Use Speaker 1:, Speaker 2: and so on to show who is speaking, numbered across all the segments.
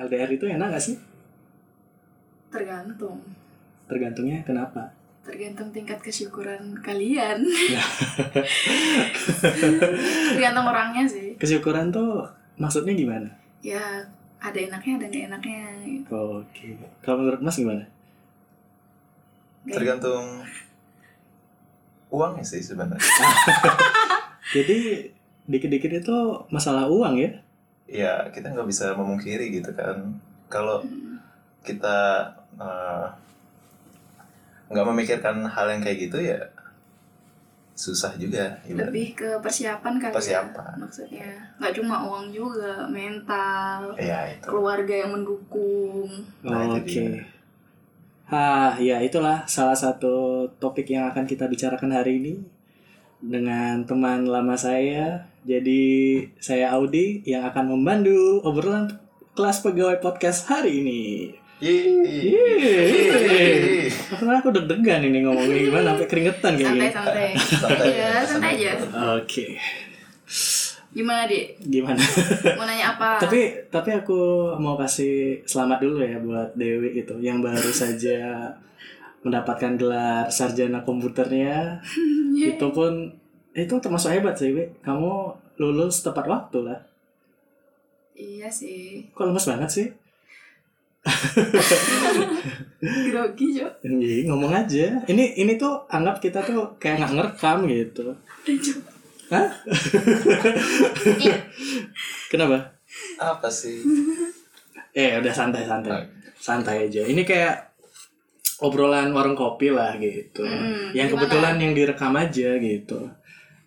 Speaker 1: LDR itu enak gak sih?
Speaker 2: Tergantung.
Speaker 1: Tergantungnya kenapa?
Speaker 2: Tergantung tingkat kesyukuran kalian. Tergantung orangnya sih.
Speaker 1: Kesyukuran tuh maksudnya gimana?
Speaker 2: Ya ada enaknya ada nggak enaknya.
Speaker 1: Oke. Kalau menurut Mas gimana?
Speaker 2: Nggak-
Speaker 3: Tergantung uangnya sih sebenarnya.
Speaker 1: Jadi dikit-dikit itu masalah uang ya?
Speaker 3: ya kita nggak bisa memungkiri gitu kan kalau
Speaker 2: hmm,
Speaker 3: kita eh, nggak memikirkan hal yang kayak gitu ya susah juga ibaratnya.
Speaker 2: lebih ke persiapan kali
Speaker 3: Persiapan.
Speaker 2: ya maksudnya nggak cuma uang juga mental
Speaker 3: ya itu
Speaker 2: keluarga yang mendukung
Speaker 3: Nah, itu
Speaker 1: Oke. Ah, ya itulah salah satu topik yang akan kita bicarakan hari ini dengan teman lama saya. Jadi saya Audi yang akan membantu obrolan kelas pegawai podcast hari ini.
Speaker 3: Yeay.
Speaker 1: Yeay.
Speaker 3: Yeay.
Speaker 1: Karena aku deg-degan ini ngomongnya gimana sampai keringetan
Speaker 2: santai
Speaker 1: kayaknya.
Speaker 2: santai
Speaker 3: Santai.
Speaker 2: ya santai aja
Speaker 1: Oke,
Speaker 2: gimana di
Speaker 1: gimana?
Speaker 2: mau nanya apa
Speaker 1: tapi tapi aku mau kasih selamat dulu ya buat Dewi itu yang baru saja mendapatkan gelar sarjana komputernya
Speaker 2: Iya.
Speaker 1: itu pun eh, itu termasuk hebat sih Wi. kamu lulus tepat waktu lah
Speaker 2: iya sih
Speaker 1: kok lemes banget sih
Speaker 2: grogi jo
Speaker 1: Iya, ngomong aja ini ini tuh anggap kita tuh kayak nggak ngerekam gitu Hah? kenapa
Speaker 3: apa sih
Speaker 1: eh udah santai santai
Speaker 3: Oke.
Speaker 1: santai aja ini kayak obrolan warung kopi lah gitu
Speaker 2: Mm,
Speaker 1: yang
Speaker 2: gimana?
Speaker 1: kebetulan yang direkam aja gitu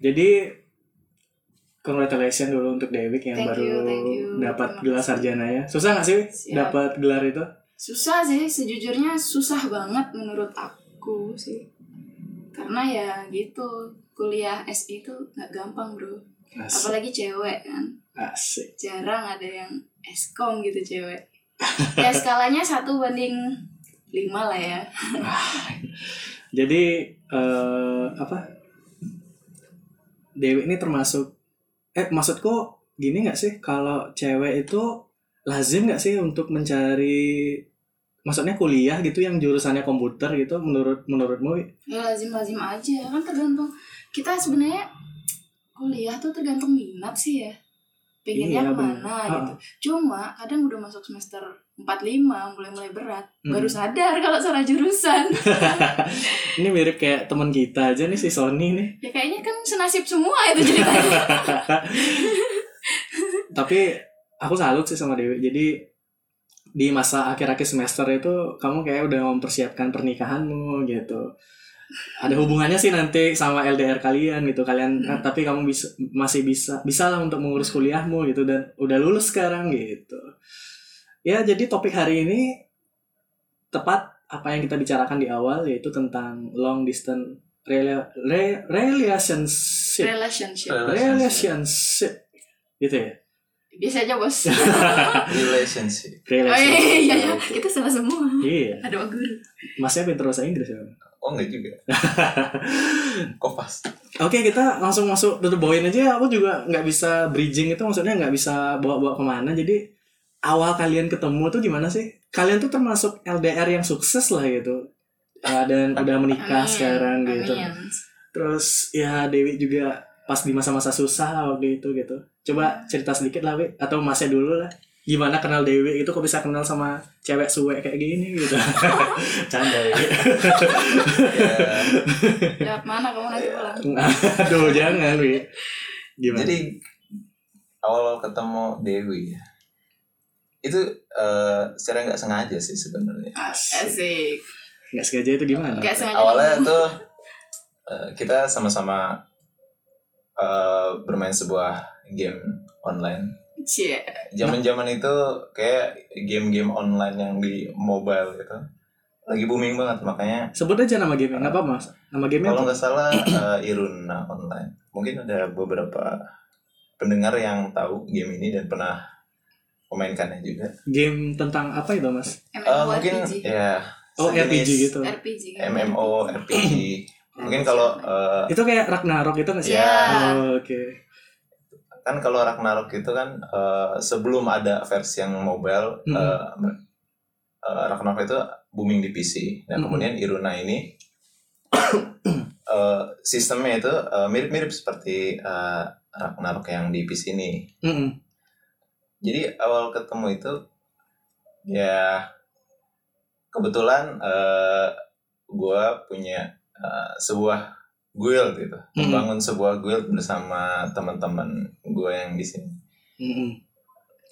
Speaker 1: jadi congratulations dulu untuk Dewi yang
Speaker 2: Thank
Speaker 1: baru
Speaker 2: you, thank you.
Speaker 1: dapat
Speaker 2: Terima
Speaker 1: gelar
Speaker 2: kasih.
Speaker 1: sarjana ya susah nggak sih Wi,
Speaker 2: Siap.
Speaker 1: dapat gelar itu
Speaker 2: susah sih sejujurnya susah banget menurut aku sih karena ya gitu kuliah SI itu nggak gampang bro
Speaker 1: asik,
Speaker 2: apalagi cewek kan
Speaker 1: asik.
Speaker 2: jarang ada yang eskom gitu cewek ya skalanya satu banding lima lah ya
Speaker 1: jadi eh, apa Dewi ini termasuk eh maksudku gini nggak sih kalau cewek itu lazim nggak sih untuk mencari maksudnya kuliah gitu yang jurusannya komputer gitu menurut menurutmu Wi?
Speaker 2: ya lazim lazim aja kan tergantung kita sebenarnya kuliah tuh tergantung minat sih ya pengennya
Speaker 1: Iya,
Speaker 2: kemana
Speaker 1: bener.
Speaker 2: gitu cuma kadang udah masuk semester 45 mulai mulai berat
Speaker 1: Mm.
Speaker 2: baru sadar kalau salah jurusan
Speaker 1: ini mirip kayak teman kita aja nih si Sony nih
Speaker 2: ya kayaknya kan senasib semua itu ceritanya
Speaker 1: tapi aku salut sih sama Dewi jadi di masa akhir-akhir semester itu kamu kayak udah mempersiapkan pernikahanmu gitu ada hubungannya sih nanti sama LDR kalian gitu kalian
Speaker 2: Hmm.
Speaker 1: tapi kamu bisa masih bisa bisa lah untuk mengurus kuliahmu gitu dan udah lulus sekarang gitu ya jadi topik hari ini tepat apa yang kita bicarakan di awal yaitu tentang long distance rela- re- relationship
Speaker 2: relationship
Speaker 3: relationship
Speaker 1: relationship gitu ya
Speaker 2: biasa aja bos
Speaker 3: relationship
Speaker 2: oh iya
Speaker 1: relationship
Speaker 2: iya, iya. kita sama semua
Speaker 1: iya
Speaker 2: ada Pak guru
Speaker 1: masnya pinter bahasa Inggris ya Bang?
Speaker 3: oh enggak juga kopas
Speaker 1: oke kita langsung masuk to the point aja aku juga nggak bisa bridging itu maksudnya nggak bisa bawa-bawa kemana jadi awal kalian ketemu tuh gimana sih kalian tuh termasuk LDR yang sukses lah gitu Eh, dan udah menikah sekarang gitu
Speaker 2: Hmm, amin.
Speaker 1: terus ya Dewi juga pas di masa-masa susah lah waktu itu gitu coba cerita sedikit lah Wi atau masnya dulu lah gimana kenal Dewi itu kok bisa kenal sama cewek suwe kayak gini gitu canda Wi.
Speaker 3: ya
Speaker 2: Lewat mana kamu nanti
Speaker 3: Iya.
Speaker 2: pulang?
Speaker 1: Aduh jangan Wi Gimana?
Speaker 3: Jadi awal ketemu Dewi ya, itu eh, secara nggak sengaja sih sebenarnya.
Speaker 1: Asik
Speaker 2: Asik.
Speaker 1: Nggak sengaja itu gimana?
Speaker 2: Gak sengaja.
Speaker 3: Nah, Awalnya
Speaker 2: ketemu.
Speaker 3: tuh eh, kita sama-sama eh, bermain sebuah game online.
Speaker 2: Cie.
Speaker 3: eh, Zaman-zaman itu kayak game-game online yang di mobile itu lagi booming banget makanya
Speaker 1: Sebut aja nama game Nggak apa-apa mas Nama game
Speaker 3: kalau
Speaker 1: apa?
Speaker 3: nggak salah eh, Iruna online. Mungkin ada beberapa pendengar yang tahu game ini dan pernah memainkannya juga.
Speaker 1: Game tentang apa itu mas?
Speaker 3: Eh,
Speaker 2: MMO
Speaker 3: mungkin
Speaker 2: RPG.
Speaker 3: ya
Speaker 1: Oh
Speaker 3: sejenis
Speaker 1: RPG gitu
Speaker 2: RPG. kan?
Speaker 3: MMO RPG mungkin kalau eh,
Speaker 1: Itu kayak Ragnarok itu nggak sih?
Speaker 2: Iya.
Speaker 1: Oh, Oke
Speaker 3: eh, kan kalau Ragnarok itu kan eh, sebelum ada versi yang mobile
Speaker 1: Mhm.
Speaker 3: eh, eh, Ragnarok itu booming di PC dan
Speaker 1: Mhm.
Speaker 3: kemudian Iruna ini eh, sistemnya itu eh, mirip-mirip seperti eh, Ragnarok yang di PC ini
Speaker 1: Mm-mm.
Speaker 3: jadi awal ketemu itu ya kebetulan eh gue punya eh, sebuah guild gitu
Speaker 1: Mm.
Speaker 3: membangun sebuah guild bersama teman-teman gue yang di sini
Speaker 1: Mm-mm.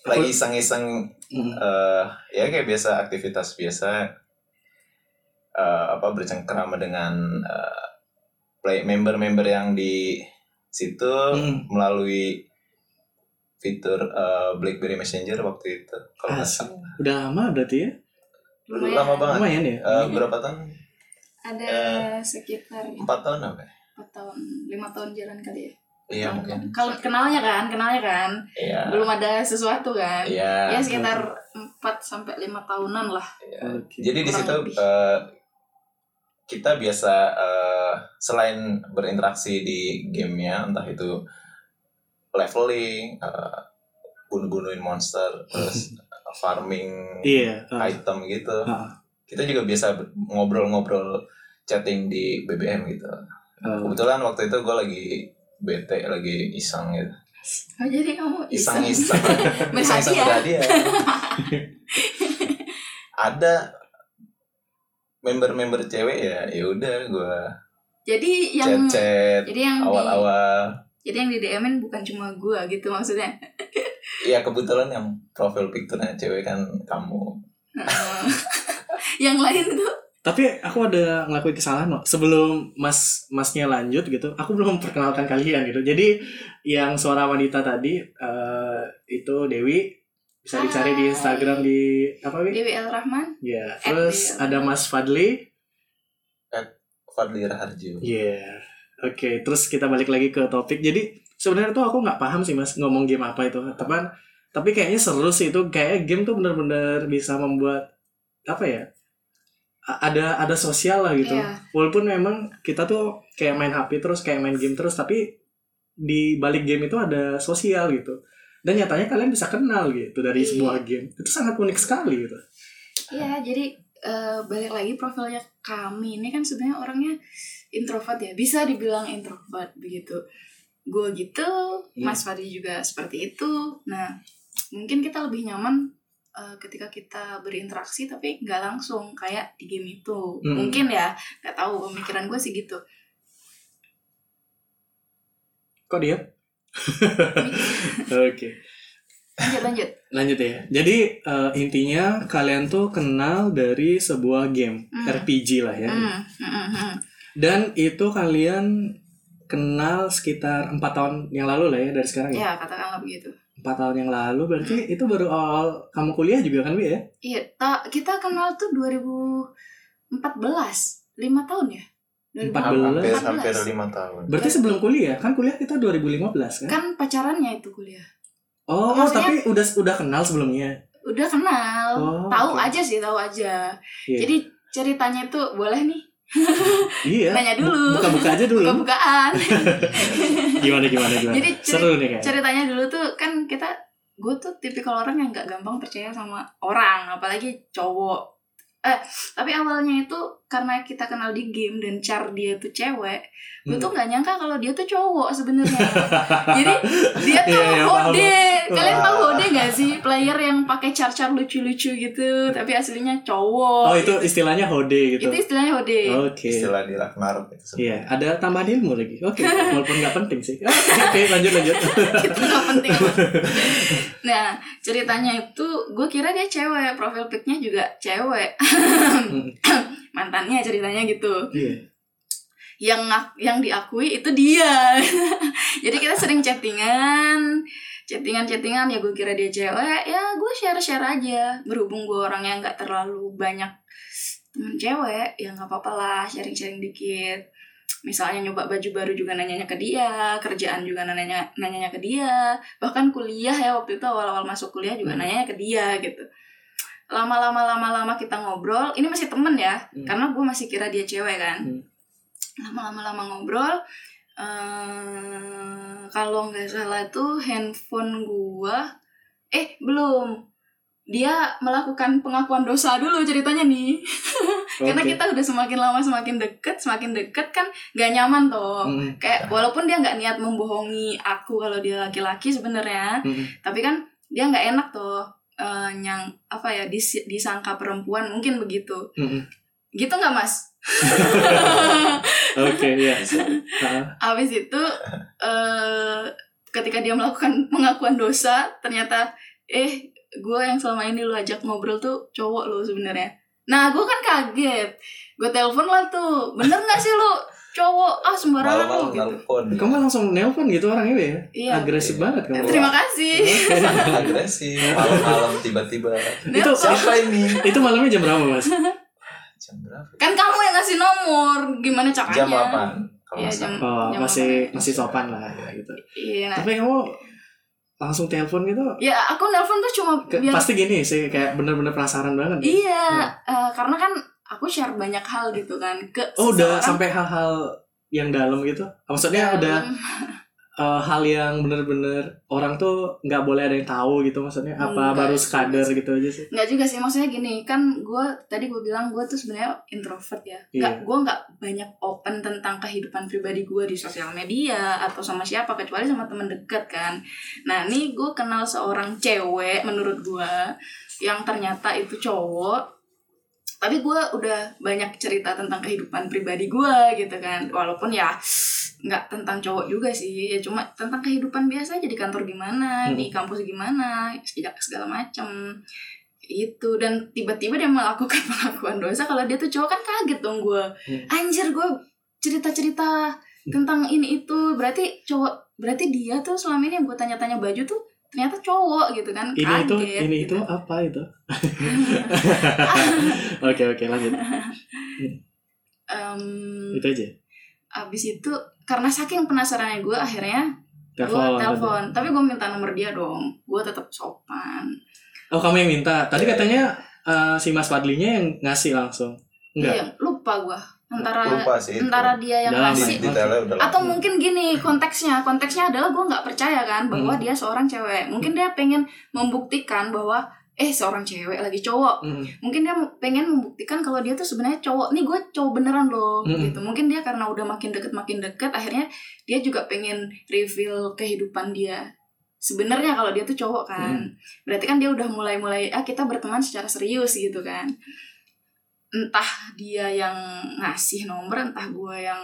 Speaker 3: lagi iseng-iseng
Speaker 1: Mm-mm.
Speaker 3: eh ya kayak biasa aktivitas biasa eh apa bercengkerama dengan eh, play member-member yang di situ
Speaker 1: Mm.
Speaker 3: melalui fitur eh, BlackBerry Messenger waktu itu kalau nggak
Speaker 1: Asik.
Speaker 3: salah.
Speaker 1: Udah lama berarti ya?
Speaker 2: Lumayan.
Speaker 3: lama banget Ya.
Speaker 1: Lumayan ya?
Speaker 2: Iya.
Speaker 3: Eh, berapa tahun
Speaker 2: Ada sekitar
Speaker 3: empat tahun apa ya?
Speaker 2: 4 tahun, 5 tahun jalan kali ya.
Speaker 3: iya
Speaker 2: Tahun.
Speaker 3: mungkin
Speaker 2: Kalau kenalnya kan, kenalnya kan.
Speaker 3: iya
Speaker 2: Belum ada sesuatu kan.
Speaker 3: iya
Speaker 2: Ya sekitar 4 sampai 5 tahunan lah.
Speaker 3: iya.
Speaker 1: Oke.
Speaker 3: jadi di
Speaker 2: Kurang
Speaker 3: situ
Speaker 2: lebih.
Speaker 3: eh, kita biasa eh, selain berinteraksi di gamenya entah itu leveling eh, bunuh-bunuhin monster terus eh, farming
Speaker 1: Iya. ah.
Speaker 3: item gitu
Speaker 1: Ah.
Speaker 3: kita juga biasa ber- ngobrol-ngobrol chatting di BBM gitu
Speaker 1: Oh.
Speaker 3: kebetulan waktu itu gue lagi bete lagi iseng gitu
Speaker 2: Oh, jadi kamu
Speaker 3: iseng
Speaker 2: iseng.
Speaker 3: iseng iseng iseng berhadiah ada member-member cewek ya ya udah gue
Speaker 2: Jadi
Speaker 3: chat
Speaker 2: yang
Speaker 3: chat
Speaker 2: jadi yang di
Speaker 3: awal-awal
Speaker 2: jadi yang di DM-in bukan cuma gua gitu maksudnya.
Speaker 3: ya kebetulan yang profil picture-nya cewek kan kamu
Speaker 2: Heeh. yang lain tuh
Speaker 1: Tapi aku ada ngelakuin kesalahan loh. Sebelum mas masnya lanjut gitu, aku belum memperkenalkan kalian gitu. Jadi yang suara wanita tadi eh, itu Dewi bisa dicari di
Speaker 2: Hai.
Speaker 1: Instagram di apa Wi?
Speaker 2: Dewi El Rahman,
Speaker 1: Ya. Terus ada Mas Fadli.
Speaker 3: Fadli Raharjo
Speaker 1: Iya. Oke, terus kita balik lagi ke topik. Jadi sebenarnya tuh aku nggak paham sih mas ngomong game apa itu, teman. Tapi kayaknya seru sih itu. Kayak game tuh bener-bener bisa membuat apa ya? a- Ada ada sosial lah gitu.
Speaker 2: Iya.
Speaker 1: Walaupun memang kita tuh kayak main HP terus, kayak main game terus, tapi di balik game itu ada sosial gitu. Dan nyatanya kalian bisa kenal gitu dari
Speaker 2: Iya.
Speaker 1: sebuah game. Itu sangat unik sekali gitu.
Speaker 2: Iya, jadi eh, balik lagi profilnya kami ini kan sebenarnya orangnya introvert ya, bisa dibilang introvert begitu. Gue gitu,
Speaker 1: Hmm.
Speaker 2: Mas Fadli juga seperti itu. Nah, mungkin kita lebih nyaman eh, ketika kita berinteraksi tapi nggak langsung kayak di game itu.
Speaker 1: Hmm.
Speaker 2: Mungkin ya, nggak tahu pemikiran gue sih gitu.
Speaker 1: Kok dia? Oke.
Speaker 2: Lanjut lanjut.
Speaker 1: lanjut ya jadi eh, intinya kalian tuh kenal dari sebuah game
Speaker 2: Hmm.
Speaker 1: RPG lah ya
Speaker 2: Hmm, hmm, hmm, hmm.
Speaker 1: dan itu kalian kenal sekitar empat tahun yang lalu lah ya dari sekarang ya
Speaker 2: Ya, katakanlah begitu.
Speaker 1: empat tahun yang lalu berarti itu baru awal kamu kuliah juga kan Wi ya
Speaker 2: Iya, ta- kita kenal tuh 2014, 5 tahun ya?
Speaker 1: 14.
Speaker 2: 2014.
Speaker 3: hampir hampir lima tahun
Speaker 1: berarti
Speaker 2: Iya.
Speaker 1: sebelum kuliah kan kuliah kita 2015 kan,
Speaker 2: Kan pacarannya itu kuliah.
Speaker 1: oh, oh,
Speaker 2: maksudnya-
Speaker 1: tapi udah udah kenal sebelumnya
Speaker 2: Udah kenal,
Speaker 1: Oh,
Speaker 2: tahu
Speaker 1: oke.
Speaker 2: aja sih, tahu aja.
Speaker 1: Iya.
Speaker 2: Jadi ceritanya itu boleh nih
Speaker 1: iya
Speaker 2: nanya
Speaker 1: Bu-
Speaker 2: dulu.
Speaker 1: buka-buka aja dulu
Speaker 2: buka-bukaan.
Speaker 1: gimana gimana gimana
Speaker 2: Jadi ceri-
Speaker 1: seru nih kayak
Speaker 2: ceritanya dulu tuh kan kita gue tuh tipikal orang yang nggak gampang percaya sama orang apalagi cowok eh tapi awalnya itu karena kita kenal di game dan char dia tuh cewek gue
Speaker 1: Hmm.
Speaker 2: tuh nggak nyangka kalau dia tuh cowok sebenarnya jadi dia tuh
Speaker 1: Iya, iya, paham.
Speaker 2: hode kalian tahu
Speaker 3: Wah.
Speaker 2: hode nggak sih player yang pakai char char lucu lucu gitu tapi aslinya cowok
Speaker 1: oh itu istilahnya hode gitu
Speaker 2: itu istilahnya hode
Speaker 1: oke
Speaker 3: istilah di Ragnarok itu
Speaker 1: Iya, ada tambahan ilmu lagi. Oke, walaupun nggak penting sih. Ah, Oke, lanjut lanjut.
Speaker 2: itu nggak penting nah ceritanya itu gue kira dia cewek profil picnya juga cewek
Speaker 1: Hmm,
Speaker 2: mantannya ceritanya gitu
Speaker 1: Iya.
Speaker 2: yang ngak- yang diakui itu dia jadi kita sering chattingan chattingan chattingan ya gue kira dia cewek ya gue share share aja berhubung gue orang yang nggak terlalu banyak temen cewek ya nggak apa-apa lah sharing sharing dikit misalnya nyoba baju baru juga nanyanya ke dia kerjaan juga nanya nanyanya ke dia bahkan kuliah ya waktu itu awal-awal masuk kuliah juga
Speaker 1: Hmm.
Speaker 2: nanyanya ke dia gitu lama-lama lama-lama kita ngobrol ini masih temen ya
Speaker 1: Hmm.
Speaker 2: karena gue masih kira dia cewek kan
Speaker 1: Hmm.
Speaker 2: lama-lama lama ngobrol eh, eh kalau nggak salah tuh handphone gua eh belum dia melakukan pengakuan dosa dulu ceritanya nih karena
Speaker 1: Oke.
Speaker 2: kita udah semakin lama semakin deket semakin deket kan gak nyaman toh
Speaker 1: Mm,
Speaker 2: kayak walaupun dia nggak niat membohongi aku kalau dia laki-laki sebenarnya
Speaker 1: mm,
Speaker 2: tapi kan dia nggak enak tuh eh, yang apa ya dis- disangka perempuan mungkin begitu
Speaker 1: mm, mm.
Speaker 2: gitu nggak mas
Speaker 1: Oke, ya.
Speaker 3: Bisa.
Speaker 1: Ah,
Speaker 2: habis itu eh ketika dia melakukan pengakuan dosa ternyata eh gue yang selama ini lu ajak ngobrol tuh cowok lo sebenarnya nah gue kan kaget gue telepon lah tuh bener nggak sih lu cowok ah sembarangan lu
Speaker 3: Malam-malam
Speaker 2: gitu
Speaker 3: nelpon.
Speaker 1: Kamu langsung nelpon gitu orangnya ya?
Speaker 2: iya
Speaker 1: Agresif banget
Speaker 2: Eh,
Speaker 1: kamu.
Speaker 2: terima kasih
Speaker 1: Oke.
Speaker 3: Agresif. Malam-malam tiba-tiba.
Speaker 2: Nah,
Speaker 1: itu
Speaker 3: Siapa ini?
Speaker 1: itu malamnya jam berapa mas?
Speaker 3: Jam berapa?
Speaker 2: kan kamu yang ngasih nomor gimana caranya
Speaker 3: Jam 8 kalau
Speaker 2: Iya,
Speaker 3: nggak
Speaker 2: jam-
Speaker 3: salah.
Speaker 1: Oh, masih masih sopan lah gitu.
Speaker 2: iya
Speaker 1: Tapi kamu langsung telepon gitu?
Speaker 2: ya aku nelpon tuh cuma
Speaker 1: ke-
Speaker 2: biar
Speaker 1: Pasti gini sih kayak bener-bener penasaran banget.
Speaker 2: iya
Speaker 1: Hmm.
Speaker 2: eh, karena kan aku share banyak hal gitu kan ke
Speaker 1: Oh udah
Speaker 2: seseorang.
Speaker 1: sampai hal-hal yang dalam gitu? Maksudnya udah
Speaker 2: Hmm,
Speaker 1: eh, hal yang bener-bener orang tuh nggak boleh ada yang tahu gitu maksudnya? Apa
Speaker 2: Enggak
Speaker 1: baru
Speaker 2: sih.
Speaker 1: sekadar gitu aja sih?
Speaker 2: nggak juga sih maksudnya gini kan gue tadi gue bilang gue tuh sebenarnya introvert ya nggak
Speaker 1: Iya.
Speaker 2: gue nggak banyak open tentang kehidupan pribadi gue di sosial media atau sama siapa kecuali sama temen deket kan nah ini gue kenal seorang cewek menurut gue yang ternyata itu cowok tapi gue udah banyak cerita tentang kehidupan pribadi gue gitu kan walaupun ya nggak tentang cowok juga sih ya cuma tentang kehidupan biasa aja di kantor gimana
Speaker 1: Hmm.
Speaker 2: di kampus gimana segala segala macem itu dan tiba-tiba dia melakukan pengakuan dosa kalau dia tuh cowok kan kaget dong gue
Speaker 1: Hmm.
Speaker 2: anjir gue cerita-cerita tentang ini itu berarti cowok berarti dia tuh selama ini yang gue tanya-tanya baju tuh ternyata cowok gitu kan
Speaker 1: Ini
Speaker 2: kaget
Speaker 1: itu ini itu
Speaker 2: gitu.
Speaker 1: apa itu? Oke oke lanjut
Speaker 2: Em,
Speaker 1: itu aja.
Speaker 2: abis itu karena saking penasarannya gue akhirnya gue
Speaker 1: Telepon.
Speaker 2: telepon tapi gue minta nomor dia dong gue tetap sopan
Speaker 1: Oh kamu yang minta. Tadi
Speaker 2: Iya.
Speaker 1: katanya eh, si Mas Fadlinya yang ngasih langsung. Enggak.
Speaker 2: Iya, lupa gue antara
Speaker 3: Lupa sih. itu.
Speaker 2: antara dia yang
Speaker 1: Dalam
Speaker 3: Di-
Speaker 2: ngasih
Speaker 1: diri.
Speaker 3: detailnya udah
Speaker 2: atau
Speaker 3: lama.
Speaker 2: mungkin gini konteksnya konteksnya adalah gue nggak percaya kan bahwa
Speaker 1: Hmm.
Speaker 2: dia seorang cewek mungkin dia pengen membuktikan bahwa eh seorang cewek lagi cowok
Speaker 1: Mm,
Speaker 2: mungkin dia pengen membuktikan kalau dia tuh sebenarnya cowok nih gue cowok beneran loh
Speaker 1: Hmm.
Speaker 2: gitu mungkin dia karena udah makin deket makin deket akhirnya dia juga pengen reveal kehidupan dia sebenarnya kalau dia tuh cowok kan
Speaker 1: Hmm.
Speaker 2: berarti kan dia udah mulai mulai ah kita berteman secara serius gitu kan entah dia yang ngasih nomor entah gue yang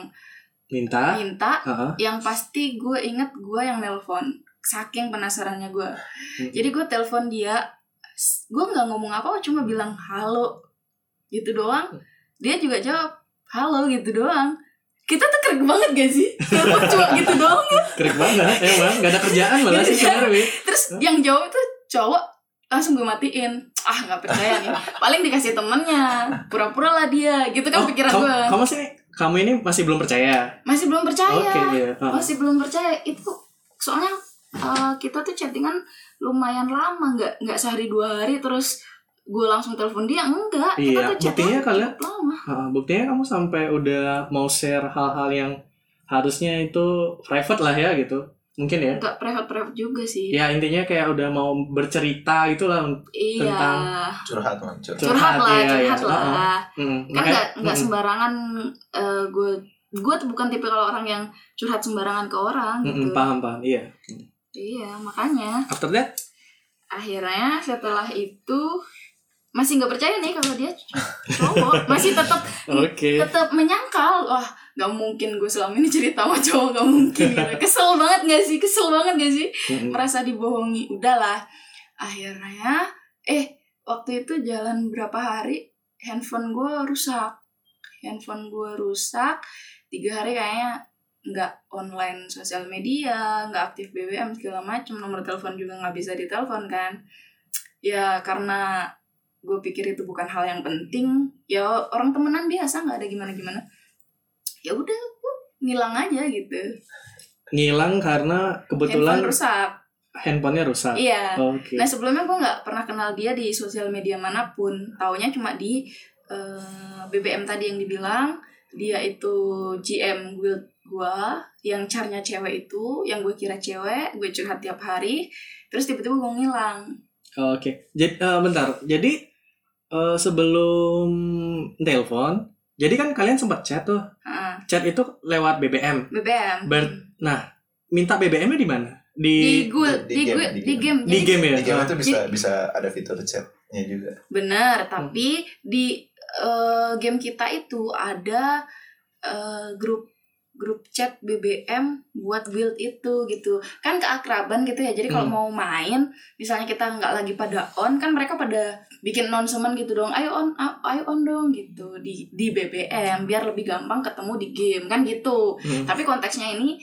Speaker 1: Minta.
Speaker 2: minta
Speaker 1: Heeh.
Speaker 2: yang pasti gue inget gue yang nelpon saking penasarannya gue
Speaker 1: Hmm.
Speaker 2: jadi gue telepon dia s- gue nggak ngomong apa cuma bilang halo gitu doang dia juga jawab halo gitu doang kita tuh keren banget gak sih Telepon cuma gitu doang ya.
Speaker 1: Keren banget emang. Gak ada kerjaan malah sih sebenarnya. Wi.
Speaker 2: terus yang jawab tuh cowok langsung gue matiin ah nggak percaya nih paling dikasih temennya pura-pura lah dia gitu
Speaker 1: Oh,
Speaker 2: kan pikiran
Speaker 1: kamu,
Speaker 2: gue
Speaker 1: kamu sih kamu ini masih belum percaya.
Speaker 2: masih belum percaya
Speaker 1: Oke iya. Heeh.
Speaker 2: masih belum percaya itu soalnya uh, kita tuh chattingan lumayan lama nggak nggak sehari dua hari terus gue langsung telepon dia enggak kita
Speaker 1: Iya,
Speaker 2: tuh chattingan
Speaker 1: buktinya kalian-
Speaker 2: cukup lama
Speaker 1: Heeh, buktinya kamu sampai udah mau share hal-hal yang harusnya itu private lah ya gitu. Mungkin ya.
Speaker 2: nggak private private juga sih
Speaker 1: Ya intinya kayak udah mau bercerita gitu lah.
Speaker 2: iya
Speaker 1: tentang-
Speaker 3: curhat man, curhat.
Speaker 2: curhat lah
Speaker 1: Curhat, iya,
Speaker 2: curhat
Speaker 1: iya.
Speaker 2: lah
Speaker 1: Mm,
Speaker 2: kan
Speaker 1: makanya-
Speaker 2: nggak nggak
Speaker 1: mm,
Speaker 2: sembarangan gue gue tuh bukan tipe kalau orang yang curhat sembarangan ke orang
Speaker 1: mm, mm,
Speaker 2: gitu
Speaker 1: paham paham iya.
Speaker 2: iya makanya
Speaker 1: After that
Speaker 2: akhirnya setelah itu masih nggak percaya nih kalau dia cowok masih tetap
Speaker 1: oke.
Speaker 2: tetap menyangkal wah gak mungkin gue selama ini cerita sama cowok gak mungkin gitu. kesel banget gak sih kesel banget gak sih
Speaker 1: Mm, mm.
Speaker 2: merasa dibohongi udahlah akhirnya eh waktu itu jalan berapa hari handphone gue rusak handphone gue rusak tiga hari kayaknya nggak online sosial media nggak aktif BBM segala macem nomor telepon juga nggak bisa ditelepon kan ya karena gue pikir itu bukan hal yang penting ya orang temenan biasa nggak ada gimana gimana ya udah gue ngilang aja gitu
Speaker 1: Ngilang karena kebetulan
Speaker 2: handphone rusak
Speaker 1: handphonenya rusak.
Speaker 2: iya
Speaker 1: Oke.
Speaker 2: Nah sebelumnya gue nggak pernah kenal dia di sosial media manapun. Taunya cuma di eh, BBM tadi yang dibilang dia itu GM Guild gue yang caranya cewek itu yang gue kira cewek gue curhat tiap hari terus tiba-tiba gue ngilang
Speaker 1: Oke, jadi eh, bentar. Jadi eh, sebelum telepon, jadi kan kalian sempat chat tuh.
Speaker 2: Ah,
Speaker 1: Chat itu lewat BBM.
Speaker 2: BBM
Speaker 1: Ber- Minta BBM-nya di mana?
Speaker 2: di
Speaker 1: Di
Speaker 2: gue
Speaker 3: di
Speaker 2: di
Speaker 3: game,
Speaker 2: gue
Speaker 3: di
Speaker 2: di game
Speaker 1: di
Speaker 2: Jadi
Speaker 1: game ya.
Speaker 3: Di game itu bisa
Speaker 2: Jadi-
Speaker 3: bisa ada fitur chatnya juga.
Speaker 2: bener tapi di eh, game kita itu ada eh, grup grup chat BBM buat build itu gitu kan keakraban gitu ya jadi kalau
Speaker 1: Hmm.
Speaker 2: mau main misalnya kita nggak lagi pada on kan mereka pada bikin announcement gitu dong ayo on a- ayo on dong gitu di di BBM biar lebih gampang ketemu di game kan gitu
Speaker 1: Hmm.
Speaker 2: tapi konteksnya ini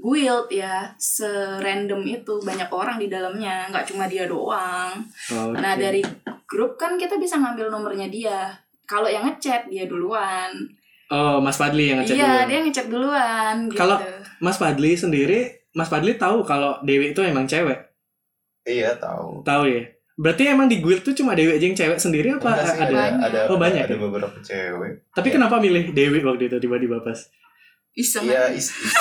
Speaker 2: guild ya serandom itu banyak orang di dalamnya nggak cuma dia doang
Speaker 1: Oke.
Speaker 2: Nah dari grup kan kita bisa ngambil nomornya dia. Kalau yang ngechat dia duluan.
Speaker 1: Oh, Mas Fadli yang ngechat
Speaker 2: iya
Speaker 1: dulu.
Speaker 2: dia ngechat duluan. Gitu.
Speaker 1: Kalau- Mas Fadli sendiri, Mas Fadli tahu kalau Dewi itu emang cewek.
Speaker 3: Iya tahu.
Speaker 1: Tahu ya? Berarti emang di guild tuh cuma Dewi aja yang cewek sendiri apa
Speaker 3: Enggak sih,
Speaker 1: ada?
Speaker 3: ada,
Speaker 2: Banyak.
Speaker 3: ada,
Speaker 1: Oh, banyak
Speaker 3: ada
Speaker 1: ya?
Speaker 3: beberapa cewek.
Speaker 1: Tapi kenapa milih Dewi waktu itu tiba-tiba pas?
Speaker 2: iseng.
Speaker 3: Iya, is- is-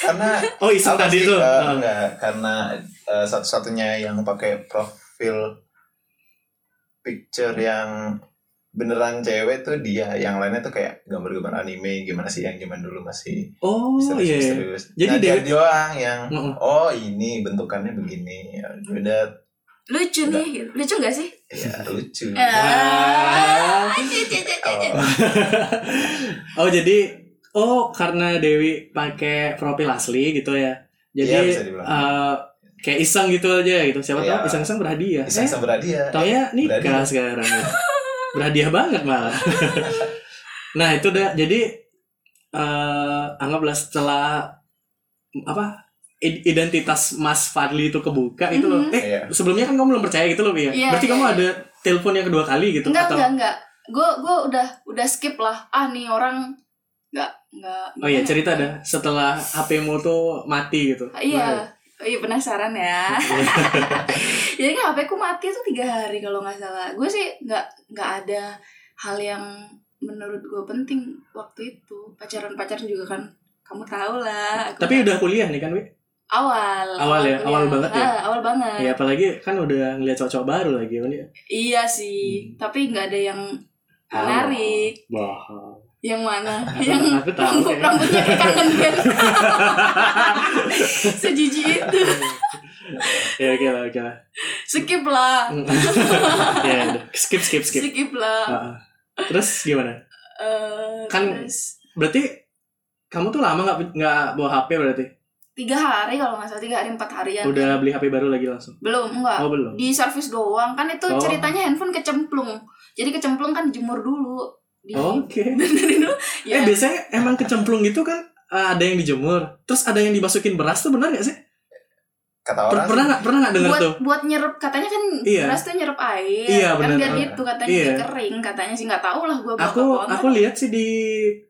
Speaker 3: karena
Speaker 1: Oh, iseng
Speaker 3: Apa
Speaker 1: tadi Ah.
Speaker 3: sih,
Speaker 1: tuh.
Speaker 3: eh,
Speaker 1: Heeh.
Speaker 3: enggak, karena eh, satu-satunya yang pakai profil picture yang beneran cewek tuh dia, yang lainnya tuh kayak gambar-gambar anime gimana sih yang zaman dulu masih
Speaker 1: Oh, iya. iya.
Speaker 3: misterius-misterius.
Speaker 1: Jadi
Speaker 3: nah, dia
Speaker 1: dia-
Speaker 3: doang yang
Speaker 1: Heeh.
Speaker 3: oh ini bentukannya begini, ya udah
Speaker 2: Lucu nih. gitu. Lucu gak sih?
Speaker 3: ya lucu.
Speaker 2: Eh,
Speaker 1: Ah.
Speaker 3: Oh,
Speaker 1: Oh jadi oh karena Dewi pakai profil asli gitu ya. Jadi
Speaker 3: Iya, bisa dibilang.
Speaker 1: eh, kayak iseng gitu aja gitu. Siapa
Speaker 3: Iya.
Speaker 1: tahu iseng-iseng berhadiah. eh,
Speaker 3: iseng sama dia.
Speaker 1: taunya nikah
Speaker 3: berhadiah.
Speaker 1: sekarang. gitu. berhadiah banget malah. nah itu udah jadi eh, anggaplah setelah apa i- identitas Mas Fadli itu kebuka itu loh.
Speaker 2: Mhm.
Speaker 1: Eh
Speaker 3: Iya.
Speaker 1: sebelumnya kan kamu belum percaya gitu loh Bia.
Speaker 2: Iya,
Speaker 1: Berarti
Speaker 2: iya,
Speaker 1: kamu
Speaker 2: iya.
Speaker 1: ada telepon yang kedua kali gitu
Speaker 2: Enggak
Speaker 1: atau
Speaker 2: enggak enggak. Gue gue udah udah skip lah. Ah nih orang enggak enggak.
Speaker 1: Oh iya cerita dah setelah HPmu tuh mati gitu.
Speaker 2: Iya. Iya penasaran ya. jadi kan HP ku mati tuh tiga hari kalau nggak salah gue sih nggak nggak ada hal yang menurut gue penting waktu itu pacaran pacaran juga kan kamu tahu lah aku
Speaker 1: Tapi udah kuliah nih kan, Wi?
Speaker 2: awal
Speaker 1: Awal ya?
Speaker 2: kuliah.
Speaker 1: Awal banget ya?
Speaker 2: Ah, awal banget
Speaker 1: Ya apalagi kan udah ngeliat cowok-cowok baru lagi kan ya.
Speaker 2: iya sih
Speaker 1: Hmm.
Speaker 2: tapi nggak ada yang
Speaker 1: Oh.
Speaker 2: menarik
Speaker 1: Bohong.
Speaker 2: yang mana
Speaker 1: Aku-
Speaker 2: yang
Speaker 1: aku tahu
Speaker 2: rambut
Speaker 1: ya.
Speaker 2: rambutnya kayak kangen band sejiji itu
Speaker 1: ya oke lah, oke lah.
Speaker 2: skip lah
Speaker 1: ya udah. skip skip skip.
Speaker 2: skip, lah
Speaker 1: Heeh. Terus gimana?
Speaker 2: Eh,
Speaker 1: Kan-
Speaker 2: terus-
Speaker 1: Berarti kamu tuh lama nggak nggak bawa HP berarti?
Speaker 2: tiga hari kalau nggak salah tiga hari empat harian
Speaker 1: Udah beli HP baru lagi langsung?
Speaker 2: belum enggak
Speaker 1: Oh belum.
Speaker 2: di servis doang kan itu
Speaker 1: Oh.
Speaker 2: ceritanya handphone kecemplung jadi kecemplung kan dijemur dulu di
Speaker 1: Oke.
Speaker 2: benerin dulu
Speaker 1: Oh. Eh
Speaker 2: ya
Speaker 1: biasanya emang kecemplung gitu kan eh, ada yang dijemur, terus ada yang dimasukin beras tuh benar gak sih?
Speaker 3: Kata
Speaker 1: Per-
Speaker 3: orang
Speaker 1: pernah nggak pernah nggak dengar
Speaker 2: buat
Speaker 1: tuh?
Speaker 2: buat nyerap katanya kan
Speaker 1: Iya.
Speaker 2: beras tuh nyerap air
Speaker 1: Iya,
Speaker 2: kan
Speaker 1: bener.
Speaker 2: biar gitu katanya
Speaker 1: Iya.
Speaker 2: biar kering katanya sih nggak tahu lah gua bakal
Speaker 1: aku aku lihat sih di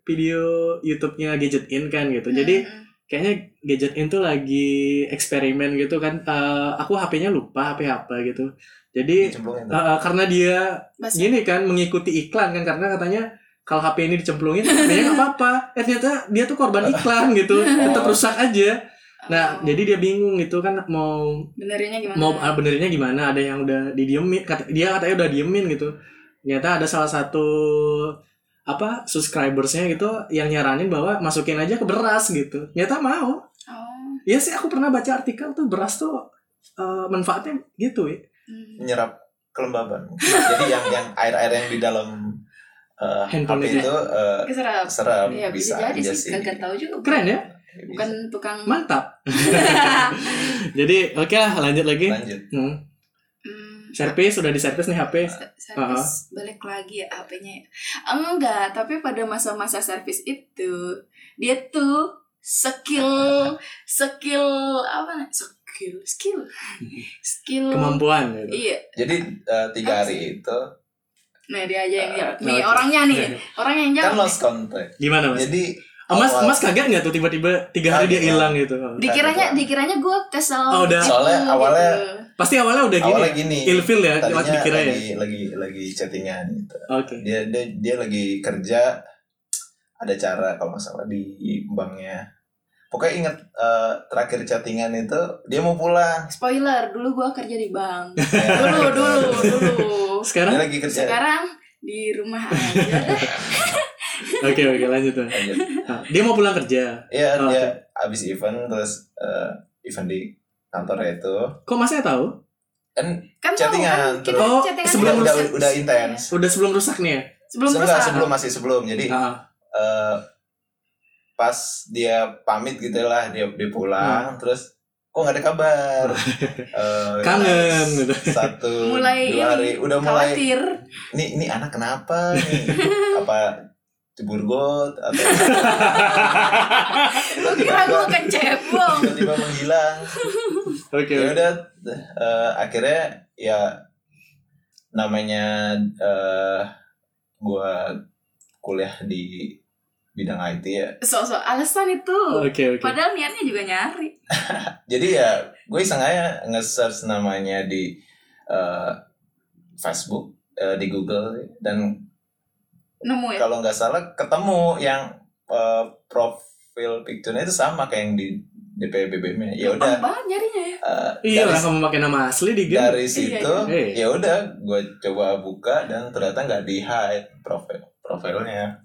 Speaker 1: video YouTube-nya Gadget In kan gitu.
Speaker 2: Hmm.
Speaker 1: Jadi kayaknya Gadget In tuh lagi eksperimen gitu kan. Eh, aku HP-nya lupa HP apa gitu. Jadi
Speaker 3: dicemplungin
Speaker 2: Iya.
Speaker 3: tuh.
Speaker 1: eh, eh, karena dia
Speaker 2: Bas-
Speaker 1: gini kan mengikuti iklan kan karena katanya kalau HP ini dicemplungin HP-nya nggak apa-apa. Eh ternyata dia tuh korban iklan gitu. Tetap
Speaker 2: Oh.
Speaker 1: rusak aja. Nah, jadi dia bingung gitu kan mau
Speaker 2: benerinnya oh, gimana
Speaker 1: mau ah, benerinnya gimana ada yang udah didiemin kata, dia katanya udah diemin gitu ternyata ada salah satu apa subscribersnya gitu yang nyaranin bahwa masukin aja ke beras gitu ternyata mau
Speaker 2: oh.
Speaker 1: ya sih aku pernah baca artikel tuh beras tuh eh, manfaatnya gitu ya
Speaker 2: hmm.
Speaker 3: menyerap kelembaban. Jadi yang yang air-air yang di dalam eh,
Speaker 1: Handphone itu.
Speaker 3: HP
Speaker 1: ya?
Speaker 3: itu eh,
Speaker 2: keserap
Speaker 3: serem
Speaker 2: ya bisa, jadi
Speaker 3: aja
Speaker 2: sih kagak tahu juga
Speaker 1: keren ya
Speaker 3: Bisa.
Speaker 2: bukan tukang Mm.
Speaker 1: mantap jadi oke lah lanjut lagi
Speaker 3: Iya. lanjut
Speaker 1: hmm.
Speaker 2: Hmm.
Speaker 1: servis sudah di servis nih HP
Speaker 2: servis
Speaker 1: Uh-huh.
Speaker 2: balik lagi ya HP-nya ya? Enggak, tapi pada masa-masa servis itu dia tuh skill skill apa skill skill skill
Speaker 1: kemampuan gitu
Speaker 2: iya
Speaker 3: jadi eh, tiga hari itu
Speaker 2: nah dia aja yang jawab nih
Speaker 1: Oke.
Speaker 2: orangnya Iya nih orang yang
Speaker 3: kan
Speaker 2: jawab
Speaker 3: lost contact
Speaker 1: Iya. gimana mas?
Speaker 3: jadi
Speaker 1: Oh, mas,
Speaker 3: Iya, awal-
Speaker 1: mas kaget nggak tuh tiba-tiba tiga hari
Speaker 3: Kaget. ya.
Speaker 1: dia hilang gitu?
Speaker 2: dikiranya dikiranya gue kesel
Speaker 1: Oh, udah.
Speaker 2: gitu,
Speaker 3: kan. Soalnya
Speaker 2: gitu.
Speaker 3: awalnya-
Speaker 1: Pasti awalnya udah gini,
Speaker 3: awalnya
Speaker 1: ya?
Speaker 3: gini
Speaker 1: ilfil ya,
Speaker 3: tadinya
Speaker 1: lewat dikira ya.
Speaker 3: lagi lagi lagi chattingan gitu
Speaker 1: Oke.
Speaker 3: dia dia dia lagi kerja ada cara kalau nggak salah di banknya pokoknya ingat eh, terakhir chattingan itu dia mau pulang
Speaker 2: Spoiler, dulu gua kerja di bank.
Speaker 3: Ya.
Speaker 2: Dulu, dulu, Iya kan? dulu.
Speaker 3: dia
Speaker 1: Oh, Sekarang
Speaker 3: lagi kerja
Speaker 2: Sekarang di rumah aja.
Speaker 1: oke oke lanjut. Bang.
Speaker 3: Lanjut.
Speaker 1: Nah, dia mau pulang kerja.
Speaker 3: Iya
Speaker 1: Oh,
Speaker 3: dia abis event terus eh, event di kantornya itu
Speaker 1: Kok masnya tahu?
Speaker 3: kan
Speaker 2: Kan tahu kan
Speaker 3: Chattingan,
Speaker 2: kita
Speaker 1: terus.
Speaker 2: chattingan
Speaker 1: Oh, sebelum
Speaker 2: terus.
Speaker 3: udah udah intens.
Speaker 1: Udah sebelum rusak nih ya?
Speaker 2: Sebelum
Speaker 3: Enggak,
Speaker 2: rusak.
Speaker 3: sebelum masih sebelum jadi
Speaker 1: Ah,
Speaker 3: eh, pas dia pamit gitu lah dia dia pulang terus kok nggak ada kabar Eh,
Speaker 1: Kangen, gitu.
Speaker 3: satu
Speaker 2: Mulai
Speaker 3: dua hari udah mulai
Speaker 2: Khawatir.
Speaker 3: nih nih anak kenapa nih apa cebur got atau
Speaker 2: Gua kira gua kecebong.
Speaker 3: tiba-tiba menghilang
Speaker 1: oke.
Speaker 3: ya udah eh, akhirnya ya namanya eh gua kuliah di bidang IT ya
Speaker 2: Sok-sok alasan itu.
Speaker 1: Oke oke.
Speaker 2: Padahal niatnya juga nyari.
Speaker 3: jadi ya gue iseng aja nge-search namanya di eh, Facebook eh, di Google dan
Speaker 2: Nemu ya.
Speaker 3: kalau nggak salah ketemu yang eh, profil picture-nya itu sama kayak yang di DPBBM-nya ya udah
Speaker 2: Gampang banget nyarinya ya.
Speaker 3: eh,
Speaker 1: Iya
Speaker 3: dari
Speaker 1: orang kamu pakai nama asli di game.
Speaker 3: dari situ
Speaker 1: Iya.
Speaker 3: ya udah gue coba buka dan ternyata nggak di hide profil profilnya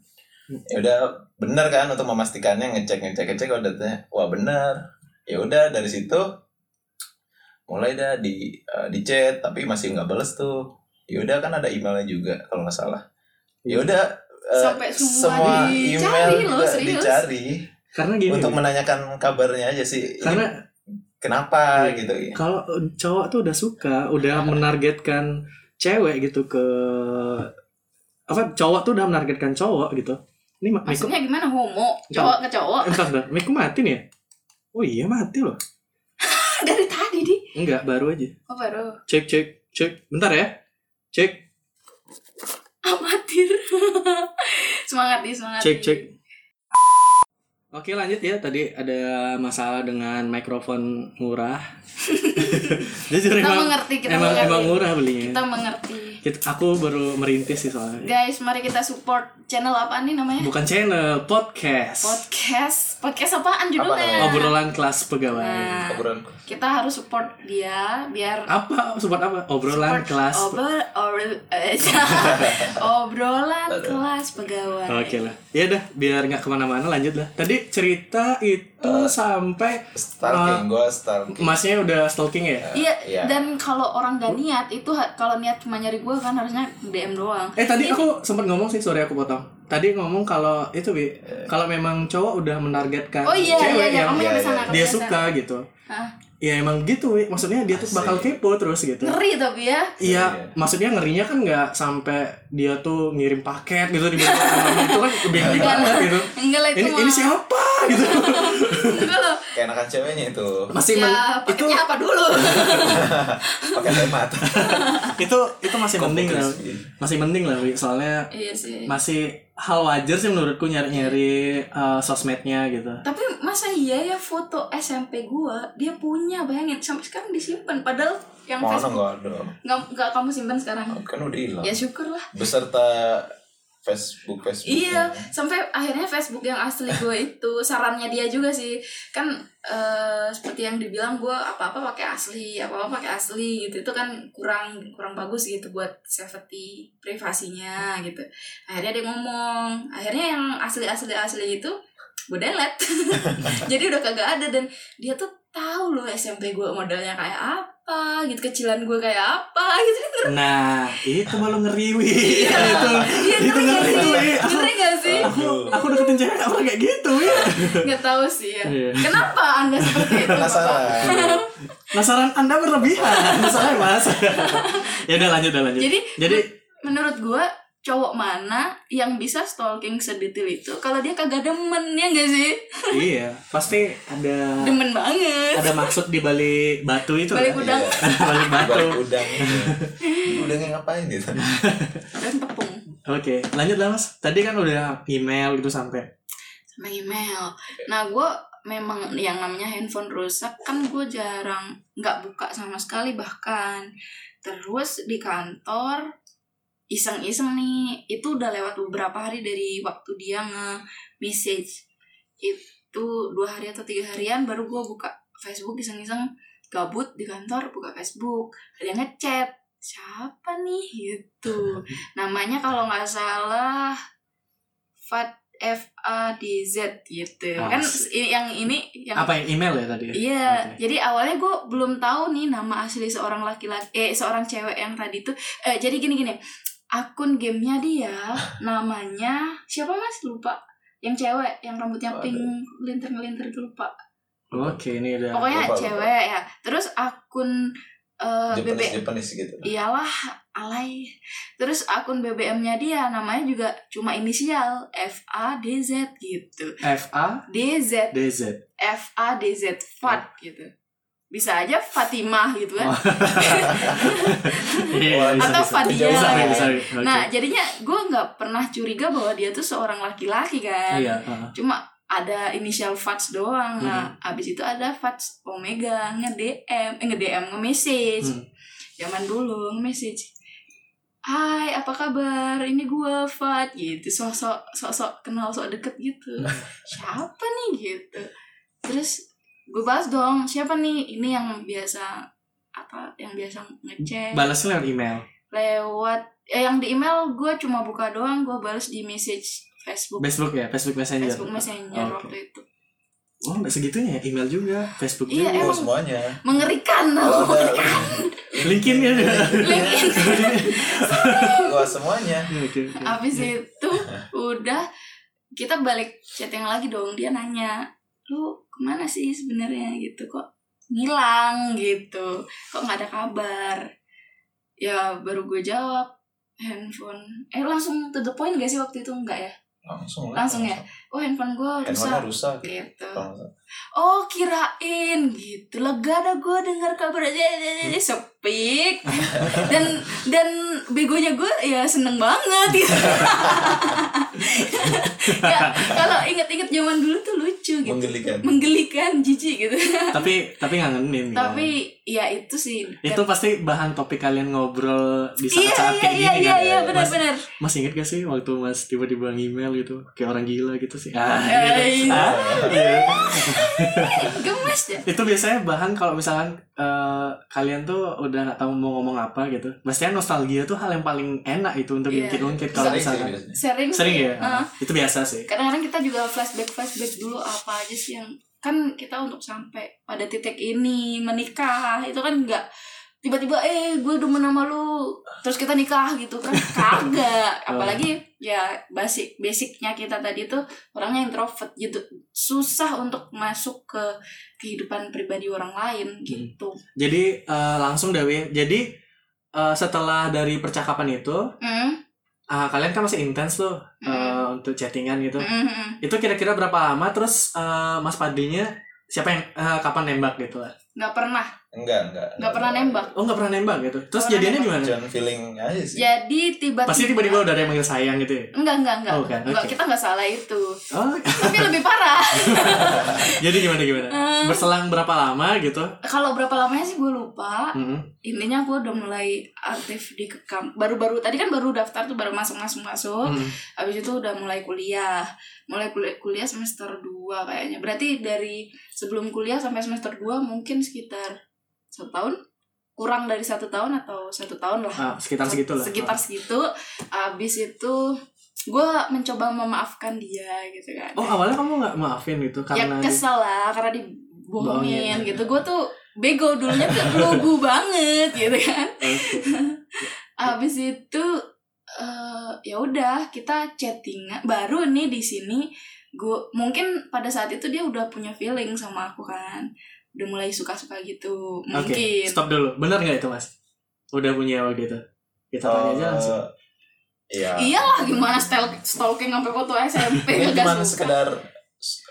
Speaker 3: ya udah bener kan untuk memastikannya ngecek ngecek ngecek udah tanya, wah bener ya udah dari situ mulai dah di eh, di chat tapi masih nggak bales tuh ya udah kan ada emailnya juga kalau nggak salah ya
Speaker 1: Iya.
Speaker 3: udah eh,
Speaker 2: Sampai semua dicari loh,
Speaker 3: juga
Speaker 2: serius.
Speaker 3: dicari
Speaker 1: Karena gini.
Speaker 3: untuk
Speaker 1: Bang.
Speaker 3: menanyakan kabarnya aja sih ini
Speaker 1: Iya. karena
Speaker 3: kenapa
Speaker 1: Iya.
Speaker 3: gitu ya
Speaker 1: kalau cowok tuh udah suka, udah menargetkan cewek gitu ke apa cowok tuh udah menargetkan cowok gitu. Ini Ma- Miku,
Speaker 2: Maksudnya gimana homo? Cowok ke cowok?
Speaker 1: entar dah, Miku mati nih ya? Oh iya mati loh.
Speaker 2: Dari tadi di.
Speaker 1: Enggak, baru aja.
Speaker 2: Oh baru.
Speaker 1: Cek cek cek. Bentar ya. Cek
Speaker 2: Amatir. semangat di semangat.
Speaker 1: cek
Speaker 2: Di.
Speaker 1: cek. Oke lanjut ya tadi ada masalah dengan mikrofon murah. Jujur
Speaker 2: Kita
Speaker 1: emang
Speaker 2: mengerti kita
Speaker 1: emang
Speaker 2: mengerti.
Speaker 1: emang murah belinya.
Speaker 2: Kita mengerti.
Speaker 1: Kita- aku baru merintis sih soalnya.
Speaker 2: Guys, mari kita support channel apa nih namanya?
Speaker 1: Bukan channel, podcast.
Speaker 2: Podcast. Podcast apaan judulnya?
Speaker 3: namanya?
Speaker 1: Obrolan kelas pegawai.
Speaker 2: Nah,
Speaker 3: obrolan
Speaker 2: kita harus support dia biar
Speaker 1: Apa sobat apa? Ah, Obrolan
Speaker 2: support
Speaker 1: kelas. pe-
Speaker 2: obrol obrol- eh, obrolan kelas pegawai.
Speaker 1: Oke lah. Ya dah, biar nggak kemana-mana lanjut lah. Tadi cerita itu
Speaker 2: Eh.
Speaker 1: sampai
Speaker 3: stalking gue stalking
Speaker 1: masnya udah stalking ya?
Speaker 2: Iya,
Speaker 3: Iya.
Speaker 2: dan kalau orang gak niat itu ha- kalau niat cuma nyari gue kan harusnya DM doang.
Speaker 1: Eh tadi aku sempat ngomong sih, sorry aku potong. Tadi ngomong kalau itu Bi, kalau memang cowok udah menargetkan
Speaker 2: Oh iya iya
Speaker 1: cewek
Speaker 2: iya,
Speaker 1: yang
Speaker 2: kamu yang
Speaker 3: iya,
Speaker 2: kesana
Speaker 3: iya.
Speaker 2: kamu
Speaker 1: dia
Speaker 2: kesana.
Speaker 1: suka gitu.
Speaker 2: Hah?
Speaker 1: Ya emang gitu, Wi. maksudnya dia tuh bakal
Speaker 3: Asik.
Speaker 1: kepo terus gitu.
Speaker 2: Ngeri tapi ya.
Speaker 1: Iya,
Speaker 3: Iya.
Speaker 1: maksudnya ngerinya kan nggak sampai dia tuh ngirim paket gitu di itu kan udah ngeri banget gitu.
Speaker 2: Enggak lah itu
Speaker 1: Ini,
Speaker 2: mah.
Speaker 1: ini siapa gitu?
Speaker 2: Enggak loh.
Speaker 3: kayak enakan ceweknya itu
Speaker 1: Masih men-
Speaker 2: Ya,
Speaker 1: itu
Speaker 2: paketnya apa dulu?
Speaker 3: pakai hemat
Speaker 1: itu itu masih mending lah,
Speaker 3: Iya.
Speaker 1: masih mending lah, Wi. soalnya
Speaker 2: iya sih.
Speaker 1: masih hal wajar sih menurutku nyari-nyari uh, sosmednya gitu.
Speaker 2: Tapi masa iya ya foto SMP gua dia punya bayangin sampai sekarang disimpan padahal yang
Speaker 3: mana
Speaker 2: Facebook
Speaker 3: nggak ada
Speaker 2: nggak nggak kamu simpan sekarang.
Speaker 3: kan udah hilang
Speaker 2: Ya syukurlah.
Speaker 3: beserta Facebook Facebook
Speaker 2: Iya, sampai akhirnya Facebook yang asli gue itu sarannya dia juga sih. Kan eh, seperti yang dibilang gue apa-apa pakai asli, apa-apa pakai asli gitu. Itu kan kurang kurang bagus gitu buat safety privasinya gitu. Akhirnya dia ngomong, akhirnya yang asli-asli asli itu gue delete. Jadi udah kagak ada dan dia tuh tahu loh SMP gue modelnya kayak apa gitu kecilan gue kayak apa gitu
Speaker 1: Nah, itu malu ngeri Wi. itu
Speaker 2: Iya,
Speaker 1: itu
Speaker 2: ngeri gak
Speaker 1: ngeri
Speaker 2: sih?
Speaker 1: Wi. Aku,
Speaker 2: Ngeri gak sih?
Speaker 1: aku aku deketin cewek apa kayak gitu Wi.
Speaker 2: Nggak tahu sih ya.
Speaker 1: Iya.
Speaker 2: Kenapa Anda seperti itu? Bapak?
Speaker 3: penasaran
Speaker 1: Penasaran Anda berlebihan, masalahnya Mas. ya udah lanjut, udah lanjut.
Speaker 2: Jadi,
Speaker 1: Jadi
Speaker 2: menurut gua cowok mana yang bisa stalking sedetil itu kalau dia kagak demen ya gak sih?
Speaker 1: iya, pasti ada
Speaker 2: Demen banget.
Speaker 1: ada maksud di balik batu itu
Speaker 2: Balik
Speaker 1: kan?
Speaker 2: udang
Speaker 3: Iya.
Speaker 1: balik batu.
Speaker 3: balik udang itu. udangnya ngapain gitu
Speaker 2: dan tepung
Speaker 1: Oke, lanjut lah Mas. Tadi kan udah email gitu sampai.
Speaker 2: sama email. Nah gua memang yang namanya handphone rusak kan gue jarang nggak buka sama sekali bahkan terus di kantor iseng-iseng nih itu udah lewat beberapa hari dari waktu dia nge message itu dua hari atau tiga harian baru gue buka Facebook iseng-iseng gabut di kantor buka Facebook ada yang ngechat siapa nih gitu namanya kalau nggak salah Fat F A D Z gitu
Speaker 1: Ah,
Speaker 2: kan
Speaker 1: asik.
Speaker 2: i- yang ini yang
Speaker 1: Apa yang email ya tadi?
Speaker 2: Iya,
Speaker 1: Oke.
Speaker 2: jadi awalnya gue belum tahu nih nama asli seorang laki-laki, eh seorang cewek yang tadi tuh. Eh, jadi gini-gini, akun gamenya dia, namanya siapa mas lupa? Yang cewek, yang rambutnya pink, linter-linter itu lupa.
Speaker 1: Oke, ini udah.
Speaker 2: Pokoknya
Speaker 3: lupa, lupa.
Speaker 2: cewek ya. Terus akun eh, BB,
Speaker 3: Japanese Japanese gitu
Speaker 2: iyalah alay. Terus akun BBM-nya dia, namanya juga cuma inisial F A D Z gitu.
Speaker 1: F A
Speaker 2: D Z
Speaker 1: D Z.
Speaker 2: F A D Z Fat gitu. Bisa aja Fatimah gitu kan.
Speaker 1: Oh, Iya, bisa,
Speaker 2: Atau
Speaker 1: bisa.
Speaker 2: Fadia
Speaker 1: Bisa,
Speaker 2: lah ya.
Speaker 1: bisa, bisa. Oke.
Speaker 2: Nah, jadinya gue nggak pernah curiga bahwa dia tuh seorang laki-laki kan.
Speaker 1: Iya, heeh.
Speaker 2: Cuma ada inisial Fats doang. Nah, abis itu ada Fats Omega nge-DM, eh, nge-DM, nge-message.
Speaker 1: Hmm.
Speaker 2: Zaman dulu nge-message. Hai, apa kabar? Ini gue Fat gitu. Sosok sosok kenal sok deket gitu. Siapa nih gitu. Terus gue bahas dong, siapa nih? Ini yang biasa apa yang biasa ngecek
Speaker 1: Balasnya lewat email.
Speaker 2: lewat eh, yang di email gue cuma buka doang gue balas di message Facebook
Speaker 1: Facebook ya, Facebook Messenger.
Speaker 2: Facebook Messenger
Speaker 1: Oke.
Speaker 2: waktu itu
Speaker 1: Oh, nggak segitunya ya, email juga, Facebook juga.
Speaker 2: Iya,
Speaker 3: Oh,
Speaker 2: emang. Oh.
Speaker 3: semuanya.
Speaker 2: mengerikan
Speaker 3: Kalau
Speaker 2: loh
Speaker 3: ada
Speaker 1: LinkedIn ya.
Speaker 2: LinkedIn
Speaker 3: Wah, semuanya.
Speaker 1: Oke, oke.
Speaker 2: abis itu udah kita balik chatting lagi dong dia nanya lu kemana sih sebenarnya gitu kok ngilang gitu kok nggak ada kabar ya baru gue jawab handphone eh langsung to the point gak sih waktu itu enggak ya
Speaker 3: Langsung.
Speaker 2: Langsung ya? oh handphone gue rusak
Speaker 3: Handphone rusak.
Speaker 2: gitu
Speaker 3: Kalau nggak salah.
Speaker 2: Oh kirain gitu Lega dah gue dengar kabar aja Sepik Dan dan begonya gue ya seneng banget gitu ya, Kalau inget-inget zaman dulu tuh lucu gitu
Speaker 3: Menggelikan.
Speaker 2: Menggelikan, jijik gitu
Speaker 1: Tapi tapi ngangenin ya.
Speaker 2: Tapi ya itu sih
Speaker 1: itu pasti bahan topik kalian ngobrol di
Speaker 2: Iya
Speaker 1: saat-saat
Speaker 2: iya
Speaker 1: kayak
Speaker 2: iya
Speaker 1: gini
Speaker 2: iya
Speaker 1: kan.
Speaker 2: iya
Speaker 1: mas,
Speaker 2: benar-benar
Speaker 1: mas inget gak sih waktu Mas tiba-tiba ngemail gitu, kayak orang gila gitu sih. Ah,
Speaker 2: Eh,
Speaker 1: gitu. Ah, iya.
Speaker 2: Gemes ya
Speaker 1: itu biasanya bahan kalau misalkan eh, kalian tuh udah nggak tahu mau ngomong apa gitu. Maksudnya nostalgia tuh hal yang paling enak itu untuk
Speaker 2: Iya.
Speaker 1: diungkit-ungkit kalau
Speaker 3: Sering sih
Speaker 1: misalkan.
Speaker 3: biasanya.
Speaker 2: Sering
Speaker 1: Sering
Speaker 2: sih.
Speaker 1: ya?
Speaker 2: Heeh.
Speaker 1: Ah, Itu biasa sih.
Speaker 2: kadang-kadang kita juga flashback flashback dulu apa aja sih yang kan kita untuk sampai pada titik ini menikah itu kan nggak tiba-tiba eh gue demen sama lu terus kita nikah gitu kan kagak apalagi ya basic basicnya kita tadi tuh orangnya introvert gitu susah untuk masuk ke kehidupan pribadi orang
Speaker 1: Hmm.
Speaker 2: lain gitu
Speaker 1: Jadi eh, langsung Dewi. Jadi eh, setelah dari percakapan itu,
Speaker 2: Mm,
Speaker 1: ah, kalian kan masih intens loh eh,
Speaker 2: Mm.
Speaker 1: untuk chattingan gitu.
Speaker 2: mm, mm, mm.
Speaker 1: Itu kira-kira berapa lama? Terus eh, Mas Padinya siapa yang eh, kapan nembak gitu?
Speaker 2: nggak pernah
Speaker 3: Enggak, enggak.
Speaker 2: nggak pernah nembak
Speaker 1: Oh nggak pernah nembak gitu. Terus
Speaker 2: Nggak
Speaker 1: jadiannya
Speaker 2: pernah
Speaker 1: gimana?
Speaker 3: Cuman feeling aja sih.
Speaker 2: jadi tiba-tiba
Speaker 1: Pasti tiba-tiba udah ada yang manggil sayang gitu ya.
Speaker 2: enggak enggak enggak
Speaker 1: Oh, bukan.
Speaker 2: enggak
Speaker 1: Oke.
Speaker 2: kita nggak salah itu
Speaker 1: Oh,
Speaker 2: tapi lebih parah
Speaker 1: jadi gimana gimana?
Speaker 2: Eh.
Speaker 1: Berselang berapa lama gitu? Hmm,
Speaker 2: kalau berapa lamanya sih gue lupa
Speaker 1: Mm-mm.
Speaker 2: intinya gue udah mulai aktif di kekam baru-baru tadi kan baru daftar tuh baru masuk masuk masuk
Speaker 1: Mm-mm.
Speaker 2: habis itu udah mulai kuliah mulai kuliah, kuliah semester 2 kayaknya berarti dari sebelum kuliah sampai semester 2 mungkin sekitar satu tahun kurang dari satu tahun atau satu tahun lah
Speaker 1: Ah, sekitar segitu lah.
Speaker 2: sekitar segitu habis itu gue mencoba memaafkan dia gitu kan
Speaker 1: Oh awalnya kamu nggak maafin gitu
Speaker 2: ya
Speaker 1: karena ya. dia-
Speaker 2: kesel lah karena dibohongin
Speaker 1: Bohongin.
Speaker 2: gitu gue tuh bego dulunya tuh lugu banget gitu kan
Speaker 1: Oh, Oke.
Speaker 2: habis itu eh, ya udah kita chatting baru nih di sini gue mungkin pada saat itu dia udah punya feeling sama aku kan udah mulai suka-suka gitu
Speaker 1: Oke,
Speaker 2: mungkin
Speaker 1: stop dulu. Benar nggak itu mas? Udah punya waktu itu? Kita tanya aja langsung.
Speaker 3: Eh, Iya.
Speaker 2: iyalah gimana stel- stalking sampai foto SMP
Speaker 3: Ini
Speaker 2: gak suka
Speaker 3: cuma sekedar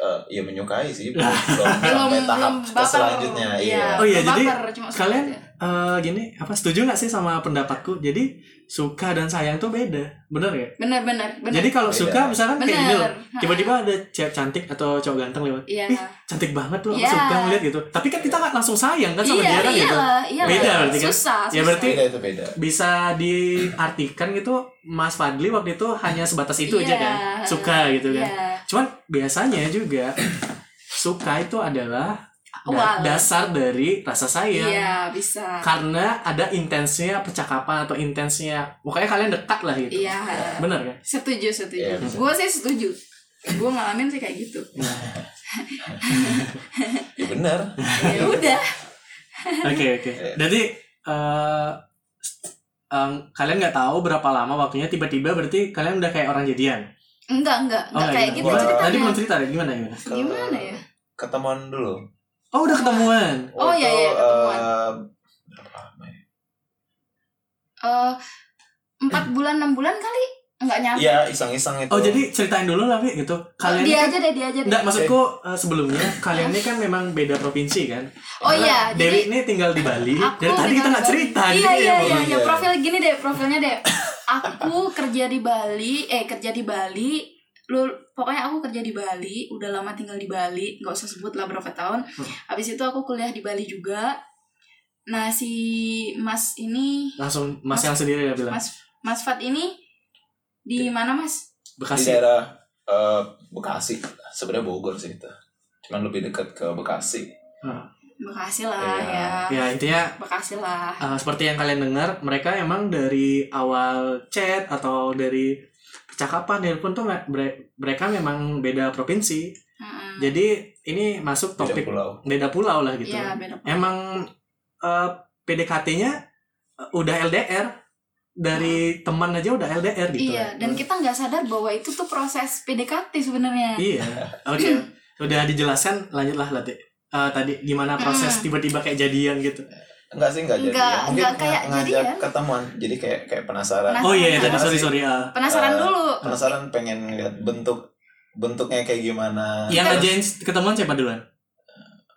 Speaker 3: eh, ya menyukai sih belum sampai
Speaker 2: belum
Speaker 3: tahap
Speaker 2: belum
Speaker 3: ke
Speaker 2: baper.
Speaker 3: selanjutnya iya
Speaker 1: Oh iya,
Speaker 2: belum
Speaker 1: jadi
Speaker 2: baper, cuma suka
Speaker 1: kalian-
Speaker 2: aja.
Speaker 1: Eh, gini apa setuju nggak sih sama pendapatku jadi suka dan sayang tuh beda bener ya
Speaker 2: bener bener bener
Speaker 1: jadi kalau
Speaker 3: Beda.
Speaker 1: suka misalkan
Speaker 2: bener
Speaker 1: kayak gini loh tiba-tiba ada cewek cantik atau cowok ganteng lewat
Speaker 2: iya
Speaker 1: Ih, cantik banget loh aku
Speaker 2: Iya.
Speaker 1: suka ngeliat gitu tapi kan kita nggak langsung sayang kan sama
Speaker 2: iya
Speaker 1: dia kan gitu
Speaker 2: iyalah iyalah.
Speaker 1: Beda berarti kan?
Speaker 2: susah
Speaker 1: Ya
Speaker 2: susah.
Speaker 1: berarti
Speaker 3: beda itu beda
Speaker 1: bisa diartikan gitu Mas Fadli waktu itu hanya sebatas itu aja
Speaker 2: Iya.
Speaker 1: kan suka gitu kan
Speaker 2: Iya.
Speaker 1: cuman biasanya juga suka itu adalah da-
Speaker 2: Awal.
Speaker 1: dasar dari rasa sayang
Speaker 2: iya bisa
Speaker 1: karena ada intensnya percakapan atau intensnya pokoknya kalian dekat lah gitu
Speaker 2: iya
Speaker 1: bener kan
Speaker 2: setuju setuju
Speaker 3: Iya, bisa.
Speaker 2: gue sih setuju gue ngalamin sih kayak gitu
Speaker 3: ya benar
Speaker 2: ya udah
Speaker 1: oke oke
Speaker 3: Iya.
Speaker 1: jadi eh, em, kalian nggak tahu berapa lama waktunya tiba-tiba berarti kalian udah kayak orang jadian
Speaker 2: enggak enggak enggak
Speaker 1: nggak
Speaker 2: kayak
Speaker 1: gitu.
Speaker 2: gitu
Speaker 1: Wah,
Speaker 2: ceritanya
Speaker 1: tadi belum cerita deh gimana gimana
Speaker 2: gimana ya
Speaker 3: ketemuan dulu
Speaker 1: oh udah ketemuan
Speaker 2: Oh, iya, iya, ketemuan.
Speaker 3: eh, berapa lama ya?
Speaker 2: Eh, empat bulan enam bulan kali enggak nyampe
Speaker 3: Iya, iseng-iseng itu
Speaker 1: oh jadi ceritain dulu lah Wi, gitu kalian
Speaker 2: dia
Speaker 1: ini kan-
Speaker 2: aja deh dia aja deh
Speaker 1: Nggak, maksudku eh, sebelumnya kalian ini kan memang beda provinsi kan
Speaker 2: oh
Speaker 1: Karena
Speaker 2: iya jadi
Speaker 1: Dewi ini tinggal di Bali
Speaker 2: aku
Speaker 1: Iya, dari tadi kita nggak
Speaker 2: tinggal di Bali.
Speaker 1: cerita
Speaker 2: iya
Speaker 1: jadi
Speaker 2: iya
Speaker 1: ya,
Speaker 2: iya
Speaker 1: Bang.
Speaker 2: iya profil gini deh profilnya deh aku kerja di Bali eh kerja di Bali lu pokoknya aku kerja di Bali udah lama tinggal di Bali nggak usah sebut lah berapa tahun
Speaker 1: Hmm.
Speaker 2: habis itu aku kuliah di Bali juga nah si Mas ini
Speaker 1: langsung Mas yang sendiri ya bilang
Speaker 2: Mas Mas Fat ini di mana Mas
Speaker 3: di
Speaker 1: Bekasi
Speaker 3: daerah eh, Bekasi sebenarnya Bogor sih kita cuman lebih dekat ke Bekasi
Speaker 2: Bekasi lah
Speaker 3: Iya.
Speaker 2: ya
Speaker 1: ya intinya
Speaker 2: Bekasi lah
Speaker 1: Uh, seperti yang kalian dengar, mereka emang dari awal chat atau dari percakapan handphone tuh me- mere- mereka memang beda provinsi.
Speaker 2: Mm-mm.
Speaker 1: Jadi ini masuk
Speaker 3: beda
Speaker 1: topik beda
Speaker 3: pulau
Speaker 1: pulau, lah gitu.
Speaker 2: Iya, beda pulau.
Speaker 1: Emang uh, PDKT-nya uh, udah LDR dari teman aja udah LDR gitu.
Speaker 2: Iya, dan kita nggak sadar bahwa itu tuh proses PDKT sebenarnya.
Speaker 1: Iya. Oke. Udah dijelaskan, lanjutlah Lati. Uh, tadi gimana proses
Speaker 2: Mm.
Speaker 1: tiba-tiba kayak jadian gitu.
Speaker 2: Nah,
Speaker 3: enggak sih enggak jadi
Speaker 2: Enggak,
Speaker 3: ya. mungkin
Speaker 2: enggak kayak
Speaker 3: ng- ngajak
Speaker 2: jadian.
Speaker 3: ketemuan jadi kayak kayak penasaran
Speaker 2: Penasaran.
Speaker 1: Oh iya,
Speaker 2: Penasaran
Speaker 1: tadi sorry
Speaker 3: sih.
Speaker 1: sorry. uh,
Speaker 2: Penasaran
Speaker 3: Eh,
Speaker 2: dulu.
Speaker 3: penasaran pengen lihat bentuk bentuknya kayak gimana
Speaker 1: yang
Speaker 3: Terus
Speaker 1: aja ketemuan siapa duluan?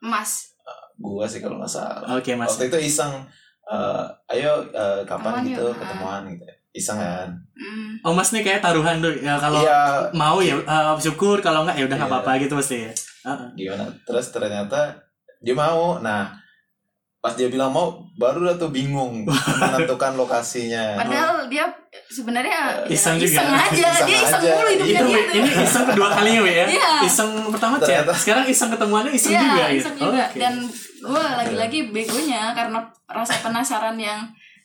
Speaker 2: Mas,
Speaker 3: gua sih kalau nggak salah
Speaker 1: Oke mas.
Speaker 3: waktu itu iseng eh, ayo eh, kapan
Speaker 2: Ketemuan
Speaker 3: gitu
Speaker 2: yuk, ah.
Speaker 3: ketemuan gitu iseng kan
Speaker 2: mm,
Speaker 1: Oh mas nih kayak taruhan tuh ya kalau
Speaker 3: iya
Speaker 1: mau ya eh, syukur kalau enggak ya udah nggak
Speaker 3: Iya.
Speaker 1: apa-apa gitu mesti ya. Heeh.
Speaker 3: gimana terus ternyata dia mau nah pas dia bilang mau baru lah tuh bingung menentukan lokasinya
Speaker 2: padahal dia sebenarnya ya,
Speaker 1: Eh, Iseng juga.
Speaker 2: aja,
Speaker 3: Iseng
Speaker 2: dia iseng
Speaker 3: aja.
Speaker 2: mulu hidupnya
Speaker 1: Itu
Speaker 2: dia
Speaker 1: Wi,
Speaker 2: tuh.
Speaker 1: ini iseng kedua kalinya Wi ya.
Speaker 2: Iya.
Speaker 1: Iseng pertama chat,
Speaker 3: Ternyata.
Speaker 1: sekarang iseng ketemuannya iseng
Speaker 2: Iya,
Speaker 1: juga
Speaker 2: iseng
Speaker 1: gitu.
Speaker 2: juga.
Speaker 1: Oke.
Speaker 2: Dan gue lagi-lagi begonya karena rasa penasaran yang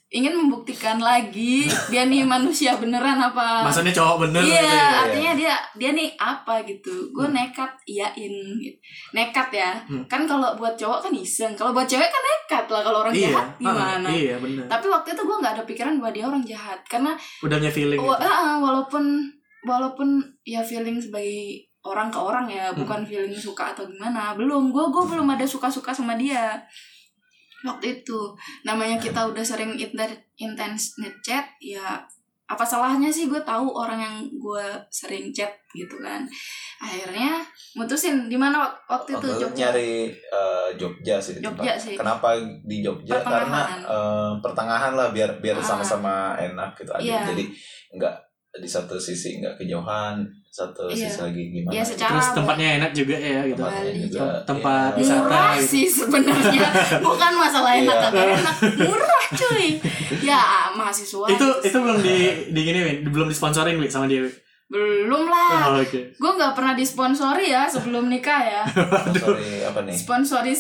Speaker 2: ingin membuktikan lagi dia nih manusia beneran apa
Speaker 1: Maksudnya cowok bener
Speaker 2: eh, Iya,
Speaker 1: gitu ya.
Speaker 2: artinya dia dia nih apa gitu. Gue nekat iyain gitu. Nekat ya.
Speaker 1: Hmm.
Speaker 2: Kan kalau buat cowok kan iseng, kalau buat cewek kan nekat lah kalau orang
Speaker 1: Iya,
Speaker 2: jahat
Speaker 1: heeh,
Speaker 2: gimana.
Speaker 1: iya bener.
Speaker 2: Tapi waktu itu gue nggak ada pikiran bahwa dia orang jahat karena
Speaker 1: Udah punya feeling
Speaker 2: wa-
Speaker 1: gitu.
Speaker 2: ah, walaupun walaupun ya feeling sebagai orang ke orang ya, bukan feeling suka atau gimana. Belum, gue gue belum ada suka-suka sama dia. Waktu itu namanya kita udah sering inter- intens ngechat ya apa salahnya sih gue tahu orang yang gue sering chat gitu kan akhirnya mutusin di mana wak- waktu itu
Speaker 3: waktu itu
Speaker 2: Jogja
Speaker 3: nyari eh, Jogja sih
Speaker 2: Jogja sih.
Speaker 3: kenapa di Jogja
Speaker 2: Pertengahan.
Speaker 3: karena eh, pertengahan lah biar
Speaker 2: Ah.
Speaker 3: biar sama-sama enak gitu aja
Speaker 2: Iya.
Speaker 3: jadi nggak di satu sisi nggak kejauhan satu
Speaker 2: Iya.
Speaker 3: sisi lagi gimana
Speaker 2: ya
Speaker 3: gitu.
Speaker 2: secara
Speaker 1: Terus tempatnya enak juga ya gitu.
Speaker 3: Tempatnya
Speaker 2: Bali.
Speaker 3: juga,
Speaker 1: Tempat
Speaker 3: iya.
Speaker 1: wisata.
Speaker 2: murah
Speaker 1: gitu.
Speaker 2: sih sebenarnya bukan masalah enak
Speaker 3: Iya.
Speaker 2: atau enak murah cuy ya mahasiswa
Speaker 1: Itu itu belum di di gini Wi, belum disponsorin Wi sama dia. Wi.
Speaker 2: belum lah
Speaker 1: Oh, Oke.
Speaker 2: gue nggak pernah disponsori ya sebelum nikah ya
Speaker 3: Sorry, apa nih
Speaker 2: sponsori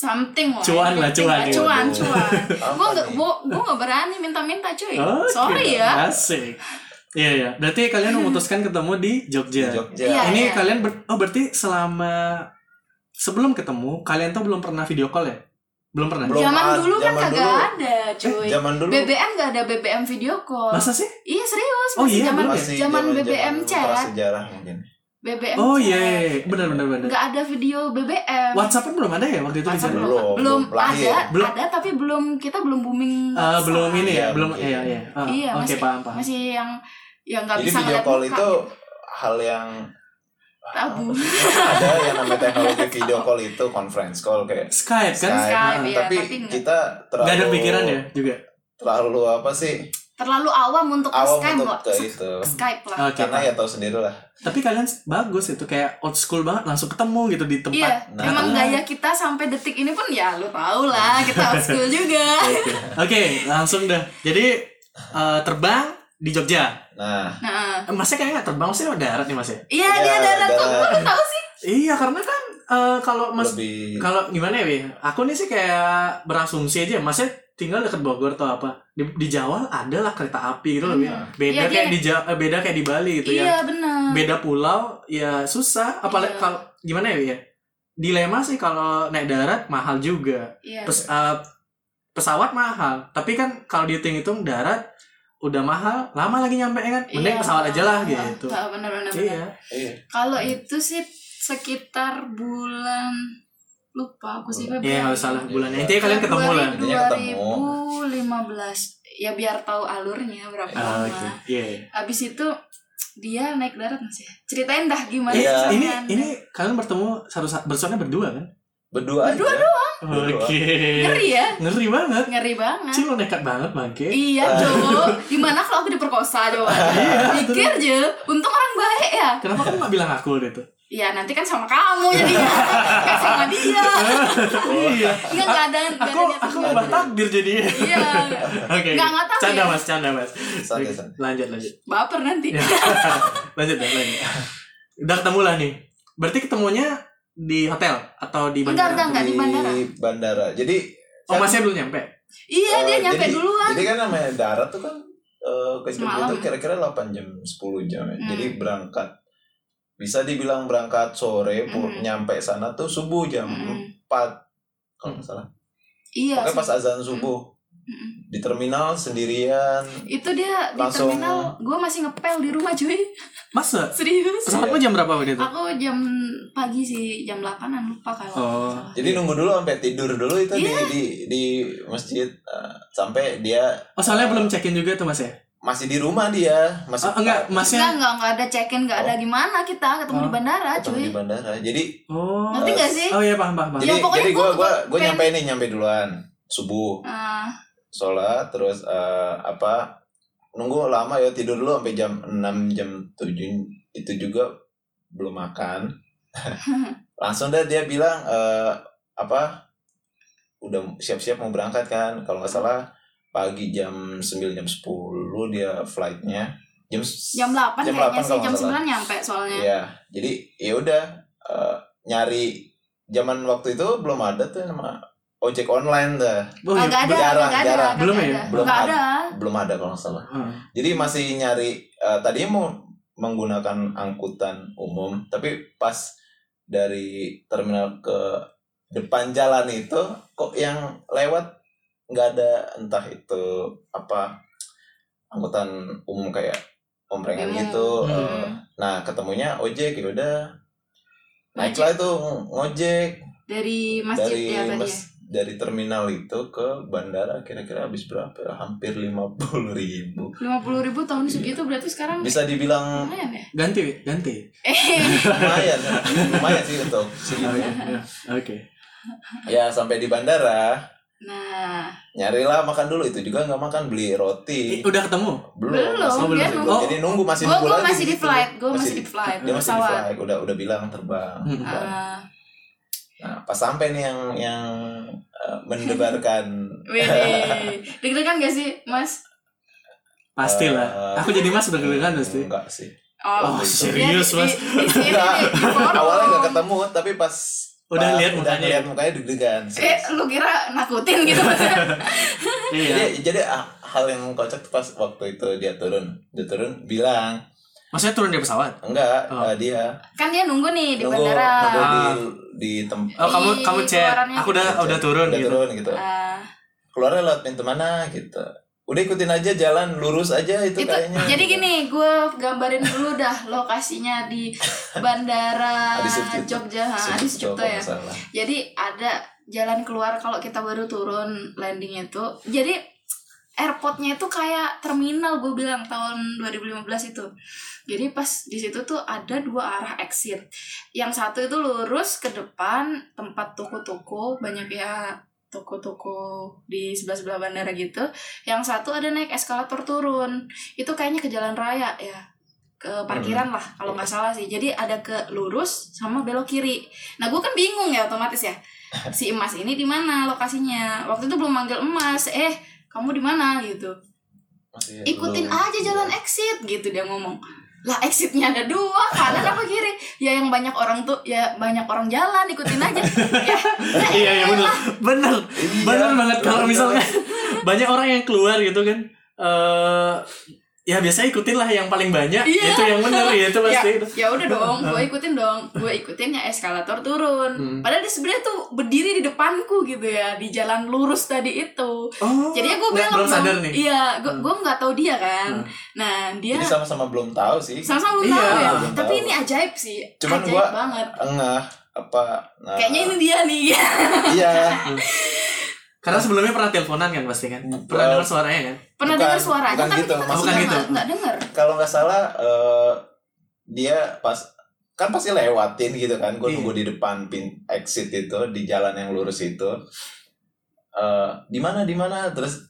Speaker 2: something lah
Speaker 1: Cuan lah, cuan ya.
Speaker 2: cuan
Speaker 3: Waduh.
Speaker 2: cuan
Speaker 3: Apa
Speaker 2: gue nggak
Speaker 3: nih?
Speaker 2: gue nggak berani minta-minta cuy
Speaker 1: Oke, Nah,
Speaker 2: sorry ya
Speaker 1: Asik. Iya ya. Berarti kalian memutuskan ketemu di Jogja.
Speaker 3: Jogja
Speaker 2: Iya.
Speaker 1: Ini kalian ber- oh berarti selama sebelum ketemu kalian tuh belum pernah video call ya? Belum pernah.
Speaker 3: Belum
Speaker 2: zaman
Speaker 3: ada,
Speaker 2: dulu kan
Speaker 3: zaman
Speaker 2: kagak
Speaker 3: dulu.
Speaker 2: ada cuy
Speaker 3: zaman dulu
Speaker 2: BBM gak ada BBM video call.
Speaker 1: Eh, Masa sih?
Speaker 2: Iya serius,
Speaker 1: Oh
Speaker 2: masih
Speaker 1: iya,
Speaker 2: zaman
Speaker 1: belum
Speaker 3: masih
Speaker 2: zaman ah.
Speaker 3: zaman-zaman
Speaker 2: BBM chat,
Speaker 3: prasejarah mungkin
Speaker 2: BBM
Speaker 1: Oh
Speaker 2: chat.
Speaker 1: iya, iya, iya. benar benar benar.
Speaker 2: Nggak ada video BBM.
Speaker 1: WhatsApp kan belum ada ya waktu itu di
Speaker 2: WhatsApp
Speaker 1: sana?
Speaker 2: belum,
Speaker 3: Belum,
Speaker 2: belum,
Speaker 3: belum lahir.
Speaker 2: ada,
Speaker 1: Belum.
Speaker 2: ada tapi belum kita belum booming.
Speaker 1: Eh,
Speaker 2: WhatsApp.
Speaker 1: belum ini ya,
Speaker 3: Iya,
Speaker 1: belum
Speaker 3: mungkin.
Speaker 1: iya iya. Ah,
Speaker 2: Iya,
Speaker 1: Oke,
Speaker 2: masih
Speaker 1: paham paham.
Speaker 2: masih yang yang nggak
Speaker 3: Jadi
Speaker 2: bisa gitu.
Speaker 3: video
Speaker 2: ngeliat
Speaker 3: call
Speaker 2: muka
Speaker 3: itu
Speaker 2: gitu.
Speaker 3: hal yang
Speaker 2: Tabu.
Speaker 3: ada yang namanya teknologi video call itu conference call kayak
Speaker 1: Skype kan?
Speaker 3: Skype,
Speaker 2: Skype,
Speaker 3: nah,
Speaker 2: iya,
Speaker 3: tapi,
Speaker 2: tapi nggak-
Speaker 3: kita terlalu
Speaker 1: Gak ada pikiran ya juga.
Speaker 3: terlalu apa sih
Speaker 2: Terlalu awam untuk
Speaker 3: awam
Speaker 2: Skype
Speaker 3: untuk
Speaker 2: loh.
Speaker 3: ke itu
Speaker 2: Skype lah.
Speaker 1: Oke.
Speaker 3: karena ya tahu sendiri lah
Speaker 1: Tapi kalian bagus itu kayak old school banget langsung ketemu gitu di tempat.
Speaker 2: Iya,
Speaker 3: Nah.
Speaker 2: emang gaya kita sampai detik ini pun ya lu tau
Speaker 1: Nah.
Speaker 2: lah, kita old school juga.
Speaker 1: Oke, langsung dah. Jadi eh, terbang di Jogja.
Speaker 3: nah
Speaker 2: Nah,
Speaker 1: Eh, Masnya kayaknya nggak terbang, masnya udah darat nih mas ya?
Speaker 2: iya
Speaker 3: Iya,
Speaker 2: dia darat tuh,
Speaker 3: darat.
Speaker 2: kok lu tau sih?
Speaker 1: Iya, karena kan eh, kalau mas
Speaker 3: lebih
Speaker 2: Hmm.
Speaker 1: kalau gimana ya, Wi? aku nih sih kayak berasumsi aja, masnya tinggal deket Bogor atau apa? Di, di Jawa ada lah kereta api gitu loh, Wi.
Speaker 2: Hmm.
Speaker 1: Beda
Speaker 2: Iya,
Speaker 1: kayak
Speaker 2: dia-
Speaker 1: di Jawa, eh, beda kayak di Bali gitu ya.
Speaker 2: Iya benar.
Speaker 1: beda pulau ya susah apalagi
Speaker 2: Iya.
Speaker 1: kalau gimana ya Wi, ya dilema sih kalau naik darat mahal juga
Speaker 2: Iya.
Speaker 1: Pes- eh, pesawat mahal tapi kan kalau dihitung-hitung darat udah mahal lama lagi nyampe ya kan mending
Speaker 2: Iya,
Speaker 1: pesawat aja lah
Speaker 2: iya.
Speaker 1: gitu
Speaker 2: Nah, benar benar. benar.
Speaker 1: iya
Speaker 3: iya.
Speaker 2: Kalau itu sih sekitar bulan lupa aku sih Feb. ya.
Speaker 1: iya nggak salah bulan
Speaker 3: Iya.
Speaker 1: intinya kalian ketemu lah
Speaker 3: Intinya ketemu.
Speaker 2: 2015 ya biar tahu alurnya berapa
Speaker 1: Ah,
Speaker 2: lama.
Speaker 1: oke iya
Speaker 2: Abis itu dia naik darat mas ya. Ceritain dah gimana
Speaker 1: Eh,
Speaker 3: Iya.
Speaker 2: caranya
Speaker 1: ini
Speaker 2: naik.
Speaker 1: ini kalian bertemu satu saat bersoalnya berdua kan
Speaker 3: berdua
Speaker 2: Berdua
Speaker 3: aja
Speaker 1: oke
Speaker 3: Berdua.
Speaker 2: ngeri ya,
Speaker 1: ngeri banget
Speaker 2: ngeri banget.
Speaker 1: sih lo nekat banget bangke
Speaker 2: Iya Jo, gimana kalau aku diperkosa Jo? Pikir Jo, untung orang baik ya.
Speaker 1: kenapa kamu gak bilang aku gitu
Speaker 2: Ya nanti kan sama kamu jadinya, kan sama dia.
Speaker 1: iya
Speaker 2: Enggak enggak ada nggak ada
Speaker 1: aku
Speaker 2: niatan
Speaker 1: aku
Speaker 2: buat
Speaker 1: ubah
Speaker 2: dia.
Speaker 1: takdir jadinya
Speaker 2: Iya,
Speaker 1: Oke.
Speaker 2: Nggak, nggak tahu
Speaker 1: Canda
Speaker 2: ya.
Speaker 1: mas, canda mas.
Speaker 3: Santai,
Speaker 2: Iya.
Speaker 1: Oke,
Speaker 3: santai.
Speaker 1: Lanjut, lanjut.
Speaker 2: baper nanti.
Speaker 1: Ya. lanjut, dah, lanjut. Udah ketemu lah nih. Berarti ketemunya di hotel atau di
Speaker 2: Enggak,
Speaker 1: bandara?
Speaker 2: enggak, enggak di bandara.
Speaker 3: bandara jadi
Speaker 1: Oh, masnya belum nyampe.
Speaker 2: Iya, dia
Speaker 3: eh,
Speaker 2: nyampe
Speaker 3: jadi-
Speaker 2: duluan.
Speaker 3: jadi kan namanya darat tuh kan eh, ke Jogja
Speaker 2: Semalam.
Speaker 3: itu kira-kira 8 jam 10 jam ya.
Speaker 2: Hmm.
Speaker 3: jadi berangkat bisa dibilang berangkat sore pul-
Speaker 2: Hmm.
Speaker 3: nyampe sana tuh subuh jam
Speaker 2: Mm-mm.
Speaker 3: 4 kalau nggak salah
Speaker 2: Iya.
Speaker 3: Pokoknya pas
Speaker 2: sih.
Speaker 3: azan subuh
Speaker 2: Mm-mm.
Speaker 3: di terminal sendirian
Speaker 2: Itu dia di
Speaker 3: Langsung-
Speaker 2: terminal, gue masih ngepel di rumah cuy.
Speaker 1: Masa? eh,
Speaker 2: Serius.
Speaker 1: Pesawatmu jam berapa waktu itu?
Speaker 2: Aku jam pagi sih, jam 8-an lupa kalau
Speaker 1: Oh.
Speaker 2: nggak salah.
Speaker 3: jadi nunggu dulu sampai tidur dulu itu di-
Speaker 2: Iya.
Speaker 3: di, di masjid eh, sampai dia
Speaker 1: Oh, soalnya belum check-in juga tuh mas ya?
Speaker 3: masih di rumah dia masih
Speaker 1: Oh, enggak,
Speaker 2: Enggak,
Speaker 1: masnya...
Speaker 2: enggak, enggak ada check-in, enggak ada gimana kita ketemu di
Speaker 1: Oh.
Speaker 2: bandara,
Speaker 3: Oh. ketemu
Speaker 2: cuy.
Speaker 3: di bandara jadi
Speaker 1: Oh.
Speaker 2: Ngerti enggak sih?
Speaker 1: Oh iya, paham, paham, paham.
Speaker 2: Ya,
Speaker 3: jadi
Speaker 2: pokoknya
Speaker 3: jadi
Speaker 2: gua
Speaker 3: gue gue gue
Speaker 2: pengen-
Speaker 3: nyampe nih nyampe duluan subuh
Speaker 2: Ah,
Speaker 3: sholat terus eh, apa nunggu lama ya tidur dulu sampai jam 6 jam 7 itu juga belum makan langsung deh dia bilang eh, apa udah siap-siap mau berangkat kan kalau nggak salah pagi jam 9 jam 10 dia flightnya jam s-
Speaker 2: jam 8
Speaker 3: Jam
Speaker 2: kayaknya
Speaker 3: 8
Speaker 2: sih,
Speaker 3: kalau
Speaker 2: jam
Speaker 3: nggak salah.
Speaker 2: 9 nyampe soalnya.
Speaker 3: ya jadi ya udah eh, nyari zaman waktu itu belum ada tuh nama ojek online dah
Speaker 1: Oh, iya.
Speaker 2: Kagak ada,
Speaker 3: Jarang,
Speaker 2: kagak ada,
Speaker 3: jarang.
Speaker 2: kagak
Speaker 1: Belum ya?
Speaker 2: ada.
Speaker 3: Belum
Speaker 2: Kagak
Speaker 3: ada.
Speaker 2: ada.
Speaker 3: belum ada kalau nggak salah
Speaker 1: Hmm.
Speaker 3: Jadi masih nyari eh, tadinya mau menggunakan angkutan umum, tapi pas dari terminal ke depan jalan itu kok yang lewat nggak ada entah itu apa angkutan umum kayak omprengan
Speaker 2: Umum.
Speaker 3: gitu.
Speaker 1: Hmm.
Speaker 3: eh, nah ketemunya ojek ya udah
Speaker 2: Ojek.
Speaker 3: naiklah itu ngojek
Speaker 2: Dari masjid
Speaker 3: dari
Speaker 2: ya tadi. ya?
Speaker 3: mas- dari terminal itu ke bandara kira-kira habis berapa? ya? Hampir 50.000 ribu.
Speaker 2: 50.000 ribu tahun segitu berarti sekarang
Speaker 3: Bisa dibilang
Speaker 2: lumayan ya?
Speaker 1: Ganti, Wi, ganti.
Speaker 2: Eh,
Speaker 3: lumayan lumayan sih untuk
Speaker 1: Oke,
Speaker 3: segitu
Speaker 1: iya. oke.
Speaker 3: ya sampai di bandara
Speaker 2: nah,
Speaker 3: nyarilah makan dulu itu juga nggak makan beli
Speaker 1: Eh,
Speaker 3: roti
Speaker 1: Udah ketemu?
Speaker 3: belum
Speaker 2: Belum, ya,
Speaker 3: masih
Speaker 1: dia
Speaker 3: belum.
Speaker 1: nunggu.
Speaker 3: jadi nunggu masih
Speaker 2: gue
Speaker 3: nunggu
Speaker 2: gue
Speaker 3: lagi
Speaker 2: masih di
Speaker 3: gitu.
Speaker 2: flight, gue masih,
Speaker 3: Masih-
Speaker 2: di flight,
Speaker 3: dia masih di
Speaker 2: pesawat.
Speaker 3: flight udah udah bilang terbang
Speaker 1: Hmm.
Speaker 3: terbang.
Speaker 2: Ah,
Speaker 3: nah pas sampai nih yang yang eh, mendebarkan
Speaker 2: Wede, deg-degan gak sih, Mas?
Speaker 1: Pastilah.
Speaker 3: eh,
Speaker 1: Aku jadi mas deg-degan pasti.
Speaker 3: enggak sih
Speaker 1: Oh,
Speaker 3: Waktu itu.
Speaker 1: serius,
Speaker 2: Iya, di-
Speaker 1: Mas?
Speaker 2: di- di sini nih,
Speaker 3: Enggak.
Speaker 2: di forum.
Speaker 3: awalnya nggak ketemu tapi pas
Speaker 1: Udah
Speaker 3: pas
Speaker 1: lihat
Speaker 3: udah
Speaker 1: mukanya.
Speaker 3: ngeliat mukanya deg-degan sih.
Speaker 2: Eh, lu kira nakutin gitu Mas?
Speaker 1: Iya.
Speaker 3: jadi jadi ah, hal yang kocak tuh pas waktu itu dia turun dia turun bilang
Speaker 1: Maksudnya turun dari pesawat?
Speaker 3: Enggak,
Speaker 1: Oh. Ah.
Speaker 3: eh, dia
Speaker 2: Kan dia nunggu nih di
Speaker 3: nunggu, nunggu
Speaker 2: bandara.
Speaker 3: di, di tempat
Speaker 1: Oh kamu
Speaker 2: Ih,
Speaker 1: kamu chat,
Speaker 2: Iya, keluarannya
Speaker 1: aku udah udah turun
Speaker 3: udah
Speaker 1: gitu.
Speaker 3: turun gitu.
Speaker 2: Ah,
Speaker 3: Keluarnya lewat pintu mana gitu. Udah ikutin aja jalan lurus aja
Speaker 2: itu
Speaker 3: itu, kayaknya.
Speaker 2: jadi gini, gue gambarin dulu dah lokasinya di bandara
Speaker 3: Adi Sucipto.
Speaker 2: Jogja, ha, Adi Sucipto
Speaker 3: Sucipto, kalau
Speaker 2: ya.
Speaker 3: nggak salah.
Speaker 2: Jadi ada jalan keluar kalau kita baru turun landing itu. Jadi airportnya itu kayak terminal gue bilang tahun 2015 itu jadi pas di situ tuh ada dua arah exit yang satu itu lurus ke depan tempat toko-toko banyak ya toko-toko di sebelah sebelah bandara gitu yang satu ada naik eskalator turun itu kayaknya ke jalan raya ya ke parkiran lah kalau nggak salah sih jadi ada ke lurus sama belok kiri nah gue kan bingung ya otomatis ya si emas ini di mana lokasinya waktu itu belum manggil emas eh kamu di mana gitu
Speaker 3: Masih ya,
Speaker 2: ikutin
Speaker 3: belum- Iya.
Speaker 2: aja jalan
Speaker 1: iya.
Speaker 2: exit gitu dia ngomong lah exitnya ada dua kanan apa kiri ya yang banyak orang tuh ya banyak orang jalan ikutin aja ya, ya
Speaker 1: iya iya benar benar
Speaker 3: Iya,
Speaker 1: benar banget kalau
Speaker 3: bener.
Speaker 1: misalnya banyak orang yang keluar gitu kan eh ya biasanya ikutin lah yang paling banyak
Speaker 2: Iya.
Speaker 1: itu yang benar ya itu
Speaker 2: ya,
Speaker 1: pasti
Speaker 2: ya udah dong gue ikutin dong gue ikutin ya eskalator turun
Speaker 1: Hmm.
Speaker 2: padahal dia sebenarnya tuh berdiri di depanku gitu ya di jalan lurus tadi itu
Speaker 1: oh
Speaker 2: jadinya gue
Speaker 1: nggak-
Speaker 2: bilang
Speaker 1: belum
Speaker 2: sama-
Speaker 1: sadar nih
Speaker 2: iya gue gue nggak tahu dia kan
Speaker 1: Hmm.
Speaker 2: nah dia
Speaker 3: Jadi sama-sama belum tahu sih.
Speaker 2: sama-sama belum
Speaker 1: Iya,
Speaker 2: tahu ya
Speaker 3: belum
Speaker 2: tapi
Speaker 3: tahu.
Speaker 2: ini ajaib sih
Speaker 3: Cuman
Speaker 2: ajaib
Speaker 3: gua-
Speaker 2: banget
Speaker 3: Engah apa? Nah,
Speaker 2: kayaknya ini dia nih
Speaker 3: Iya.
Speaker 1: karena sebelumnya pernah teleponan kan pasti kan
Speaker 3: Bukan.
Speaker 1: pernah dengar suaranya kan
Speaker 2: pernah
Speaker 3: Bukan-
Speaker 2: dengar suaranya
Speaker 3: bukan
Speaker 2: tapi
Speaker 3: gitu,
Speaker 2: kita
Speaker 1: maksudnya.
Speaker 2: nggak-
Speaker 1: Bukan gitu.
Speaker 2: nggak dengar
Speaker 3: Kalau nggak salah eh, dia pas kan pasti lewatin gitu kan. Gue
Speaker 1: Iya.
Speaker 3: nunggu di depan pin exit itu di jalan yang lurus itu. Eh, di mana di mana terus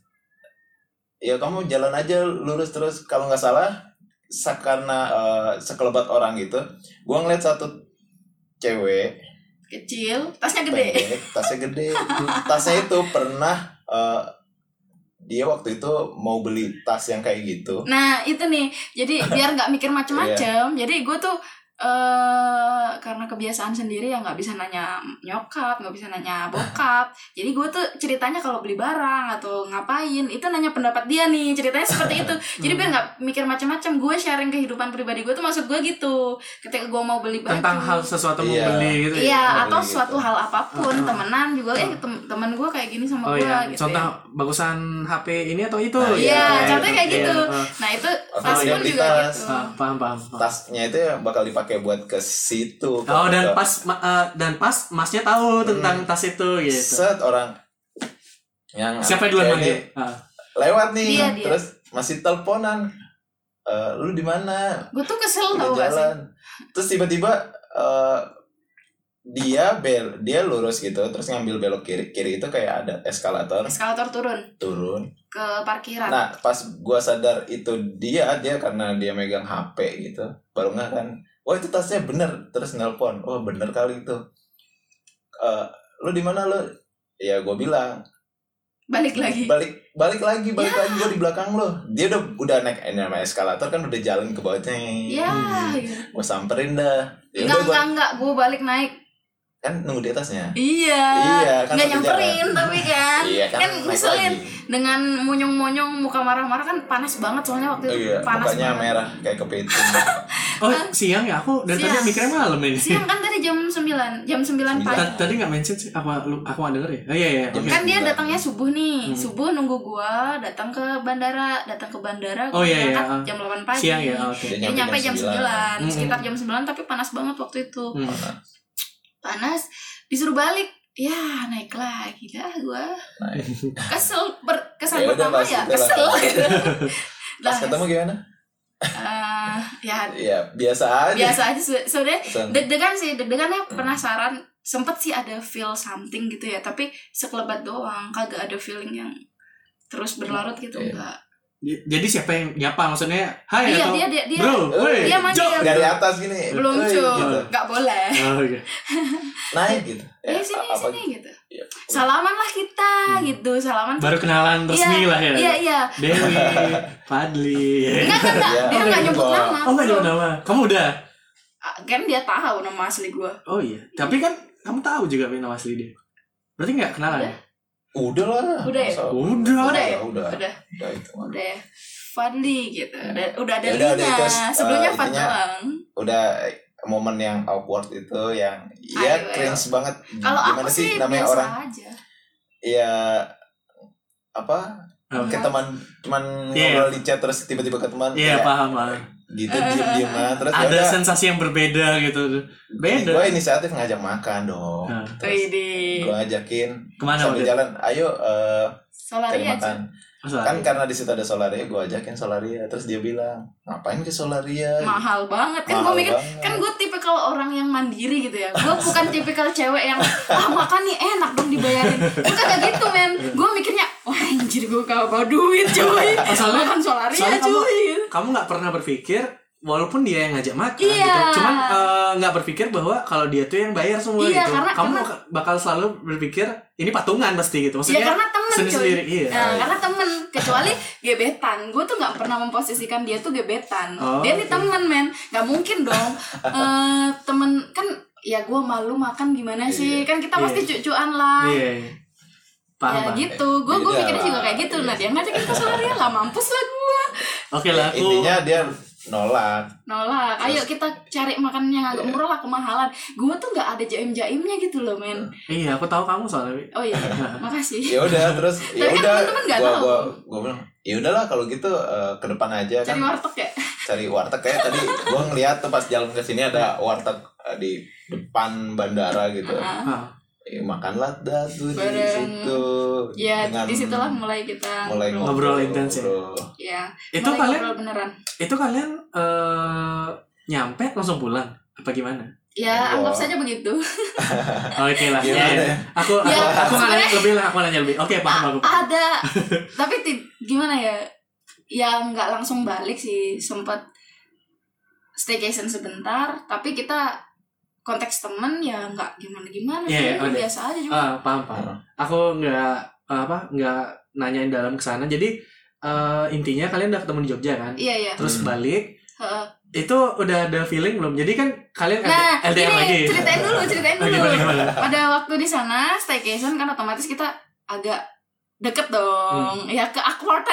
Speaker 3: ya kamu jalan aja lurus terus kalau nggak salah sa- karena eh, sekelebat orang gitu gue ngeliat satu cewek
Speaker 2: kecil tasnya gede
Speaker 3: pendek, tasnya gede. tasnya itu pernah eh, dia waktu itu mau beli tas yang kayak gitu.
Speaker 2: nah itu nih jadi biar nggak mikir
Speaker 3: Iya.
Speaker 2: macem-macem jadi gue tuh eh karena kebiasaan sendiri ya nggak bisa nanya nyokap nggak bisa nanya bokap jadi gue tuh ceritanya kalau beli barang atau ngapain itu nanya pendapat dia nih ceritanya seperti itu jadi
Speaker 3: Hmm.
Speaker 2: biar nggak mikir macem-macem gue sharing kehidupan pribadi gue tuh maksud gue gitu ketika gue mau beli baju
Speaker 1: tentang hal sesuatu
Speaker 3: Iya.
Speaker 1: membeli gitu ya?
Speaker 2: Iya,
Speaker 3: Mobil
Speaker 2: atau
Speaker 3: gitu.
Speaker 2: suatu hal apapun,
Speaker 1: Heeh.
Speaker 2: temenan juga eh tem teman gue kayak gini sama
Speaker 1: Oh
Speaker 2: gue
Speaker 1: iya,
Speaker 2: gitu.
Speaker 1: contoh
Speaker 2: ya.
Speaker 1: bagusan HP ini atau itu?
Speaker 3: Nah,
Speaker 2: Iya,
Speaker 3: Iya,
Speaker 2: contohnya kayak
Speaker 1: Iya,
Speaker 2: gitu.
Speaker 1: ah,
Speaker 2: Nah, itu
Speaker 3: Atau
Speaker 2: tas pun
Speaker 3: identitas.
Speaker 2: juga gitu.
Speaker 1: ah, paham, paham, paham.
Speaker 3: Tasnya itu yang bakal dipakai buat ke situ.
Speaker 1: Oh dan
Speaker 3: Ke-
Speaker 1: pas ma- eh, dan pas masnya tahu tentang tas itu gitu.
Speaker 3: set orang yang
Speaker 1: Siapa yang duluan
Speaker 3: cewek
Speaker 1: manggil?
Speaker 3: ini
Speaker 1: Ah.
Speaker 3: Lewat nih,
Speaker 2: Dia, dia.
Speaker 3: terus masih teleponan. Eh, lu di mana?
Speaker 2: Gue tuh kesel
Speaker 3: Udah
Speaker 2: tau gak sih?
Speaker 3: jalan. Terus tiba-tiba eh, dia bel dia lurus gitu, terus ngambil belok kiri. Kiri itu kayak ada eskalator
Speaker 2: Eskalator turun
Speaker 3: turun.
Speaker 2: ke parkiran.
Speaker 3: Nah, pas gua sadar itu dia, dia karena dia megang HP gitu. Baru nggak kan, wah itu tasnya bener. Terus nelpon, wah bener kali itu. Eh, lu di mana lu? Ya gua bilang
Speaker 2: Balik lagi. Ya.
Speaker 3: balik balik lagi balik lagi gua di belakang lu. Dia udah udah naik eh, nama eskalator kan udah jalan ke bawahnya.
Speaker 2: Ya,
Speaker 1: Hmm.
Speaker 2: gitu.
Speaker 3: Gua samperin dah. Ya
Speaker 2: enggak
Speaker 3: udah gua
Speaker 2: enggak enggak, gue balik naik.
Speaker 3: kan nunggu di atasnya.
Speaker 2: Iya.
Speaker 3: Iya, kan
Speaker 2: Enggak
Speaker 3: satu
Speaker 2: nyamperin
Speaker 3: jalan.
Speaker 2: tapi kan.
Speaker 3: Iya kan,
Speaker 2: kan
Speaker 3: naik
Speaker 2: ngeselin.
Speaker 3: lagi.
Speaker 2: Dengan monyong-monyong muka marah-marah kan panas banget soalnya waktu
Speaker 3: Oh,
Speaker 2: itu
Speaker 3: iya,
Speaker 2: panas
Speaker 3: mukanya
Speaker 2: banget.
Speaker 3: merah kayak kepiting.
Speaker 1: Oh siang ya aku dan tadi
Speaker 2: Ah. Siang.
Speaker 1: mikirnya malam ini.
Speaker 2: Siang kan tadi jam 9, jam 9 pagi.
Speaker 1: Ta- Tadi nggak mention sih apa lu aku nggak denger ya? Oh iya iya.
Speaker 3: Jam
Speaker 1: oke.
Speaker 2: kan dia
Speaker 3: Sembilan.
Speaker 2: datangnya subuh nih
Speaker 1: Hmm.
Speaker 2: subuh nunggu gua datang ke bandara datang ke bandara
Speaker 1: Oh,
Speaker 2: gua
Speaker 1: iya, iya,
Speaker 2: berangkat
Speaker 1: ah.
Speaker 2: jam 8 pagi
Speaker 1: Siang ya, oh, oke.
Speaker 3: Dia
Speaker 2: Dia nyampe jam
Speaker 1: Hmm.
Speaker 2: 9, sekitar jam 9 tapi panas banget waktu itu
Speaker 1: Hmm.
Speaker 2: panas disuruh balik ya naik lagi dah gua
Speaker 3: Naik.
Speaker 2: kesel ber, kesan
Speaker 3: Ya udah,
Speaker 2: pertama
Speaker 3: Mas,
Speaker 2: ya
Speaker 3: udah lah.
Speaker 2: kesel
Speaker 3: Pas
Speaker 2: Dah,
Speaker 3: ketemu gimana?
Speaker 2: eh, ya
Speaker 3: Ya biasa aja.
Speaker 2: biasa aja se- sebenarnya
Speaker 3: Pesan.
Speaker 2: deg-degan sih deg-degannya
Speaker 3: Hmm.
Speaker 2: penasaran sempet sih ada feel something gitu ya tapi sekelebat doang kagak ada feeling yang terus berlarut gitu
Speaker 3: Iya.
Speaker 2: enggak
Speaker 1: J- Jadi siapa yang nyapa maksudnya? Hai
Speaker 2: dia
Speaker 1: atau
Speaker 2: Iya, dia dia iya, dia
Speaker 1: bro? woi,
Speaker 2: dia manggil.
Speaker 1: Jok!
Speaker 3: dari atas gini
Speaker 2: belum
Speaker 3: "Woi,"
Speaker 2: cuy
Speaker 3: gitu.
Speaker 2: nggak boleh
Speaker 1: Oh, oke.
Speaker 3: naik gitu
Speaker 2: eh sini
Speaker 3: apa-
Speaker 2: sini gitu
Speaker 3: ya.
Speaker 2: salaman lah kita gitu salaman
Speaker 1: Baru kenalan resmi
Speaker 2: Iya,
Speaker 1: lah ya.
Speaker 2: iya iya
Speaker 1: Dewi, Fadli.
Speaker 2: enggak enggak enggak dia
Speaker 3: Iya.
Speaker 1: Oh,
Speaker 2: nggak
Speaker 1: iya.
Speaker 2: nyebut nama
Speaker 1: Oh nggak nyebut nama. Kamu udah?
Speaker 2: Ah, kan dia tahu nama asli gue
Speaker 1: Oh iya. Tapi kan kamu tahu juga nama asli dia. Berarti nggak kenalan ya?
Speaker 3: udah lah
Speaker 2: Udah ya?
Speaker 3: Masa-
Speaker 1: Udah.
Speaker 2: Udah ya?
Speaker 3: udah udah
Speaker 2: udah
Speaker 3: udah itu mah.
Speaker 2: udah ya. Fadli gitu udah, udah ada
Speaker 3: Ya udah,
Speaker 2: Lina
Speaker 3: itu, eh,
Speaker 2: sebelumnya Fad
Speaker 3: intinya-
Speaker 2: doang
Speaker 3: udah eh, momen yang awkward itu yang
Speaker 2: Ayo,
Speaker 3: ya
Speaker 2: ayo.
Speaker 3: cringe banget
Speaker 2: kalau aku
Speaker 3: gimana
Speaker 2: sih
Speaker 3: sih namanya
Speaker 2: biasa
Speaker 3: orang
Speaker 2: aja
Speaker 3: ya apa
Speaker 1: Apa?
Speaker 3: ke teman cuman
Speaker 1: Iya.
Speaker 3: ngobrol di chat terus tiba-tiba ke teman
Speaker 1: Iya
Speaker 3: kayak
Speaker 1: paham paham.
Speaker 3: gitu
Speaker 2: Eh,
Speaker 3: diem dieman terus
Speaker 1: Ada
Speaker 3: yaudah,
Speaker 1: sensasi yang berbeda gitu. Beda.
Speaker 3: gue inisiatif ngajak makan dong
Speaker 1: Nah.
Speaker 2: Wih,
Speaker 3: terus
Speaker 2: di
Speaker 3: gue ajakin
Speaker 1: Kemana
Speaker 3: Oh. sambil
Speaker 1: waktu itu?
Speaker 3: jalan ayo eh,
Speaker 2: Solari
Speaker 3: cari
Speaker 2: aja
Speaker 3: makan
Speaker 1: Masa?
Speaker 3: kan karena di situ ada solaria gue ajakin solaria terus dia bilang ngapain ke solaria
Speaker 2: mahal banget kan gue
Speaker 3: Mahal
Speaker 2: mikir
Speaker 3: banget.
Speaker 2: kan gue tipikal orang yang mandiri gitu ya gue bukan tipikal cewek yang ah makan nih enak dong dibayarin gue kagak gitu men gue mikirnya wah anjir gue gak bawa duit cuy
Speaker 1: Oh, Soalnya-
Speaker 2: makan solaria
Speaker 1: soalnya kamu-
Speaker 2: cuy
Speaker 1: kamu nggak pernah berpikir walaupun dia yang ngajak makan
Speaker 2: Iya.
Speaker 1: gitu cuman eh, nggak berpikir bahwa kalau dia tuh yang bayar semua
Speaker 2: Iya,
Speaker 1: gitu
Speaker 2: karena-
Speaker 1: kamu
Speaker 2: karena-
Speaker 1: bak- bakal selalu berpikir ini patungan pasti gitu
Speaker 2: ya
Speaker 1: maksudnya
Speaker 2: karena temen
Speaker 1: sendiri
Speaker 2: cuy
Speaker 1: sendiri iya
Speaker 2: Nah, karena temen kecuali gebetan gue tuh nggak pernah memposisikan dia tuh gebetan
Speaker 1: Oh,
Speaker 2: dia nih
Speaker 1: oke.
Speaker 2: temen men nggak mungkin dong eh temen kan ya gue malu makan gimana sih kan kita
Speaker 1: Iya.
Speaker 2: pasti cucuan lah
Speaker 1: iya paham
Speaker 2: Ah. ya
Speaker 1: paham
Speaker 2: gitu gue gue
Speaker 3: Beda
Speaker 2: mikirnya
Speaker 3: lah.
Speaker 2: juga kayak gitu
Speaker 3: Iya.
Speaker 2: nah dia ngajak kita solaria lah mampus lah gue
Speaker 1: oke lah aku
Speaker 3: intinya dia nolak
Speaker 2: nolak ayo
Speaker 3: Terus-
Speaker 2: kita cari makan yang agak
Speaker 3: Iya.
Speaker 2: murah lah kemahalan gue tuh nggak ada jaim jaimnya gitu loh men
Speaker 1: iya aku tahu kamu soalnya Wi.
Speaker 2: oh iya makasih
Speaker 3: ya udah terus ya
Speaker 2: kan
Speaker 3: udah
Speaker 2: teman-teman nggak
Speaker 3: gua
Speaker 2: tahu.
Speaker 3: gua gua bilang ya udahlah kalau gitu eh, ke depan aja
Speaker 2: cari
Speaker 3: kan
Speaker 2: warteg Nah. ya
Speaker 3: cari warteg kayak tadi gua ngeliat tuh pas jalan ke sini ada warteg eh, di depan bandara gitu
Speaker 2: Ah.
Speaker 1: Ah,
Speaker 3: ya, makanlah dah tuh di
Speaker 2: Bareng.
Speaker 3: situ
Speaker 2: ya
Speaker 3: Dengan
Speaker 2: disitulah mulai kita
Speaker 3: mulai
Speaker 2: ngobrol.
Speaker 1: ngobrol intens ya?
Speaker 3: ngobrol.
Speaker 2: ya
Speaker 1: itu
Speaker 2: mulai
Speaker 1: kalian
Speaker 2: ngobrol beneran
Speaker 1: itu kalian eh, nyampe langsung pulang apa gimana
Speaker 2: ya
Speaker 3: Ngobrol.
Speaker 2: anggap saja begitu
Speaker 1: oke lah ya,
Speaker 3: Gimana
Speaker 1: ya.
Speaker 3: ya?
Speaker 1: aku aku,
Speaker 2: Ya, Ah,
Speaker 1: aku nggak nanya
Speaker 2: sebenarnya-
Speaker 1: lebih lah aku nanya lebih oke paham aku paham.
Speaker 2: ada tapi ti- gimana ya ya nggak langsung balik sih sempat staycation sebentar tapi kita konteks temen ya nggak gimana gimana
Speaker 1: Iya, iya, ada.
Speaker 2: biasa aja cuma
Speaker 1: Ah, paham paham aku nggak apa nggak nanyain dalam kesana jadi eh, intinya kalian udah ketemu di Jogja kan
Speaker 2: iya iya
Speaker 1: terus
Speaker 3: Hmm.
Speaker 1: balik
Speaker 2: Heeh.
Speaker 1: itu udah ada feeling belum jadi kan kalian
Speaker 2: nah
Speaker 1: LD- LDR lagi
Speaker 2: ini ceritain dulu ceritain
Speaker 1: Oh, gimana,
Speaker 2: dulu
Speaker 1: gimana?
Speaker 2: pada waktu di sana staycation kan otomatis kita agak deket
Speaker 1: Hmm.
Speaker 2: dong ya ke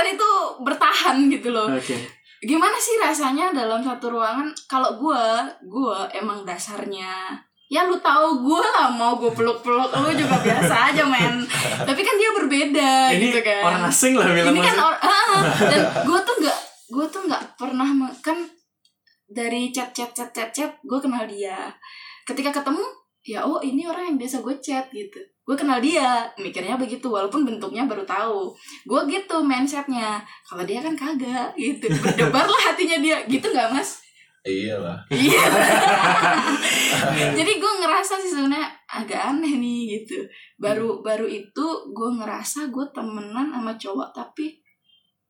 Speaker 2: itu bertahan gitu loh
Speaker 1: oke
Speaker 2: gimana sih rasanya dalam satu ruangan kalau gua gua emang dasarnya ya lu tahu gua lah mau gua peluk peluk lu juga biasa aja men tapi kan dia berbeda
Speaker 1: ini
Speaker 2: gitu kan
Speaker 1: orang asing lah bilang
Speaker 2: ini kan
Speaker 1: masuk.
Speaker 2: or- ah, dan gua tuh nggak gua tuh nggak pernah me- kan dari chat chat chat chat chat gua kenal dia ketika ketemu ya oh ini orang yang biasa gue chat gitu gue kenal dia mikirnya begitu walaupun bentuknya baru tahu gue gitu mindsetnya kalau dia kan kagak gitu berdebar lah hatinya dia gitu nggak mas
Speaker 3: iyalah
Speaker 2: iya jadi gue ngerasa sih sebenarnya agak aneh nih gitu
Speaker 1: Hmm.
Speaker 2: baru baru itu gue ngerasa gue temenan sama cowok tapi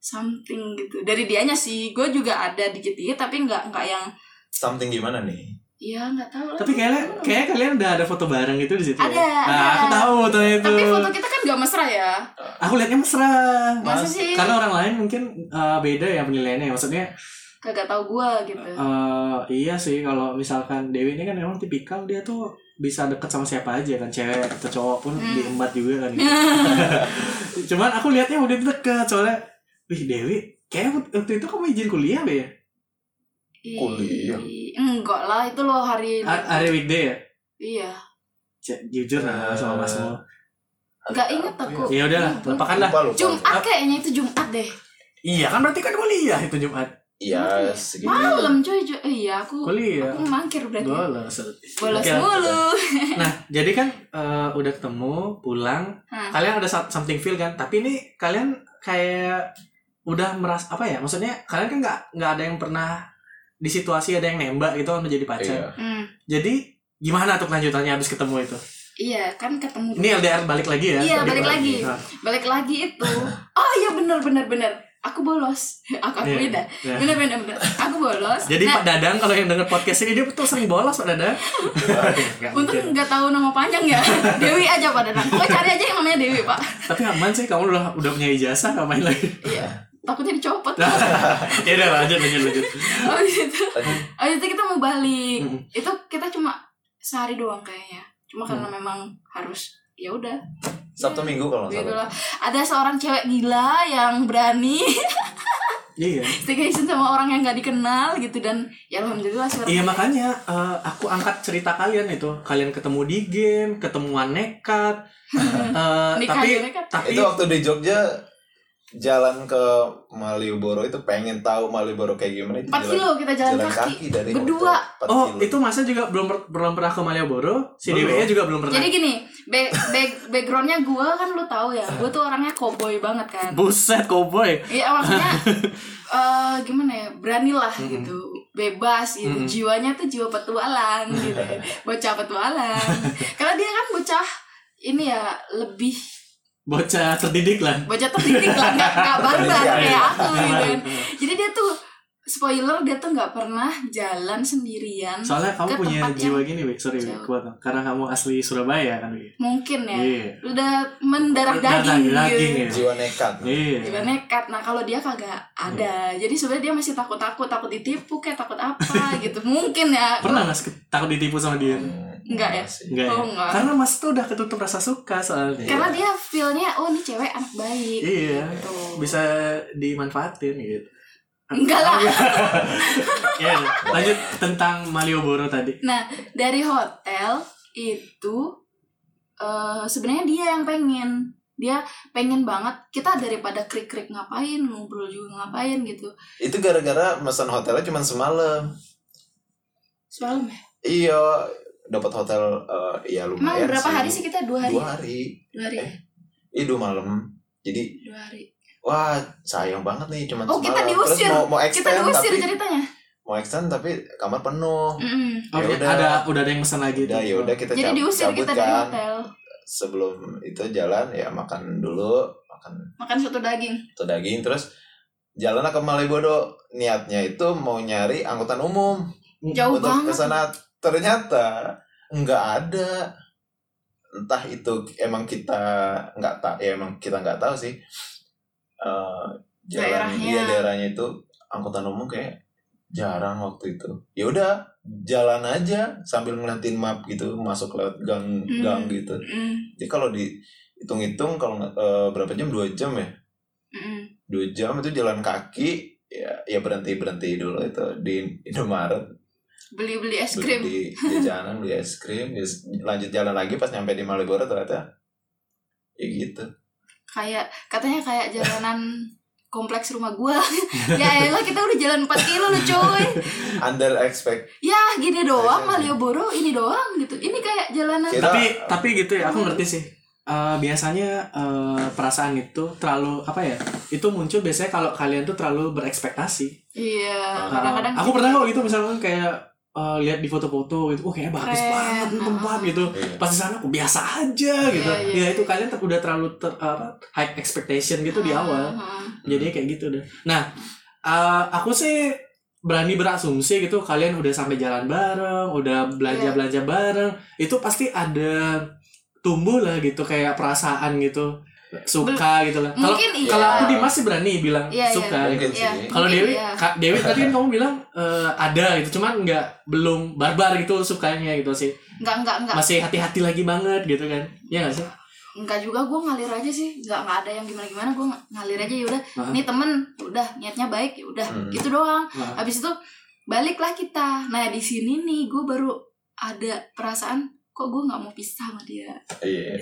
Speaker 2: something gitu dari dianya sih gue juga ada dikit dikit tapi nggak nggak yang
Speaker 3: something gimana nih
Speaker 2: ya nggak tahu lah.
Speaker 1: tapi kayaknya kayak kalian udah ada foto bareng gitu di situ ya?
Speaker 2: Ada,
Speaker 1: nah,
Speaker 2: ada.
Speaker 1: aku tahu fotonya itu
Speaker 2: tapi foto Nah, kita kan nggak mesra ya
Speaker 1: aku liatnya mesra
Speaker 2: masa
Speaker 3: Mas,
Speaker 2: sih
Speaker 1: karena orang lain mungkin eh, beda ya penilaiannya maksudnya
Speaker 2: kagak tahu gue gitu
Speaker 1: eh iya sih kalau misalkan Dewi ini kan memang tipikal dia tuh bisa deket sama siapa aja kan cewek atau cowok pun
Speaker 2: Hmm.
Speaker 1: diembat juga kan gitu. cuman aku lihatnya udah deket soalnya wih Dewi kayak waktu itu kamu izin kuliah deh ya
Speaker 3: Kuliah.
Speaker 2: Ih, enggak lah itu loh hari
Speaker 1: Ha- hari weekday ya
Speaker 2: iya
Speaker 1: C- jujur lah sama masmu
Speaker 2: Nggak inget aku.
Speaker 1: ya udahlah
Speaker 2: Lupa.
Speaker 1: lupakan lah
Speaker 3: lupa lupa
Speaker 1: Ah.
Speaker 2: Jumat kayaknya itu Jumat deh
Speaker 1: iya kan berarti kan kuliah itu Jumat
Speaker 3: iya segitu
Speaker 2: malam cuy Ju- iya aku
Speaker 1: kuliah
Speaker 2: aku mangkir berarti
Speaker 1: bolos
Speaker 2: bolos
Speaker 1: Oke lah.
Speaker 2: mulu
Speaker 1: nah jadi kan eh, udah ketemu pulang
Speaker 2: Hmm.
Speaker 1: kalian ada some- something feel kan tapi ini kalian kayak udah merasa apa ya maksudnya kalian kan nggak nggak ada yang pernah di situasi ada yang nembak gitu kan menjadi pacar
Speaker 3: iya
Speaker 2: Hmm.
Speaker 1: jadi gimana tuh kelanjutannya habis ketemu itu
Speaker 2: iya kan ketemu
Speaker 1: ini LDR balik lagi ya
Speaker 2: Iya,
Speaker 3: balik
Speaker 2: lagi.
Speaker 1: Nah,
Speaker 2: balik lagi itu oh iya bener bener bener aku bolos aku
Speaker 1: iya,
Speaker 2: aku beda
Speaker 1: iya.
Speaker 2: bener bener bener aku bolos
Speaker 1: jadi
Speaker 2: Nah,
Speaker 1: Pak Dadang kalau yang denger podcast ini dia betul sering bolos Pak Dadang Nggak mungkin.
Speaker 2: Untung nggak tahu nama panjang ya Dewi aja pada nang Pokoknya cari aja yang namanya Dewi pak
Speaker 1: tapi aman sih kamu udah udah punya ijazah nggak main lagi
Speaker 2: Iya Takutnya dicopot
Speaker 1: ya udah lanjut lanjut lanjut
Speaker 2: Abis itu
Speaker 3: Tadi
Speaker 2: Abis itu kita mau balik
Speaker 1: Mm.
Speaker 2: Itu kita cuma Sehari doang kayaknya Cuma karena
Speaker 1: Mm.
Speaker 2: memang harus ya udah
Speaker 3: Sabtu Minggu kalau nggak
Speaker 2: gitu
Speaker 3: salah.
Speaker 2: lah ada seorang cewek gila yang berani
Speaker 1: iya
Speaker 2: staycation sama orang yang gak dikenal gitu dan ya alhamdulillah sekarang
Speaker 1: Iya makanya eh, aku angkat cerita kalian itu kalian ketemu di game ketemuan nekat eh,
Speaker 2: Nikah
Speaker 1: tapi
Speaker 2: aja nekat.
Speaker 1: tapi
Speaker 3: Itu waktu di Jogja jalan ke Malioboro itu pengen tahu Malioboro kayak gimana itu
Speaker 2: Empat
Speaker 3: jalan,
Speaker 2: kilo kita jalan,
Speaker 3: jalan
Speaker 2: kaki.
Speaker 3: kaki. dari
Speaker 2: Berdua.
Speaker 3: hotel, 4
Speaker 1: Oh,
Speaker 3: kilo.
Speaker 1: itu masa juga belum per- belum pernah ke Malioboro, si
Speaker 3: Belum.
Speaker 1: DWE juga belum pernah.
Speaker 2: Jadi gini, back, back, backgroundnya gue kan lu tahu ya, gue tuh orangnya cowboy banget kan.
Speaker 1: Buset, koboi.
Speaker 2: Iya maksudnya eh gimana ya beranilah gitu bebas gitu
Speaker 1: Mm-mm.
Speaker 2: jiwanya tuh jiwa petualang gitu bocah petualang karena dia kan bocah ini ya lebih
Speaker 1: Bocah terdidik lah.
Speaker 2: bocah terdidik lah nggak
Speaker 1: Iya,
Speaker 2: nggak barbar
Speaker 3: Terdidik,
Speaker 2: kayak aku gitu kan.
Speaker 1: Keren.
Speaker 2: jadi dia tuh spoiler dia tuh nggak pernah jalan sendirian
Speaker 1: Soalnya kamu
Speaker 2: Ke
Speaker 1: punya
Speaker 2: tempat
Speaker 1: jiwa gini, Wei. Sorry, Wei.
Speaker 2: jauh.
Speaker 1: Kuat. Bang. Karena kamu asli Surabaya kan, Wei.
Speaker 2: mungkin ya
Speaker 1: Iya.
Speaker 2: udah mendarah
Speaker 1: Mendarah
Speaker 2: daging
Speaker 1: daging
Speaker 2: gitu
Speaker 1: ya.
Speaker 3: jiwa nekat
Speaker 2: Tiba
Speaker 1: Iya.
Speaker 2: nekat. Nah kalau dia kagak ada, jadi sebenarnya dia masih takut-takut, takut ditipu kayak takut apa gitu. Mungkin ya.
Speaker 1: Pernah nggak se- takut ditipu sama dia?
Speaker 3: Hmm,
Speaker 2: Enggak ya?
Speaker 3: Masih.
Speaker 1: Enggak ya?
Speaker 2: Oh, enggak.
Speaker 1: Karena Mas tuh udah ketutup rasa suka soalnya.
Speaker 2: Karena dia feelnya, oh ini cewek anak baik.
Speaker 1: Iya.
Speaker 2: Gitu.
Speaker 1: Bisa dimanfaatin gitu.
Speaker 2: Enggak lah.
Speaker 1: Ya, lanjut tentang Malioboro tadi.
Speaker 2: Nah dari hotel itu eh sebenarnya dia yang pengen dia pengen banget kita daripada krik-krik ngapain ngobrol juga ngapain gitu
Speaker 3: itu gara-gara pesan hotelnya cuma semalam
Speaker 2: semalam ya
Speaker 3: iya dapat hotel eh, ya
Speaker 2: emang
Speaker 3: lumayan
Speaker 2: berapa hari sih kita dua hari
Speaker 3: dua hari
Speaker 2: dua hari
Speaker 3: Eh. iya dua malam jadi
Speaker 2: dua hari
Speaker 3: wah sayang banget nih cuma
Speaker 2: Oh,
Speaker 3: semalam
Speaker 2: kita
Speaker 3: terus
Speaker 2: diusir.
Speaker 3: mau mau
Speaker 2: kita
Speaker 3: extend
Speaker 2: diusir
Speaker 3: tapi
Speaker 2: ceritanya
Speaker 3: mau extend tapi kamar penuh
Speaker 2: Mm-mm.
Speaker 1: Oh,
Speaker 3: Ya
Speaker 1: ya,
Speaker 3: udah.
Speaker 1: ada udah ada yang pesan lagi.
Speaker 3: udah
Speaker 1: tuh.
Speaker 3: ya udah kita
Speaker 2: jadi
Speaker 3: cab-
Speaker 2: diusir
Speaker 3: cabut
Speaker 2: kita dari
Speaker 3: kan.
Speaker 2: hotel
Speaker 3: sebelum itu jalan ya makan dulu makan
Speaker 2: makan soto daging
Speaker 3: tuh daging terus jalanlah ke Malioboro niatnya itu mau nyari angkutan umum
Speaker 2: jauh
Speaker 3: untuk
Speaker 2: banget
Speaker 3: ke sana ternyata nggak ada entah itu emang kita nggak tak ya emang kita nggak tahu sih Eh, jalan
Speaker 2: Daerahnya.
Speaker 3: iya daerahnya itu angkutan umum kayak jarang waktu itu ya udah jalan aja sambil ngeliatin map gitu masuk lewat gang
Speaker 2: Hmm.
Speaker 3: gang gitu
Speaker 2: Mm,
Speaker 3: jadi kalau dihitung-hitung kalau nggak- eh, berapa jam? Dua jam ya.
Speaker 2: mm.
Speaker 3: Dua jam itu jalan kaki. Ya, ya berhenti berhenti dulu itu di Indomaret
Speaker 2: beli-beli es
Speaker 3: beli
Speaker 2: krim
Speaker 3: di jajanan beli es krim ya, lanjut jalan lagi pas nyampe di Malioboro ternyata ya gitu
Speaker 2: kayak katanya kayak jalanan kompleks rumah gua ya elah kita udah jalan 4 kilo loh coy
Speaker 3: under expect
Speaker 2: ya gini doang
Speaker 3: Iya.
Speaker 2: Malioboro ini doang gitu ini kayak jalanan
Speaker 3: Kita-
Speaker 1: tapi tapi gitu ya aku ngerti sih Eh, biasanya eh, perasaan itu terlalu apa ya itu muncul biasanya kalau kalian tuh terlalu berekspektasi
Speaker 2: iya
Speaker 3: Ah.
Speaker 1: Eh,
Speaker 2: kadang-kadang
Speaker 1: aku pernah kok gitu misalnya kayak eh, lihat di foto-foto gitu oh kayaknya bagus
Speaker 2: Keren. uh-uh.
Speaker 1: banget nih tempat gitu
Speaker 3: Iya.
Speaker 1: pas di sana aku biasa aja gitu
Speaker 2: Iya, iya,
Speaker 1: ya itu
Speaker 2: iya.
Speaker 1: kalian ter- udah terlalu ter- apa, high expectation gitu
Speaker 2: Ah,
Speaker 1: di awal
Speaker 2: Heeh.
Speaker 1: jadi kayak gitu deh nah eh, aku sih berani berasumsi gitu kalian udah sampai jalan bareng udah belanja
Speaker 2: Iya.
Speaker 1: belanja bareng itu pasti ada tumbuh lah gitu kayak perasaan gitu suka gitu lah kalau
Speaker 2: mungkin iya
Speaker 1: kalau aku Dimas sih berani bilang
Speaker 2: Iya, iya.
Speaker 1: suka gitu.
Speaker 3: mungkin
Speaker 2: Iya.
Speaker 3: sih
Speaker 1: kalau
Speaker 2: Mungkin
Speaker 1: Dewi
Speaker 2: iya.
Speaker 1: Kak Dewi tadi kan kamu bilang eh, ada gitu cuman nggak belum barbar gitu sukanya gitu sih
Speaker 2: nggak nggak nggak
Speaker 1: masih hati-hati lagi banget gitu kan Iya nggak sih
Speaker 2: nggak juga gua ngalir aja sih nggak nggak ada yang gimana-gimana gua ng- ngalir aja yaudah
Speaker 1: Heeh.
Speaker 2: ini temen udah niatnya baik ya udah
Speaker 3: Hmm.
Speaker 2: gitu doang
Speaker 1: Heeh.
Speaker 2: habis itu baliklah kita nah di sini nih gue baru ada perasaan kok gue nggak mau pisah sama dia
Speaker 3: iya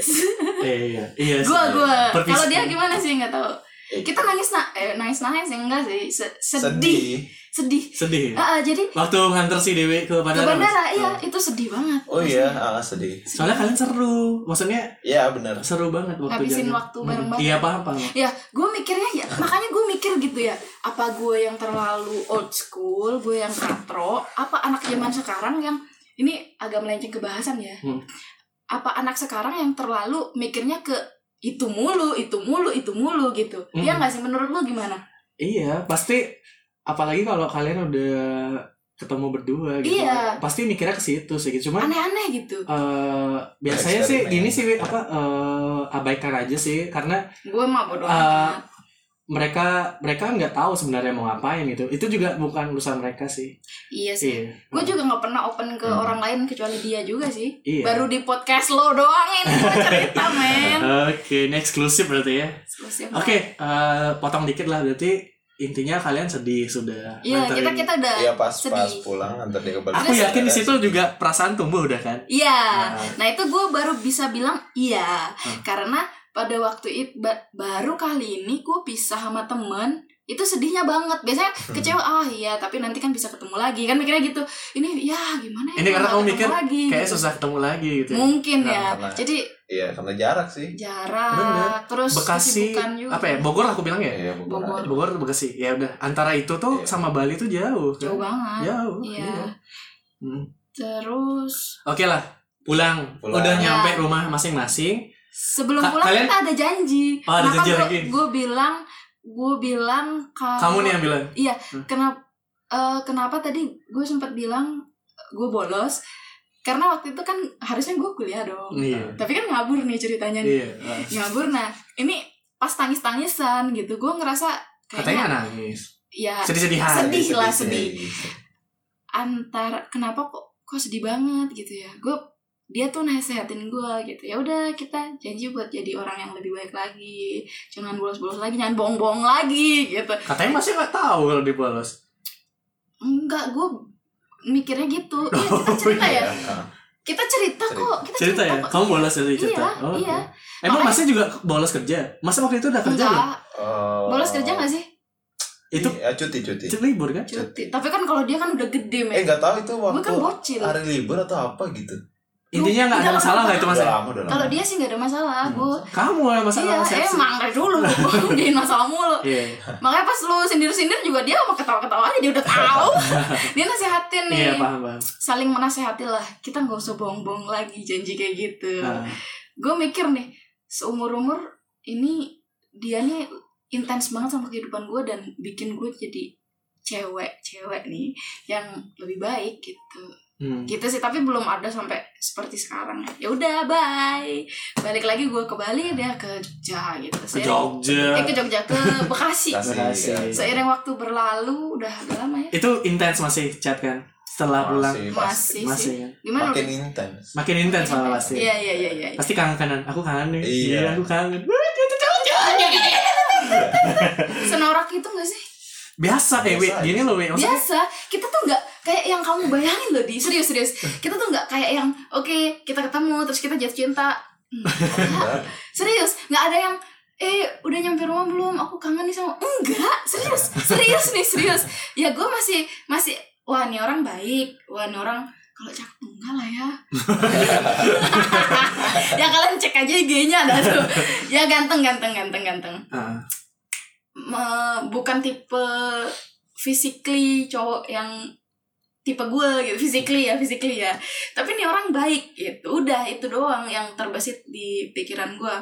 Speaker 1: Eh, iya iya sih.
Speaker 2: gue gue
Speaker 1: Perpisahan.
Speaker 2: kalau dia gimana sih nggak tahu
Speaker 3: Eh.
Speaker 2: kita nangis na eh, nangis nangis sih enggak sih Se- sedih
Speaker 3: sedih
Speaker 2: sedih,
Speaker 1: sedih ya?
Speaker 2: Ah, ah, jadi
Speaker 1: waktu nganter si Dewi ke
Speaker 2: ke
Speaker 1: bandara Mas.
Speaker 2: bandara iya
Speaker 1: Eh.
Speaker 2: itu sedih banget
Speaker 3: oh iya ah, sedih
Speaker 1: soalnya kalian seru maksudnya
Speaker 3: ya benar
Speaker 1: seru banget waktu
Speaker 2: Ngabisin
Speaker 1: jalan.
Speaker 2: waktu bareng-bareng.
Speaker 1: iya paham paham
Speaker 2: ya gue mikirnya ya makanya gue mikir gitu ya apa gue yang terlalu old school gue yang katro apa anak zaman sekarang yang ini agak melenceng ke bahasan ya
Speaker 1: Hmm.
Speaker 2: apa anak sekarang yang terlalu mikirnya ke itu mulu itu mulu itu mulu gitu Iya
Speaker 1: Hmm.
Speaker 2: nggak sih menurut lo gimana
Speaker 1: Iya, pasti apalagi kalau kalian udah ketemu berdua gitu.
Speaker 2: Iya.
Speaker 1: Pasti mikirnya ke situ sih gitu. Cuman
Speaker 2: aneh-aneh gitu
Speaker 1: eh, biasanya sih
Speaker 3: Eksperimen.
Speaker 1: gini sih Wi, apa eh, abaikan aja sih karena
Speaker 2: gue mah bodo
Speaker 1: Ah.
Speaker 2: amat
Speaker 1: mereka mereka nggak tahu sebenarnya mau ngapain gitu. Itu juga bukan urusan mereka sih.
Speaker 2: iya
Speaker 1: Iya.
Speaker 2: sih gue juga nggak pernah open ke
Speaker 3: Hmm.
Speaker 2: orang lain kecuali dia juga sih
Speaker 1: Iya.
Speaker 2: baru di podcast lo doang ini gue cerita men
Speaker 1: Oke, ini eksklusif berarti ya.
Speaker 2: Eksklusif banget.
Speaker 1: Oke, eh, potong dikit lah berarti intinya kalian sedih sudah.
Speaker 2: Iya,
Speaker 1: nganterin.
Speaker 2: kita kita udah
Speaker 3: ya pas pas
Speaker 2: sedih.
Speaker 3: pulang antar dia ke bandara.
Speaker 1: Aku yakin di situ juga perasaan tumbuh udah kan.
Speaker 2: Iya,
Speaker 1: Nah.
Speaker 2: nah itu gue baru bisa bilang iya
Speaker 1: Hmm.
Speaker 2: karena pada waktu itu ba- baru kali ini gue pisah sama temen itu sedihnya banget biasanya
Speaker 1: Hmm.
Speaker 2: kecewa ah iya tapi nanti kan bisa ketemu lagi kan mikirnya gitu ini ya gimana ya
Speaker 1: Ini karena
Speaker 2: nggak
Speaker 1: kamu
Speaker 2: ketemu
Speaker 1: mikir,
Speaker 2: lagi,
Speaker 1: Kayaknya
Speaker 2: gitu.
Speaker 1: susah ketemu lagi gitu ya.
Speaker 2: mungkin
Speaker 3: Karena-
Speaker 2: ya
Speaker 3: karena-
Speaker 2: jadi
Speaker 3: Iya, karena jarak sih.
Speaker 2: jarak
Speaker 1: Bener.
Speaker 2: terus
Speaker 1: Bekasi,
Speaker 2: kesibukan juga
Speaker 1: apa ya, Bogor lah aku bilang ya.
Speaker 3: Iya, Bogor.
Speaker 2: Bogor.
Speaker 1: Bogor atau Bekasi, ya udah. Antara itu tuh
Speaker 3: Iya.
Speaker 1: sama Bali tuh jauh. kan?
Speaker 2: jauh banget
Speaker 1: Jauh.
Speaker 2: Iya.
Speaker 1: Hmm.
Speaker 2: terus
Speaker 1: Oke lah, pulang.
Speaker 3: Pulang.
Speaker 1: Udah
Speaker 2: Ya.
Speaker 1: nyampe rumah masing-masing.
Speaker 2: Iya. sebelum
Speaker 1: Ka-
Speaker 2: pulang
Speaker 1: kalian-
Speaker 2: kita ada janji Nah,
Speaker 1: Oh, ada janji lagi.
Speaker 2: gue bilang gue bilang kalau
Speaker 1: Kamu nih yang bilang.
Speaker 2: kenapa eh, kenapa tadi gue sempat bilang gue bolos karena waktu itu kan harusnya gue kuliah dong
Speaker 1: Iya.
Speaker 2: tapi kan ngabur nih ceritanya nih
Speaker 1: Iya. ah.
Speaker 2: ngabur nah ini pas tangis tangisan gitu gue ngerasa
Speaker 1: Katanya
Speaker 2: kayaknya
Speaker 1: nangis.
Speaker 2: ya
Speaker 1: Sedih-sedihan.
Speaker 2: Sedih lah,
Speaker 3: Sedih-sedih.
Speaker 2: antar kenapa kok kok sedih banget gitu ya gue dia tuh nasehatin gue gitu ya udah kita janji buat jadi orang yang lebih baik lagi jangan bolos-bolos lagi jangan bohong-bohong lagi gitu
Speaker 1: Katanya masih nggak tahu kalau dibolos.
Speaker 2: enggak gue mikirnya gitu iya
Speaker 1: Oh,
Speaker 2: kita cerita ya
Speaker 3: Iya, ah.
Speaker 2: kita cerita kok kita cerita,
Speaker 1: Cerita ya?
Speaker 2: kok
Speaker 1: Kamu bolos dari cerita?
Speaker 2: iya
Speaker 1: Oh, oke.
Speaker 2: iya
Speaker 1: Emang
Speaker 2: Makanya-
Speaker 1: masih juga bolos kerja? Masa waktu itu udah kerja belum?
Speaker 2: enggak
Speaker 3: Oh.
Speaker 2: bolos kerja nggak sih
Speaker 1: Itu
Speaker 3: Iya, cuti cuti.
Speaker 1: cuti libur kan?
Speaker 2: cuti tapi kan kalau dia kan udah gede
Speaker 3: Eh
Speaker 2: men
Speaker 3: nggak tahu itu
Speaker 2: gue
Speaker 3: waktu
Speaker 2: kan bocil
Speaker 3: hari libur atau apa gitu.
Speaker 1: Intinya nggak ada
Speaker 2: Enggak,
Speaker 1: masalah nggak itu
Speaker 3: Udah
Speaker 1: mas?
Speaker 3: lama udah lama.
Speaker 2: kalau dia sih nggak ada masalah
Speaker 3: Hmm.
Speaker 2: gue
Speaker 1: Kamu yang masalah
Speaker 2: iya
Speaker 1: resepsi.
Speaker 2: emang dari dulu jadi masalah mulu
Speaker 1: Iya.
Speaker 2: makanya pas lu sindir-sindir juga dia mau ketawa-ketawa aja dia udah tahu dia nasehatin nih
Speaker 1: Iya paham paham.
Speaker 2: saling menasehati lah kita nggak usah bohong-bohong lagi janji kayak gitu
Speaker 1: Nah,
Speaker 2: gue mikir nih seumur umur ini dia nih intens banget sama kehidupan gue dan bikin gue jadi cewek cewek nih yang lebih baik gitu
Speaker 1: hmm.
Speaker 2: gitu sih tapi belum ada sampai seperti sekarang ya udah bye balik lagi gue ke Bali dia ke Jogja gitu
Speaker 1: Ke
Speaker 2: Seiring- eh,
Speaker 1: Jogja.
Speaker 2: ke Jogja ke Bekasi
Speaker 3: Bekasi.
Speaker 1: Bekasi.
Speaker 3: iya.
Speaker 2: seiring waktu berlalu udah agak lama ya
Speaker 1: Itu intens masih chat kan? Setelah pulang
Speaker 3: Masih, pasti.
Speaker 2: masih sih
Speaker 1: masih kan?
Speaker 2: gimana
Speaker 3: Makin
Speaker 2: udah-
Speaker 3: intens.
Speaker 1: Makin intens malah pasti.
Speaker 2: iya iya iya iya
Speaker 1: Pasti kangen kanan. Aku kangen nih.
Speaker 3: Iya.
Speaker 1: aku kangen.
Speaker 2: senorak itu gak sih
Speaker 1: Biasa eh wait,
Speaker 3: Biasa
Speaker 1: gini loh wait. Maksudnya
Speaker 2: biasa kita tuh nggak kayak yang kamu bayangin loh di serius serius kita tuh nggak kayak yang oke kita ketemu terus kita jatuh cinta Nggak.
Speaker 3: Enggak.
Speaker 2: serius nggak ada yang eh udah nyampe rumah belum aku kangen nih sama enggak serius serius nih serius ya gue masih masih wah ini orang baik wah ini orang kalau cakep enggak lah ya ya kalian cek aja IG-nya ada tuh ya ganteng ganteng ganteng ganteng
Speaker 1: Ah,
Speaker 2: me- bukan tipe physically cowok yang tipe gue gitu physically ya physically ya tapi ini orang baik gitu udah itu doang yang terbesit di pikiran gue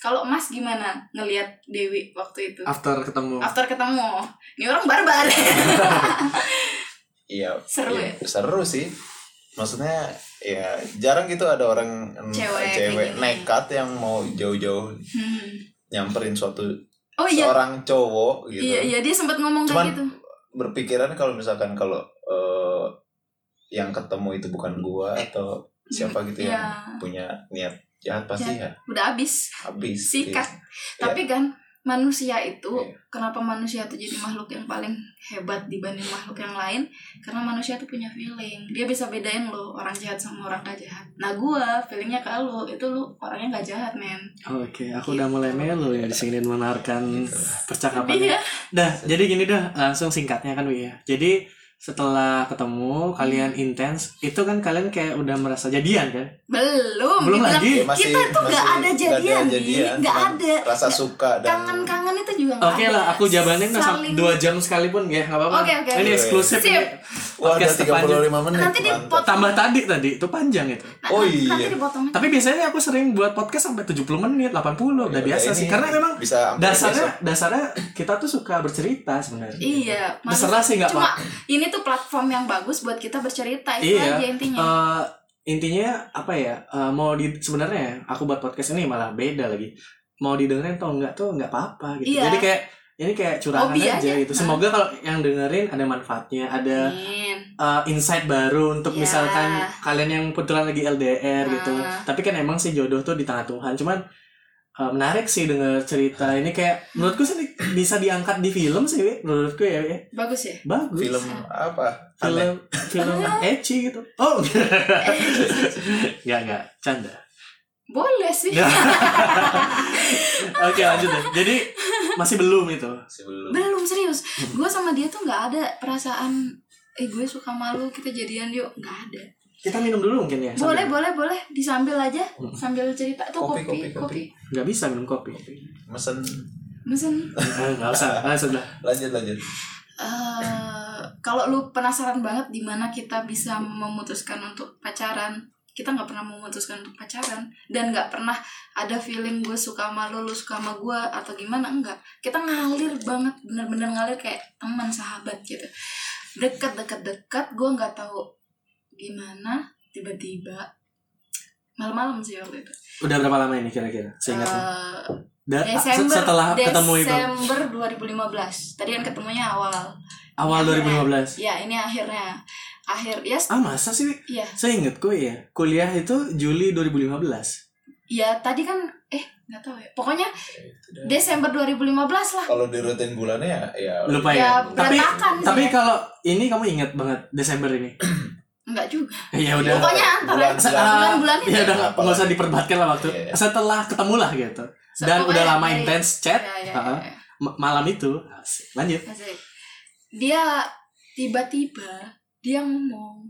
Speaker 2: kalau emas gimana ngelihat Dewi waktu itu
Speaker 1: after ketemu.
Speaker 2: after ketemu ini orang barbar
Speaker 3: Iya.
Speaker 2: seru ya
Speaker 3: Iya, seru sih. Maksudnya ya jarang gitu ada orang mm,
Speaker 2: Cewek kayak
Speaker 3: cewek
Speaker 2: gini.
Speaker 3: nekat yang mau jauh-jauh
Speaker 2: Hmm.
Speaker 3: nyamperin suatu
Speaker 2: oh iya
Speaker 3: seorang cowok gitu.
Speaker 2: iya iya dia sempat ngomong
Speaker 3: Cuman-
Speaker 2: kayak gitu
Speaker 3: Berpikiran kalau misalkan kalau eh, yang ketemu itu bukan gua atau siapa gitu
Speaker 2: ya
Speaker 3: yang punya niat jahat pasti ya
Speaker 2: udah habis
Speaker 3: habis.
Speaker 2: sikat
Speaker 3: Iya.
Speaker 2: tapi kan manusia itu
Speaker 3: Iya.
Speaker 2: kenapa manusia itu jadi makhluk yang paling hebat dibanding makhluk yang lain karena manusia tuh punya feeling dia bisa bedain lo orang jahat sama orang gak jahat nah gua feelingnya ke lo itu lo orangnya gak jahat men
Speaker 1: Oke, aku udah mulai melo ya di sini menarikkan
Speaker 3: Gitu.
Speaker 1: percakapan.
Speaker 2: dia
Speaker 1: Dah, jadi gini dah, langsung singkatnya kan Wi ya. Jadi setelah ketemu kalian
Speaker 2: Hmm.
Speaker 1: intens, itu kan kalian kayak udah merasa jadian kan?
Speaker 2: belum,
Speaker 1: Belum
Speaker 2: dibilang-
Speaker 1: lagi.
Speaker 3: Ya, masih-
Speaker 2: kita tuh nggak
Speaker 3: masih
Speaker 2: ada jadian
Speaker 3: nggak ada
Speaker 2: nih
Speaker 3: jadian, kan?"
Speaker 2: nggak
Speaker 3: cuman
Speaker 2: ada
Speaker 3: rasa suka dan
Speaker 2: kangen-kangen itu juga nggak
Speaker 1: Oke
Speaker 2: ada.
Speaker 1: lah, aku jabanin dah sam-
Speaker 2: Saling-
Speaker 1: dua jam sekalipun ya, nggak apa-apa.
Speaker 2: Oke, oke,
Speaker 1: Ini
Speaker 3: oke.
Speaker 1: eksklusif
Speaker 2: Sip.
Speaker 1: ini.
Speaker 3: Wah, udah
Speaker 1: Podcast
Speaker 3: 35 menit.
Speaker 2: Nanti di
Speaker 3: mantap.
Speaker 2: pot-
Speaker 1: Tambah tadi tadi itu panjang itu.
Speaker 2: Nah,
Speaker 3: Oh
Speaker 2: nanti-
Speaker 3: iya.
Speaker 2: nanti dipotong aja.
Speaker 1: Tapi biasanya aku sering buat podcast sampai 70 menit, 80, udah
Speaker 3: Ya,
Speaker 1: biasa
Speaker 3: ini
Speaker 1: sih. Karena memang
Speaker 3: bisa sampai besok.
Speaker 1: dasarnya dasarnya kita tuh suka bercerita sebenarnya.
Speaker 2: iya manusia-
Speaker 1: Terserah sih nggak
Speaker 2: cuma ini tuh platform yang bagus buat kita bercerita Ah, itu
Speaker 1: Iya.
Speaker 2: aja intinya
Speaker 1: Eh, intinya apa ya eh, mau di sebenarnya ya, aku buat podcast ini malah beda lagi mau didengerin atau enggak tuh enggak apa-apa gitu
Speaker 2: Iya.
Speaker 1: jadi kayak ini kayak curahan
Speaker 2: Hobi
Speaker 1: aja,
Speaker 2: aja.
Speaker 1: gitu
Speaker 2: Nah.
Speaker 1: semoga kalau yang dengerin ada manfaatnya ada
Speaker 2: Amin.
Speaker 1: eh, insight baru untuk
Speaker 2: Iya.
Speaker 1: misalkan kalian yang kebetulan lagi LDR
Speaker 2: Nah.
Speaker 1: gitu tapi kan emang sih jodoh tuh di tangan Tuhan cuman eh, menarik sih denger cerita ini kayak menurutku sih di- bisa diangkat di film sih Wi. menurutku ya Wi.
Speaker 2: bagus ya
Speaker 1: bagus
Speaker 3: film apa? Aneh.
Speaker 1: film film ecchi gitu oh
Speaker 2: Eh,
Speaker 1: Ya, Enggak, enggak, canda.
Speaker 2: boleh sih
Speaker 1: Ya. Oke lanjut deh. Jadi masih belum itu.
Speaker 3: sebelum
Speaker 2: belum serius gue sama dia tuh nggak ada perasaan eh gue suka malu kita jadian yuk nggak ada
Speaker 1: Kita minum dulu mungkin ya.
Speaker 2: boleh boleh boleh disambil aja sambil cerita tuh
Speaker 3: Hmm. Kopi,
Speaker 2: kopi
Speaker 3: kopi,
Speaker 2: kopi,
Speaker 3: kopi.
Speaker 1: Gak bisa minum kopi.
Speaker 3: mesen
Speaker 2: Mesen,
Speaker 1: Eh, Nggak usah. Ah, sudah.
Speaker 3: lanjut lanjut
Speaker 2: eh, kalau lu penasaran banget di mana kita bisa memutuskan untuk pacaran kita nggak pernah memutuskan untuk pacaran dan nggak pernah ada feeling gue suka sama lu, lu suka sama gue atau gimana enggak kita ngalir banget bener-bener ngalir kayak teman sahabat gitu dekat dekat dekat gue nggak tahu gimana tiba-tiba malam-malam sih waktu itu
Speaker 1: Udah berapa lama ini kira-kira? Seingat.
Speaker 2: Eh,
Speaker 1: Dan
Speaker 2: Desember
Speaker 1: setelah ketemu itu
Speaker 2: Desember 2015 tadi kan ketemunya awal Iya.
Speaker 1: awal 2015.
Speaker 2: ya ini akhirnya akhir ya s-
Speaker 1: Ah masa sih?
Speaker 2: ya
Speaker 1: Saya ingatku ya. Kuliah itu Juli 2015.
Speaker 2: ya tadi kan eh nggak tahu ya pokoknya
Speaker 3: Itu dah.
Speaker 2: Desember 2015 lah
Speaker 3: kalau dirutin bulannya ya ya
Speaker 1: Lupa
Speaker 2: ya
Speaker 1: ya. Tapi
Speaker 2: berantakan sih
Speaker 1: tapi
Speaker 2: ya.
Speaker 1: kalau ini kamu ingat banget Desember ini.
Speaker 2: nggak juga
Speaker 1: Ya
Speaker 3: Ya,
Speaker 1: udah.
Speaker 2: Pokoknya antara
Speaker 3: bulan,
Speaker 1: Se-
Speaker 3: bulan.
Speaker 1: ah,
Speaker 2: bulan-bulan itu.
Speaker 1: ya udah nggak- nggak usah diperdebatkan lah waktu.
Speaker 3: Iya.
Speaker 1: Setelah ketemu lah gitu. Dan
Speaker 2: Pokoknya
Speaker 1: udah lama
Speaker 2: dari-
Speaker 1: intens
Speaker 2: ya,
Speaker 1: chat.
Speaker 2: ya,
Speaker 1: Ha-ha.
Speaker 2: ya, ya.
Speaker 1: Ma- malam itu Asik. lanjut
Speaker 2: Asik. dia tiba-tiba dia ngomong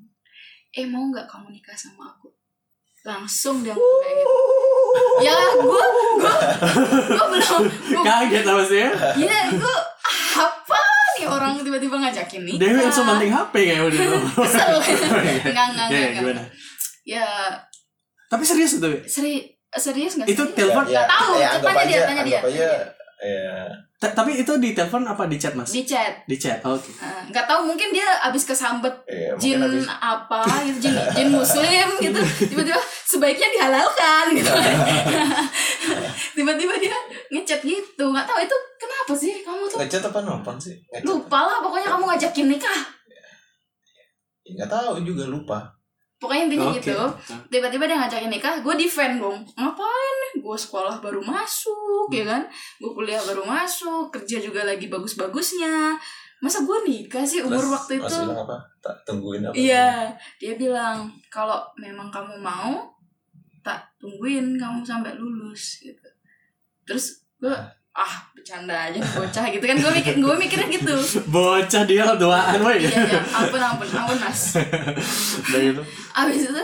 Speaker 2: eh mau nggak kamu nikah sama aku langsung dia ngomong kayak gitu ya gue gue gue belum gua
Speaker 1: kaget lah maksudnya
Speaker 2: Iya, itu apa nih orang tiba-tiba ngajakin nikah?
Speaker 1: Dewi langsung banting HP kayak udah
Speaker 2: Kesel. Enggak, enggak,
Speaker 1: ya
Speaker 2: enggak.
Speaker 1: ya, gimana
Speaker 2: Ya,
Speaker 1: tapi serius itu
Speaker 2: seri serius enggak
Speaker 1: Itu
Speaker 2: serius?
Speaker 1: telepon
Speaker 2: Nggak tahu,
Speaker 3: ya, anggap
Speaker 2: tanya dia,
Speaker 3: aja-
Speaker 2: tanya dia.
Speaker 3: anggap aja ya
Speaker 1: Ta- tapi itu di telepon apa di chat mas
Speaker 2: di chat.
Speaker 1: di chat oke
Speaker 2: Eh, Nggak tahu mungkin dia abis kesambet
Speaker 3: ya
Speaker 2: jin
Speaker 3: mungkin habis
Speaker 2: apa gitu, jin, jin muslim gitu. Tiba-tiba sebaiknya dihalalkan gitu. Tiba-tiba dia ngechat gitu. Nggak tahu itu kenapa sih kamu tuh
Speaker 3: ngechat apa nelfon sih ngechat
Speaker 2: lupa lah pokoknya kamu ngajakin nikah.
Speaker 3: Ya, nggak tahu juga lupa
Speaker 2: Pokoknya intinya
Speaker 1: Oke.
Speaker 2: gitu.
Speaker 1: Nah,
Speaker 2: tiba-tiba dia ngajakin nikah gue di fan dong ngapain gue sekolah baru masuk
Speaker 3: Hmm.
Speaker 2: ya kan gue kuliah baru masuk kerja juga lagi bagus-bagusnya masa gue nikah sih umur
Speaker 3: Terus
Speaker 2: waktu
Speaker 3: Mas
Speaker 2: itu
Speaker 3: bilang apa tak tungguin apa
Speaker 2: iya dia bilang kalau memang kamu mau tak tungguin kamu sampai lulus gitu terus gue ah bercanda aja bocah gitu kan gue mikir gue mikirnya gitu
Speaker 1: bocah dia doaan woi
Speaker 2: iya iya ampun ampun ampun mas
Speaker 1: udah gitu
Speaker 2: abis itu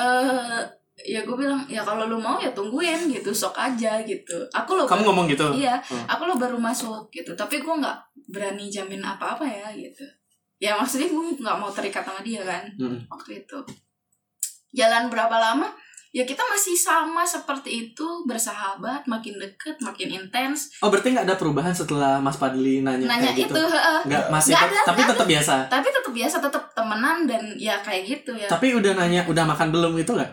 Speaker 2: eh ya gue bilang ya kalau lu mau ya tungguin gitu sok aja gitu aku lo
Speaker 1: kamu ngomong gitu
Speaker 2: iya
Speaker 1: Hmm.
Speaker 2: aku lo baru masuk gitu tapi gue nggak berani jamin apa apa ya gitu ya maksudnya gue nggak mau terikat sama dia kan
Speaker 1: Mm.
Speaker 2: waktu itu jalan berapa lama ya kita masih sama seperti itu bersahabat makin deket makin intens
Speaker 1: oh berarti nggak ada perubahan setelah mas Padli nanya,
Speaker 2: nanya
Speaker 1: kayak
Speaker 2: itu
Speaker 1: gitu
Speaker 2: heeh.
Speaker 1: nggak masih
Speaker 2: Nggak
Speaker 1: tet-
Speaker 2: ada,
Speaker 1: tapi
Speaker 2: nggak
Speaker 1: tetap biasa
Speaker 2: tapi tetap biasa tetap temenan dan ya kayak gitu ya
Speaker 1: tapi udah nanya udah makan belum itu nggak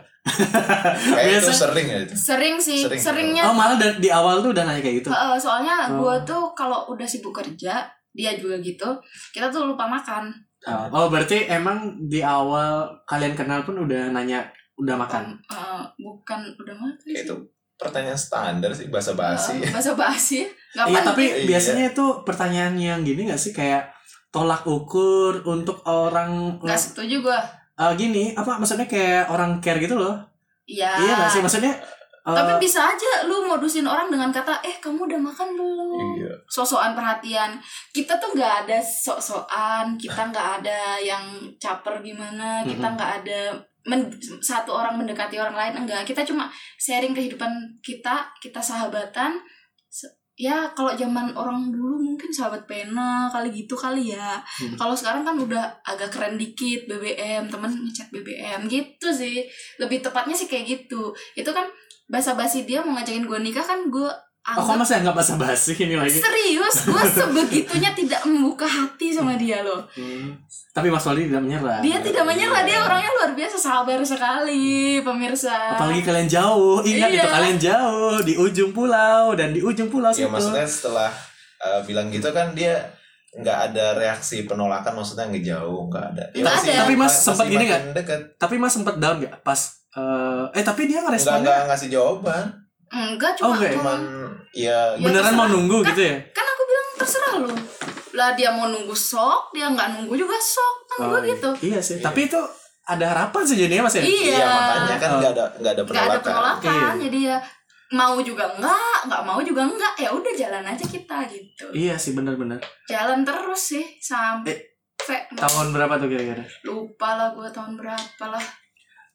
Speaker 3: kayak itu
Speaker 1: Biasa.
Speaker 3: sering ya itu
Speaker 2: sering sih
Speaker 3: Sering.
Speaker 2: seringnya
Speaker 1: oh malah dari- di awal tuh udah nanya kayak gitu
Speaker 2: Heeh, soalnya
Speaker 1: Oh.
Speaker 2: gue tuh kalau udah sibuk kerja dia juga gitu kita tuh lupa makan Iya.
Speaker 1: oh berarti emang di awal kalian kenal pun udah nanya udah makan
Speaker 2: Em, eh, bukan udah makan
Speaker 3: kayak
Speaker 2: sih
Speaker 3: itu pertanyaan standar sih bahasa basi
Speaker 2: bahasa basi nggak
Speaker 1: Iya
Speaker 2: penting.
Speaker 1: tapi
Speaker 3: Iya.
Speaker 1: biasanya itu pertanyaan yang gini gak sih kayak tolak ukur untuk orang
Speaker 2: nggak setuju gue
Speaker 1: Eh, gini apa maksudnya kayak orang care gitu loh
Speaker 2: iya
Speaker 1: iya gak sih maksudnya eh,
Speaker 2: tapi bisa aja lu modusin orang dengan kata eh kamu udah makan belum
Speaker 3: iya
Speaker 2: sosokan perhatian kita tuh nggak ada sok-sokan kita nggak ada yang caper gimana kita
Speaker 1: Mm-mm.
Speaker 2: nggak ada men- satu orang mendekati orang lain enggak kita cuma sharing kehidupan kita kita sahabatan Se- ya kalau zaman orang dulu mungkin sahabat pena kali gitu kali ya
Speaker 1: Hmm.
Speaker 2: kalau sekarang kan udah agak keren dikit BBM temen ngechat BBM gitu sih lebih tepatnya sih kayak gitu itu kan basa-basi dia mau ngajakin gue nikah kan gue
Speaker 1: oh, kok masih anggap bahasa basi ini lagi
Speaker 2: Serius, gue sebegitunya tidak membuka hati sama dia loh.
Speaker 1: Hmm. tapi Mas Wali tidak menyerah
Speaker 2: Dia tidak
Speaker 1: iya.
Speaker 2: menyerah, dia orangnya luar biasa sabar sekali, pemirsa.
Speaker 1: apalagi kalian jauh ingat
Speaker 2: Iya.
Speaker 1: itu kalian jauh di ujung pulau dan di ujung pulau
Speaker 3: ya
Speaker 1: situ
Speaker 3: maksudnya setelah eh, bilang gitu kan dia nggak ada reaksi penolakan maksudnya nggak jauh nggak ada Iya,
Speaker 2: Nggak
Speaker 3: masih-
Speaker 2: ada.
Speaker 1: Tapi Mas
Speaker 3: masih
Speaker 1: sempat gini
Speaker 3: makin
Speaker 1: nggak?
Speaker 3: deket
Speaker 1: tapi Mas sempat down gak pas eh, eh tapi dia
Speaker 3: nggak nggak
Speaker 1: ngeresponnya
Speaker 3: ngasih jawaban
Speaker 2: Enggak,
Speaker 1: Oh,
Speaker 2: cuma
Speaker 1: enggak ya,
Speaker 3: cuman
Speaker 2: cuman-
Speaker 3: ya
Speaker 2: Iya,
Speaker 1: beneran mau
Speaker 2: terserah.
Speaker 1: nunggu gitu ya
Speaker 2: Kan aku bilang terserah lo. Lah dia mau nunggu sok, dia nggak nunggu juga sok. Kan
Speaker 1: Oh,
Speaker 2: gue gitu.
Speaker 1: iya sih
Speaker 3: Iya.
Speaker 1: tapi itu ada harapan sih jadinya Mas ya
Speaker 2: Iya.
Speaker 3: iya makanya kan
Speaker 1: Oh.
Speaker 3: nggak ada nggak ada
Speaker 2: Nggak ada
Speaker 3: penolakan
Speaker 2: penolakan,
Speaker 1: Iya.
Speaker 2: jadi ya mau juga enggak nggak mau juga enggak ya udah jalan aja kita gitu
Speaker 1: Iya sih benar-benar.
Speaker 2: jalan terus sih sampai
Speaker 1: Eh, Tahun berapa tuh kira-kira?
Speaker 2: lupa lah gue tahun berapa lah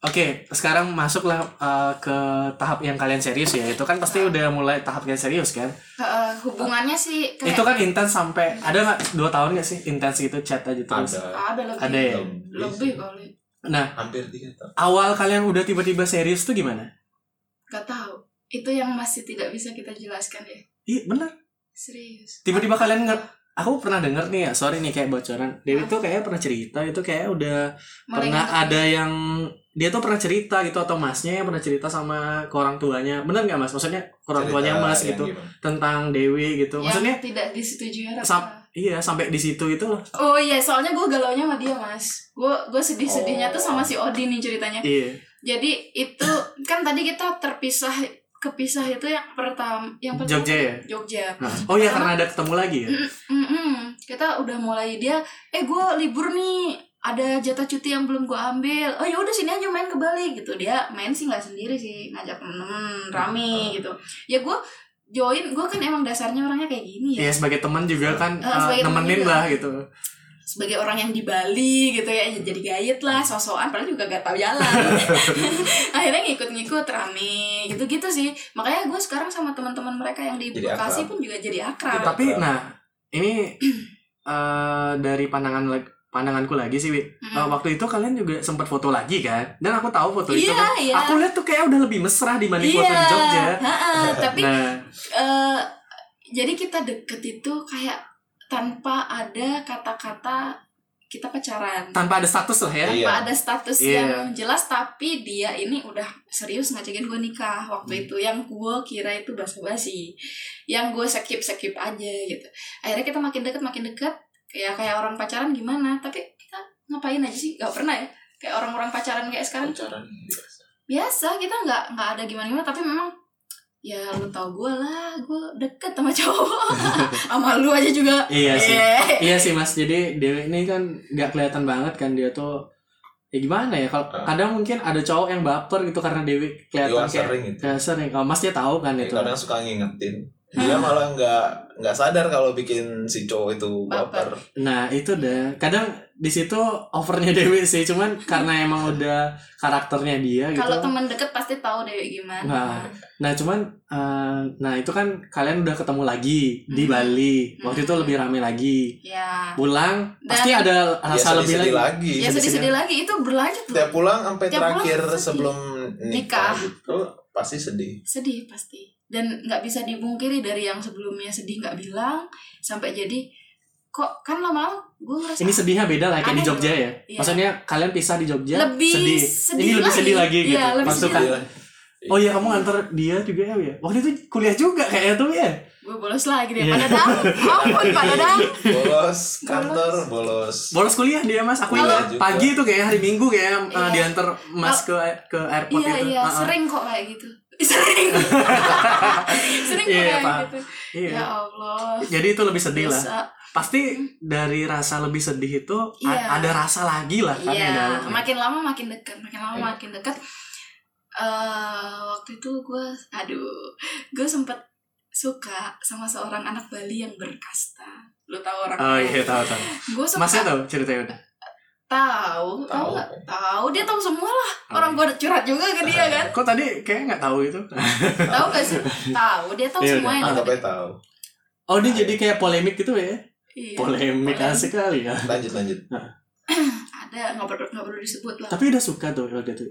Speaker 1: Oke, sekarang masuklah eh, ke tahap yang kalian serius ya. Itu kan pasti udah mulai tahap yang serius kan?
Speaker 2: Eh, hubungannya sih kayak
Speaker 1: Itu kan intens sampai ada nggak dua tahun nggak sih intens gitu chat aja terus.
Speaker 3: ada
Speaker 2: ada lebih
Speaker 1: Ada ya?
Speaker 2: lebih kali
Speaker 1: Nah,
Speaker 3: hampir tiga tahun
Speaker 1: awal kalian udah tiba-tiba serius tuh gimana?
Speaker 2: nggak tahu itu yang masih tidak bisa kita jelaskan ya
Speaker 1: Iya bener.
Speaker 2: serius
Speaker 1: Tiba-tiba kalian nggak? Aku pernah denger nih ya, sorry nih kayak bocoran. Dewi tuh kayaknya pernah cerita itu kayak udah
Speaker 2: Mulai
Speaker 1: pernah
Speaker 2: nggak-
Speaker 1: ada yang dia tuh pernah cerita gitu atau masnya yang pernah cerita sama ke orang tuanya. Bener nggak mas? Maksudnya ke orang
Speaker 3: Cerita iya.
Speaker 1: tuanya mas
Speaker 3: yang
Speaker 1: gitu
Speaker 3: gimana?
Speaker 1: tentang Dewi gitu.
Speaker 2: yang
Speaker 1: Maksudnya
Speaker 2: tidak disetujui Raka.
Speaker 1: Sam- Iya sampai di situ itu loh.
Speaker 2: oh iya soalnya gue galau nya sama dia mas gue gue sedih sedihnya
Speaker 3: Oh.
Speaker 2: tuh sama si Odin nih ceritanya
Speaker 1: Iya.
Speaker 2: jadi itu kan tadi kita terpisah kepisah itu yang pertama yang pertama
Speaker 1: Jogja ya.
Speaker 2: Jogja
Speaker 1: Nah, Oh iya karena ada ketemu lagi ya.
Speaker 2: Mm-mm. kita udah mulai dia eh gue libur nih ada jatah cuti yang belum gue ambil oh ya udah sini aja main ke Bali gitu dia main sih nggak sendiri sih ngajak temen
Speaker 1: Hmm.
Speaker 2: rame gitu ya gue join gue kan emang dasarnya orangnya kayak gini ya
Speaker 1: Iya sebagai teman juga kan
Speaker 2: Eh,
Speaker 1: eh,
Speaker 2: sebagai teman
Speaker 1: nemenin
Speaker 2: juga.
Speaker 1: lah gitu.
Speaker 2: sebagai orang yang di Bali gitu ya jadi gayet
Speaker 1: Hmm.
Speaker 2: lah sosokan padahal juga gak tahu jalan akhirnya ngikut-ngikut rame gitu-gitu sih makanya gue sekarang sama teman-teman mereka yang di
Speaker 3: Jadi
Speaker 2: Bekasi
Speaker 3: akrab.
Speaker 2: pun juga jadi akrab
Speaker 1: Tapi nah ini eh, dari pandangan lag- pandanganku lagi sih, Wi. Eh,
Speaker 2: Mm.
Speaker 1: waktu itu kalian juga sempat foto lagi kan? Dan aku tahu foto itu
Speaker 2: iya
Speaker 1: kan.
Speaker 2: iya
Speaker 1: Aku lihat tuh kayak udah lebih mesra dibanding foto di
Speaker 2: iya
Speaker 1: Jogja.
Speaker 2: Ha-ha, tapi
Speaker 1: Nah,
Speaker 2: eh, jadi kita deket itu kayak tanpa ada kata-kata kita pacaran
Speaker 1: tanpa ada status lah ya.
Speaker 3: Iya.
Speaker 2: tanpa ada status
Speaker 1: Iya.
Speaker 2: yang jelas tapi dia ini udah serius ngajakin gue nikah waktu itu yang gue kira itu basa-basi yang gue skip skip aja gitu akhirnya kita makin deket makin deket kayak kayak orang pacaran gimana tapi kita ngapain aja sih gak pernah ya kayak orang-orang pacaran kayak sekarang tuh
Speaker 3: pacaran
Speaker 2: biasa kita nggak nggak ada gimana gimana tapi memang ya lu tau gue lah gue deket sama cowok sama lu aja juga
Speaker 1: Iya sih.
Speaker 2: Eh.
Speaker 1: Iya sih Mas. Jadi Dewi ini kan nggak kelihatan banget kan dia tuh ya gimana ya kalau
Speaker 3: Ah.
Speaker 1: kadang mungkin ada cowok yang baper gitu karena Dewi kelihatan kayak
Speaker 3: Iya, sering itu
Speaker 1: Ya sering, oh, Mas dia tahu kan
Speaker 3: Ya,
Speaker 1: itu.
Speaker 3: kadang suka ngingetin dia malah nggak nggak sadar kalau bikin si cowok itu
Speaker 2: Baper.
Speaker 3: baper
Speaker 1: Nah itu dah. Kadang di situ overnya Dewi sih, cuman karena emang udah karakternya dia gitu.
Speaker 2: kalau teman deket pasti tahu deh gimana
Speaker 1: Nah. Nah cuman, eh, nah itu kan kalian udah ketemu lagi di
Speaker 2: Hmm.
Speaker 1: Bali.
Speaker 2: Hmm.
Speaker 1: Waktu itu lebih rame lagi.
Speaker 2: ya
Speaker 1: Pulang
Speaker 2: Dan-
Speaker 1: pasti ada
Speaker 3: dia
Speaker 1: rasa lebih lagi.
Speaker 3: sedih lagi
Speaker 2: ya sedih-sedih lagi itu berlanjut loh
Speaker 3: tiap pulang sampai
Speaker 2: Tiap pulang
Speaker 3: terakhir
Speaker 2: sedih.
Speaker 3: sebelum nikah,
Speaker 2: Nikah.
Speaker 3: gitu pasti sedih
Speaker 2: sedih pasti dan nggak bisa dipungkiri dari yang sebelumnya sedih nggak bilang sampai jadi kok kan lama-lama gue ngerasa
Speaker 1: Ini sedihnya beda lah kayak di
Speaker 2: Aneh
Speaker 1: Jogja ya.
Speaker 2: Iya.
Speaker 1: Maksudnya kalian pisah di Jogja
Speaker 2: lebih
Speaker 1: sedih.
Speaker 2: sedih,
Speaker 1: Ini lebih sedih lagi gitu.
Speaker 2: Iya, lebih
Speaker 1: Masuk
Speaker 2: sedih
Speaker 1: kan?
Speaker 2: lagi.
Speaker 1: Oh iya kamu antar dia juga ya, Wi, ya. Waktu itu kuliah juga kayaknya tuh ya.
Speaker 2: gue bolos lagi deh
Speaker 1: Iya.
Speaker 2: pada dang ampun pada dang
Speaker 3: bolos kantor bolos
Speaker 1: bolos kuliah dia mas aku
Speaker 3: Kalau-
Speaker 1: ingat pagi itu kayak hari minggu kayak eh,
Speaker 2: Iya.
Speaker 1: diantar mas ke ke airport
Speaker 2: iya
Speaker 1: itu
Speaker 2: iya
Speaker 1: Ah, ah.
Speaker 2: sering kok kayak gitu sering sering kok
Speaker 1: Iya,
Speaker 2: kayak
Speaker 1: paham.
Speaker 2: gitu
Speaker 1: Iya.
Speaker 2: ya allah Iya.
Speaker 1: jadi itu lebih sedih lah
Speaker 2: Dosa.
Speaker 1: pasti dari rasa lebih sedih itu a-
Speaker 2: Iya.
Speaker 1: ada rasa lagi lah kan yang
Speaker 2: Iya,
Speaker 1: dalam.
Speaker 2: makin lama makin dekat, makin lama
Speaker 3: Iya.
Speaker 2: makin dekat. Eh waktu itu gue, aduh, gue sempet suka sama seorang anak Bali yang berkasta. Lu tahu orang?
Speaker 1: oh iya tahu tahu
Speaker 2: Gue suka
Speaker 1: masnya tahu ceritanya udah
Speaker 2: tahu, tahu
Speaker 3: Tahu.
Speaker 2: nggak? Tahu dia tahu semua lah.
Speaker 1: Oh,
Speaker 2: Orang gue curhat juga ke dia kan.
Speaker 1: kok tadi kayak nggak tahu gitu? itu
Speaker 2: tahu gak sih? Tahu dia tahu
Speaker 1: Iya,
Speaker 2: semua
Speaker 1: udah.
Speaker 2: yang
Speaker 3: anggap
Speaker 2: ada.
Speaker 3: aja tahu
Speaker 1: oh dia jadi kayak polemik gitu ya
Speaker 2: Iya.
Speaker 1: polemik
Speaker 2: Polemik.
Speaker 1: asik kali ya
Speaker 3: lanjut lanjut
Speaker 2: Ada nggak perlu nggak perlu disebut lah
Speaker 1: tapi udah suka tuh waktu itu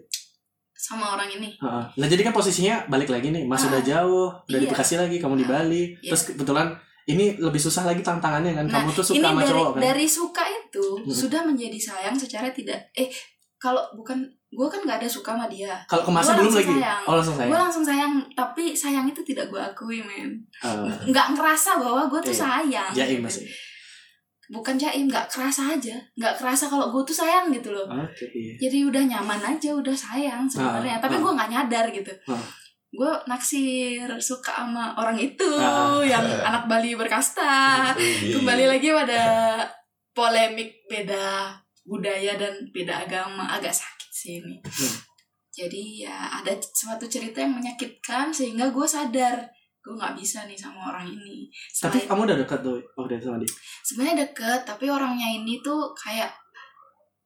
Speaker 2: sama orang ini.
Speaker 1: Heeh. Nah jadi kan posisinya balik lagi nih, Mas
Speaker 2: Ah,
Speaker 1: udah jauh, udah di
Speaker 2: iya.
Speaker 1: Bekasi lagi, kamu di Bali,
Speaker 2: Iya. Nah,
Speaker 1: terus kebetulan ini lebih susah lagi tantangannya kan, kamu tuh
Speaker 2: ini
Speaker 1: suka sama
Speaker 2: dari,
Speaker 1: cowok kan?
Speaker 2: dari suka itu
Speaker 1: Mm-mm.
Speaker 2: sudah menjadi sayang secara tidak eh kalau bukan gue kan nggak ada suka sama dia
Speaker 1: Kalau ke Masa
Speaker 2: gua
Speaker 1: belum
Speaker 2: langsung
Speaker 1: lagi,
Speaker 2: sayang.
Speaker 1: oh langsung
Speaker 2: gue
Speaker 1: saya.
Speaker 2: langsung sayang tapi sayang itu tidak gue akui men
Speaker 1: Eh,
Speaker 2: nggak ngerasa bahwa gue tuh
Speaker 1: Iya.
Speaker 2: sayang
Speaker 1: jaim masih.
Speaker 2: bukan jaim nggak kerasa aja nggak kerasa kalau gue tuh sayang gitu loh
Speaker 1: Oke. iya.
Speaker 2: jadi udah nyaman aja udah sayang sebenarnya
Speaker 1: Ah,
Speaker 2: tapi
Speaker 1: ah.
Speaker 2: gue nggak nyadar gitu
Speaker 1: Ah.
Speaker 2: gue naksir suka sama orang itu
Speaker 1: Ah. Iya.
Speaker 2: yang anak Bali berkasta Ah, kembali lagi pada polemik beda budaya dan beda agama agak sakit sih ini
Speaker 1: Hmm.
Speaker 2: jadi ya ada suatu cerita yang menyakitkan sehingga gue sadar gue nggak bisa nih sama orang ini
Speaker 1: Tapi
Speaker 2: Selain-
Speaker 1: kamu udah dekat tuh oh, udah sama dia.
Speaker 2: sebenarnya deket tapi orangnya ini tuh kayak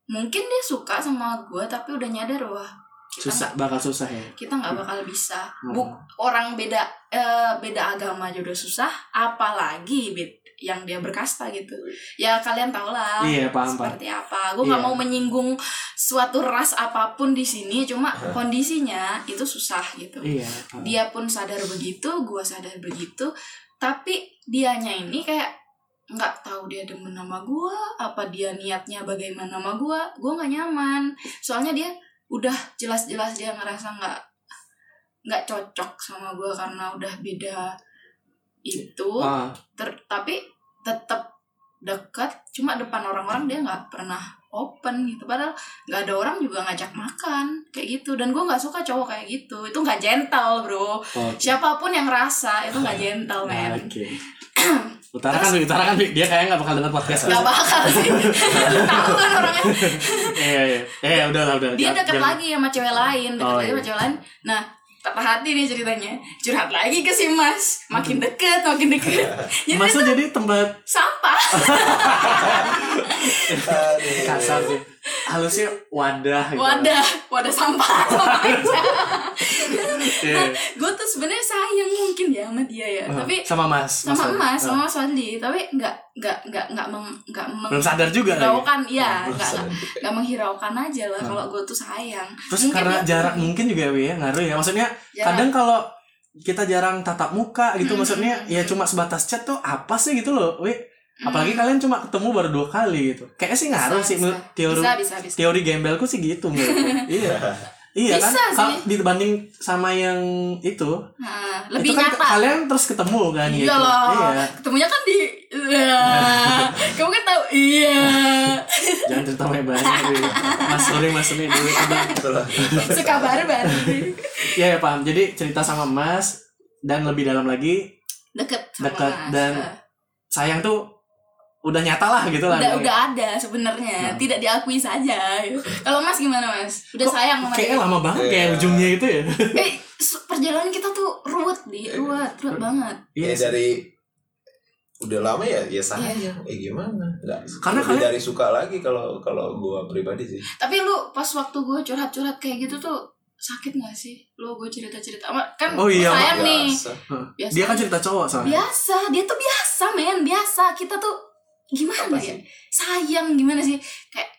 Speaker 2: mungkin dia suka sama gue tapi udah nyadar wah kita
Speaker 1: Susah
Speaker 2: nggak-
Speaker 1: bakal susah ya.
Speaker 2: kita nggak bakal bisa Buk,
Speaker 1: Hmm.
Speaker 2: orang beda eh, beda agama aja udah susah apalagi bed- yang dia berkasta gitu ya kalian tau lah
Speaker 1: Iya, paham, paham.
Speaker 2: seperti apa gue nggak
Speaker 1: Iya.
Speaker 2: mau menyinggung suatu ras apapun di sini cuma kondisinya itu susah gitu
Speaker 1: Iya. paham.
Speaker 2: dia pun sadar begitu gua sadar begitu tapi dianya ini kayak nggak tahu dia demen sama gua apa dia niatnya bagaimana sama gua gua nggak nyaman soalnya dia udah jelas-jelas dia ngerasa nggak nggak cocok sama gua karena udah beda itu
Speaker 1: Ah,
Speaker 2: Ter- tapi tetap dekat cuma depan orang-orang dia nggak pernah open gitu padahal nggak ada orang juga ngajak makan kayak gitu dan gue nggak suka cowok kayak gitu itu nggak gentle bro
Speaker 1: oke.
Speaker 2: siapapun yang rasa itu nggak gentle
Speaker 1: Nah,
Speaker 2: men
Speaker 1: Oke. Utarakan, Bi, utarakan Bi. dia kayaknya nggak bakal dengar podcast. kan?
Speaker 2: nggak bakal sih Lu tahu kan orangnya
Speaker 1: Iya, iya. Eh, udah lah, udah.
Speaker 2: dia
Speaker 1: Jangan-
Speaker 2: deket
Speaker 1: jangan.
Speaker 2: lagi sama cewek lain deket
Speaker 1: Oh,
Speaker 2: lagi sama
Speaker 1: iya.
Speaker 2: cewek lain nah patah hati nih ceritanya curhat lagi ke si mas makin deket makin deket jadi
Speaker 1: Masa
Speaker 2: itu
Speaker 1: jadi tempat
Speaker 2: sampah
Speaker 1: kasar sih. Halusnya wadah gitu.
Speaker 2: wadah wadah sampah sama aja
Speaker 1: Iya.
Speaker 2: gue tuh sebenarnya sayang mungkin ya sama dia ya
Speaker 1: Ah,
Speaker 2: tapi
Speaker 1: sama Mas.
Speaker 2: sama
Speaker 1: Fadli. Ah.
Speaker 2: emas sama mas Fadli tapi nggak nggak nggak nggak meng nggak
Speaker 1: Belum sadar juga lagi. Nah,
Speaker 2: menghiraukan iya
Speaker 1: Belum
Speaker 2: nggak nggak- nggak menghiraukan aja lah
Speaker 1: Ah.
Speaker 2: kalau gue tuh sayang
Speaker 1: Terus
Speaker 2: Mungkin
Speaker 1: karena
Speaker 2: dia-
Speaker 1: jarak mungkin juga ya, Wi, ya ngaruh ya. Maksudnya
Speaker 2: Jarak.
Speaker 1: kadang kalau kita jarang tatap muka gitu
Speaker 2: Mm.
Speaker 1: maksudnya ya cuma sebatas chat tuh apa sih gitu loh, Wi.
Speaker 2: Hmm.
Speaker 1: Apalagi kalian cuma ketemu baru dua kali gitu. Kayaknya sih ngaruh
Speaker 2: Bisa,
Speaker 1: sih menurut
Speaker 2: bisa.
Speaker 1: teori
Speaker 2: bisa bisa bisa
Speaker 1: teori gembelku sih gitu menurutku. iya. Iya kan?
Speaker 2: Bisa sih.
Speaker 1: Kalau dibanding sama yang itu,
Speaker 2: Nah,
Speaker 1: itu
Speaker 2: lebih
Speaker 1: kan
Speaker 2: nyata
Speaker 1: kalian terus ketemu kan gitu.
Speaker 2: Iya loh,
Speaker 1: Iya.
Speaker 2: ketemunya kan di, Iya. kamu kan tahu, iya.
Speaker 1: Jangan cerita banyak banyak Wi. Mas sorry Mas ini dulu coba.
Speaker 3: Itulah.
Speaker 2: Suka barbar,
Speaker 1: Iya ya, paham. Jadi cerita sama Mas dan lebih dalam lagi
Speaker 2: deket, sama
Speaker 1: Deket
Speaker 2: Mas.
Speaker 1: dan- sayang tuh udah nyata lah gitu lah.
Speaker 2: udah
Speaker 1: Wi.
Speaker 2: udah ada sebenarnya
Speaker 1: Nah.
Speaker 2: tidak diakui saja gitu. kalau mas gimana mas udah
Speaker 1: Kok
Speaker 2: sayang sama
Speaker 1: Kayaknya
Speaker 2: dia
Speaker 1: lama banget kayak
Speaker 3: Iya.
Speaker 1: ujungnya gitu ya.
Speaker 2: eh su- perjalanan kita tuh ruwet di ruwet ruwet banget
Speaker 1: Iya.
Speaker 3: Ya,
Speaker 1: sih.
Speaker 3: dari udah lama ya ya sayang
Speaker 2: Iya.
Speaker 3: eh gimana nggak
Speaker 1: Karena
Speaker 3: lebih
Speaker 1: kalian-
Speaker 3: dari suka lagi kalau kalau gua pribadi sih
Speaker 2: tapi lu pas waktu gue curhat curhat kayak gitu tuh sakit gak sih lu gue cerita cerita kan
Speaker 1: Oh iya,
Speaker 2: sayang nih
Speaker 3: Biasa.
Speaker 2: biasa
Speaker 1: Dia kan cerita cowok soalnya.
Speaker 2: biasa dia tuh biasa men biasa kita tuh gimana
Speaker 3: Apa
Speaker 2: ya sayang gimana sih kayak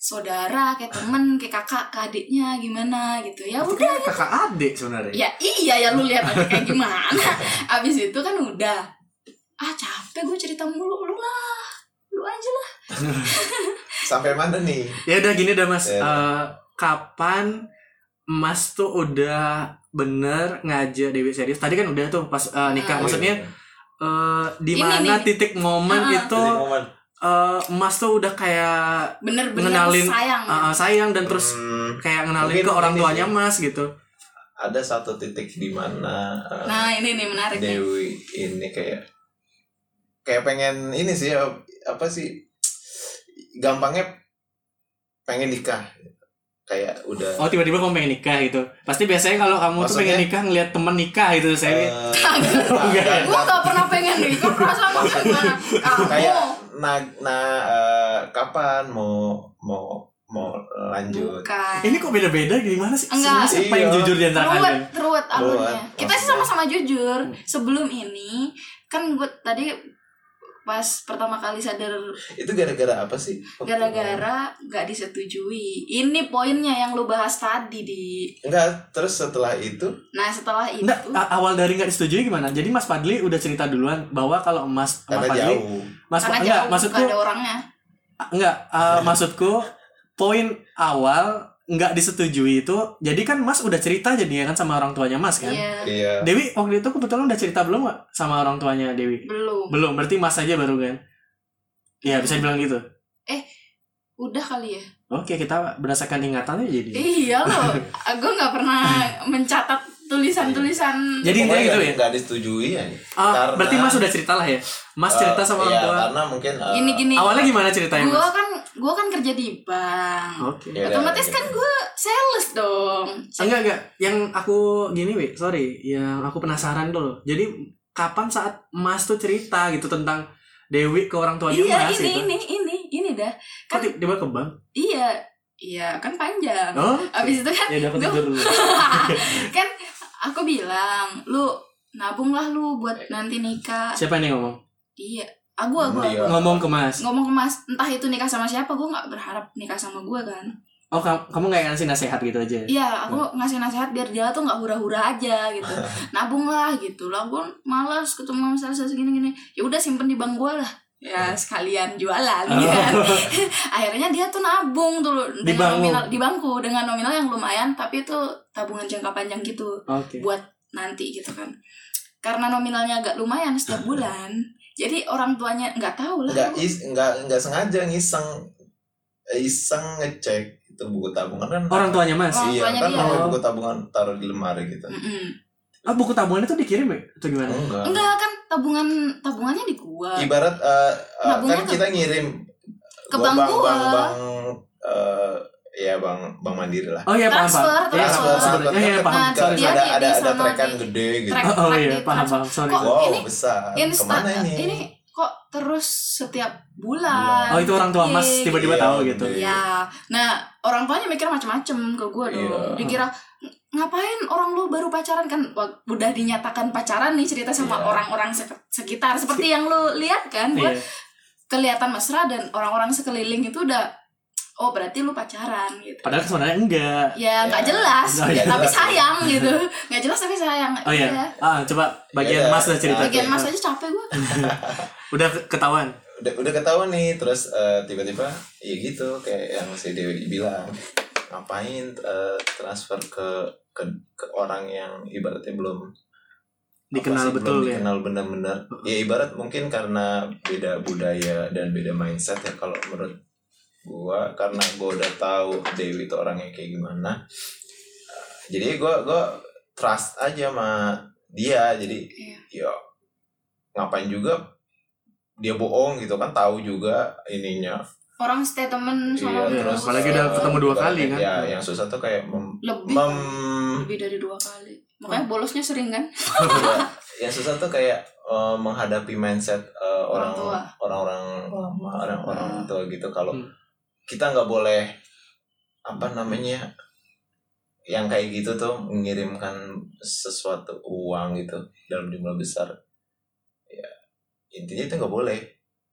Speaker 2: saudara kayak temen kayak kakak ke adiknya gimana gitu ya
Speaker 3: kan-
Speaker 2: udah
Speaker 1: Kakak adik sebenarnya.
Speaker 2: Ya iya ya lu lihat aja kayak gimana. Abis itu kan udah. Ah capek gue cerita mulu lu lah. Lu aja lah.
Speaker 3: sampai mana nih
Speaker 1: Ya udah gini dah Mas.
Speaker 3: Ya.
Speaker 1: Eh, kapan Mas tuh udah bener ngajak Dewi serius? Tadi kan udah tuh pas eh, nikah.
Speaker 2: Ah.
Speaker 1: Maksudnya
Speaker 3: Iya,
Speaker 1: eh, di
Speaker 2: Ini
Speaker 1: mana
Speaker 2: nih.
Speaker 1: titik momen
Speaker 2: Ah.
Speaker 1: itu
Speaker 3: Jadi momen.
Speaker 1: eh, Mas tuh udah kayak
Speaker 2: Bener-bener
Speaker 1: Ngenalin,
Speaker 2: sayang.
Speaker 3: Ah,
Speaker 1: eh, sayang dan terus
Speaker 3: Hmm,
Speaker 1: kayak ngenalin
Speaker 3: Mungkin
Speaker 1: ke orang
Speaker 3: ini
Speaker 1: tuanya
Speaker 3: sih.
Speaker 1: Mas gitu.
Speaker 3: ada satu titik di mana eh,
Speaker 2: nah ini nih menarik nih.
Speaker 3: Dewi ini kayak kayak pengen ini sih ap- apa sih gampangnya pengen nikah kayak udah
Speaker 1: Oh tiba-tiba kamu pengen nikah gitu. Pasti biasanya kalau kamu tuh pengen
Speaker 3: Maksudnya?
Speaker 1: nikah ngeliat temen nikah gitu saya.
Speaker 3: eh,
Speaker 1: enggak.
Speaker 3: enggak,
Speaker 2: Gue
Speaker 3: enggak.
Speaker 2: gak pernah pengen nih. Gue perasaan gue gimana?
Speaker 3: kayak
Speaker 2: Kamu
Speaker 3: nah nah eh, kapan mau mau mau lanjut
Speaker 2: bukan.
Speaker 1: "Eh, Ini kok beda-beda gimana sih? Sebenarnya
Speaker 2: Enggak.
Speaker 1: Siapa yang
Speaker 3: Iya.
Speaker 1: jujur di antara
Speaker 2: Ruwet,
Speaker 1: kalian?
Speaker 2: ruwet awalnya.
Speaker 3: Ruwet.
Speaker 2: Kita sih sama-sama jujur. Sebelum ini kan gue tadi pas pertama kali sadar
Speaker 3: itu gara-gara apa sih
Speaker 2: gara-gara nggak disetujui. Ini poinnya yang lu bahas tadi di
Speaker 3: enggak terus setelah itu
Speaker 2: Nah setelah itu
Speaker 1: Nggak, a- awal dari nggak disetujui gimana? Jadi Mas Padli udah cerita duluan bahwa kalau Mas Mas
Speaker 3: karena
Speaker 1: Padli,
Speaker 3: jauh
Speaker 1: Mas Pa-
Speaker 2: karena jauh
Speaker 1: enggak, maksudku
Speaker 2: nggak ada orangnya.
Speaker 1: enggak, eh, maksudku poin awal nggak disetujui itu, jadi kan Mas udah cerita jadinya kan sama orang tuanya Mas kan?
Speaker 2: Iya
Speaker 3: iya
Speaker 1: Dewi waktu itu kebetulan udah cerita belum nggak sama orang tuanya Dewi?
Speaker 2: belum.
Speaker 1: Belum, berarti Mas aja baru kan? Ya bisa dibilang gitu.
Speaker 2: Eh, Udah kali ya.
Speaker 1: Oke, kita berasakan ingatannya jadi.
Speaker 2: Ah, Iya loh. Gue nggak pernah mencatat tulisan-tulisan
Speaker 1: Jadi intinya gitu ya.
Speaker 3: Gak disetujui ya.
Speaker 1: Ah,
Speaker 3: Karena-
Speaker 1: berarti Mas udah cerita lah ya. Mas cerita
Speaker 3: Eh,
Speaker 1: sama orang
Speaker 3: iya,
Speaker 1: tua.
Speaker 3: Karena mungkin eh,
Speaker 2: gini-gini.
Speaker 1: Awalnya gimana ceritanya,
Speaker 2: Gua
Speaker 1: Mas?
Speaker 2: kan gua kan kerja di bank.
Speaker 1: Oke. Ah,
Speaker 3: Iya.
Speaker 2: Otomatis
Speaker 3: Iya.
Speaker 2: kan gua sales dong.
Speaker 1: Enggak, enggak. Yang aku gini, Wi, sorry. Yang aku penasaran dulu. Jadi kapan saat Mas tuh cerita gitu tentang Dewi ke orang tua dia
Speaker 2: Iya, Kan-
Speaker 1: Mas
Speaker 2: ini,
Speaker 1: gitu.
Speaker 2: ini, ini, ini dah.
Speaker 1: Kok ti- tiba ke bank?
Speaker 2: Iya. Iya, kan panjang.
Speaker 1: Oh.
Speaker 2: Abis itu kan
Speaker 1: Ya dapat
Speaker 2: Gua-
Speaker 1: tidur dulu.
Speaker 2: kan aku bilang, "Lu nabunglah lu buat nanti nikah."
Speaker 1: Siapa nih ngomong?
Speaker 2: Iya. Aku aku
Speaker 3: Iya.
Speaker 1: Ngomong ke Mas.
Speaker 2: ngomong ke Mas, entah itu nikah sama siapa, gua nggak berharap nikah sama gua kan.
Speaker 1: Oh, kamu, kamu nggak ngasih nasihat gitu aja. ya?
Speaker 2: Iya, aku ngasih nasihat biar dia tuh nggak hura-hura aja gitu. Nabung lah gitu. Lah gue malas ketemu sama sales gini-gini. Ya udah simpen di bank gue lah.
Speaker 1: Iya.
Speaker 2: Ya sekalian jualan kan. Akhirnya dia tuh nabung
Speaker 1: Oh.
Speaker 2: dulu
Speaker 1: Di
Speaker 2: dengan
Speaker 1: bank lu?
Speaker 2: nominal di bangku dengan nominal yang lumayan tapi itu tabungan jangka panjang gitu
Speaker 1: Oke.
Speaker 2: buat nanti gitu kan. Karena nominalnya agak lumayan setiap bulan. Jadi orang tuanya nggak tahu lah.
Speaker 1: iya.
Speaker 3: nggak is nggak nggak sengaja ngiseng Eh, iseng ngecek itu buku tabungan kan
Speaker 1: Orang tuanya Mas.
Speaker 2: Orang
Speaker 3: iya
Speaker 2: tuanya
Speaker 3: kan
Speaker 2: dia.
Speaker 3: kalau buku tabungan taruh di lemari gitu
Speaker 2: Mm-mm.
Speaker 1: Ah, buku tabungan itu dikirim ya? Atau gimana?
Speaker 3: enggak
Speaker 2: Enggak kan tabungan tabungannya di gua.
Speaker 3: ibarat eh, eh,
Speaker 2: Nabungnya
Speaker 3: kan
Speaker 2: Nah, ke-
Speaker 3: kita ngirim
Speaker 2: ke
Speaker 3: gua
Speaker 2: bank
Speaker 3: bang
Speaker 2: gua.
Speaker 3: bang bang eh, ya bang bang mandiri lah
Speaker 1: Oh iya, paham,
Speaker 2: Transfer,
Speaker 1: paham. Iya,
Speaker 2: transfer.
Speaker 1: paham, paham.
Speaker 3: Transfer,
Speaker 1: Iya, iya,
Speaker 3: transfer.
Speaker 1: paham.
Speaker 2: Nah,
Speaker 1: Sorry,
Speaker 2: dia
Speaker 1: sorry.
Speaker 3: ada
Speaker 2: di
Speaker 3: ada ada
Speaker 2: sana
Speaker 3: trekan
Speaker 2: di-
Speaker 3: gede gitu
Speaker 2: Track-
Speaker 1: Oh, oh
Speaker 2: track
Speaker 1: iya,
Speaker 2: di
Speaker 1: paham,
Speaker 2: transfer.
Speaker 1: paham. Sorry.
Speaker 2: Kok-
Speaker 3: wow
Speaker 2: ini-
Speaker 3: besar
Speaker 2: Insta
Speaker 3: kemana ini
Speaker 2: ini kok terus setiap bulan.
Speaker 1: Oh, itu orang tua Mas
Speaker 2: Iya,
Speaker 1: tiba-tiba
Speaker 3: Iya,
Speaker 1: tahu gitu.
Speaker 3: gede.
Speaker 2: Ya, nah orang tuanya mikir macam-macam ke gue dong.
Speaker 3: Iya.
Speaker 2: Dikira "Ng- ngapain orang lu baru pacaran kan Wah, udah dinyatakan pacaran nih cerita sama
Speaker 3: Iya.
Speaker 2: orang-orang sek- sekitar seperti yang lu lihat kan
Speaker 1: Iya.
Speaker 2: gue kelihatan mesra dan orang-orang sekeliling itu udah oh berarti lu pacaran gitu.
Speaker 1: Padahal sebenarnya enggak.
Speaker 2: Ya nggak
Speaker 3: Iya.
Speaker 2: jelas,
Speaker 1: Oh, iya.
Speaker 2: tapi sayang gitu. Nggak jelas tapi sayang.
Speaker 1: Oh iya.
Speaker 2: Iya.
Speaker 1: Ah, coba bagian
Speaker 3: Iya,
Speaker 1: Mas lah cerita.
Speaker 2: Bagian mas aja capek gue.
Speaker 1: Udah ke- ketahuan.
Speaker 3: udah udah ketahuan nih terus eh, tiba-tiba ya gitu kayak yang si Dewi bilang ngapain eh, transfer ke ke ke orang yang ibaratnya belum
Speaker 1: Dikenal
Speaker 3: apa sih,
Speaker 1: betul
Speaker 3: belum
Speaker 1: ya.
Speaker 3: dikenal benar-benar ya ibarat mungkin karena beda budaya dan beda mindset ya kalau menurut gua karena gua udah tahu Dewi itu orangnya kayak gimana eh, jadi gua gua trust aja sama dia jadi
Speaker 2: Iya.
Speaker 3: ya ngapain juga dia bohong gitu kan tahu juga ininya eh,
Speaker 2: Orang statement
Speaker 1: Iya,
Speaker 2: sama lu.
Speaker 1: terus apalagi udah ketemu dua kali kan.
Speaker 3: ya yang susah tuh kayak mem,
Speaker 2: lebih
Speaker 3: mem-
Speaker 2: lebih dari dua kali. Makanya bolosnya sering kan?
Speaker 3: yang susah tuh kayak eh, menghadapi mindset eh,
Speaker 2: Orang
Speaker 3: orang
Speaker 2: tua.
Speaker 3: orang-orang lama orang-orang
Speaker 2: Hmm.
Speaker 3: tua gitu kalau
Speaker 1: Hmm.
Speaker 3: kita nggak boleh apa namanya yang kayak gitu tuh mengirimkan sesuatu uang gitu dalam jumlah besar ya intinya itu nggak boleh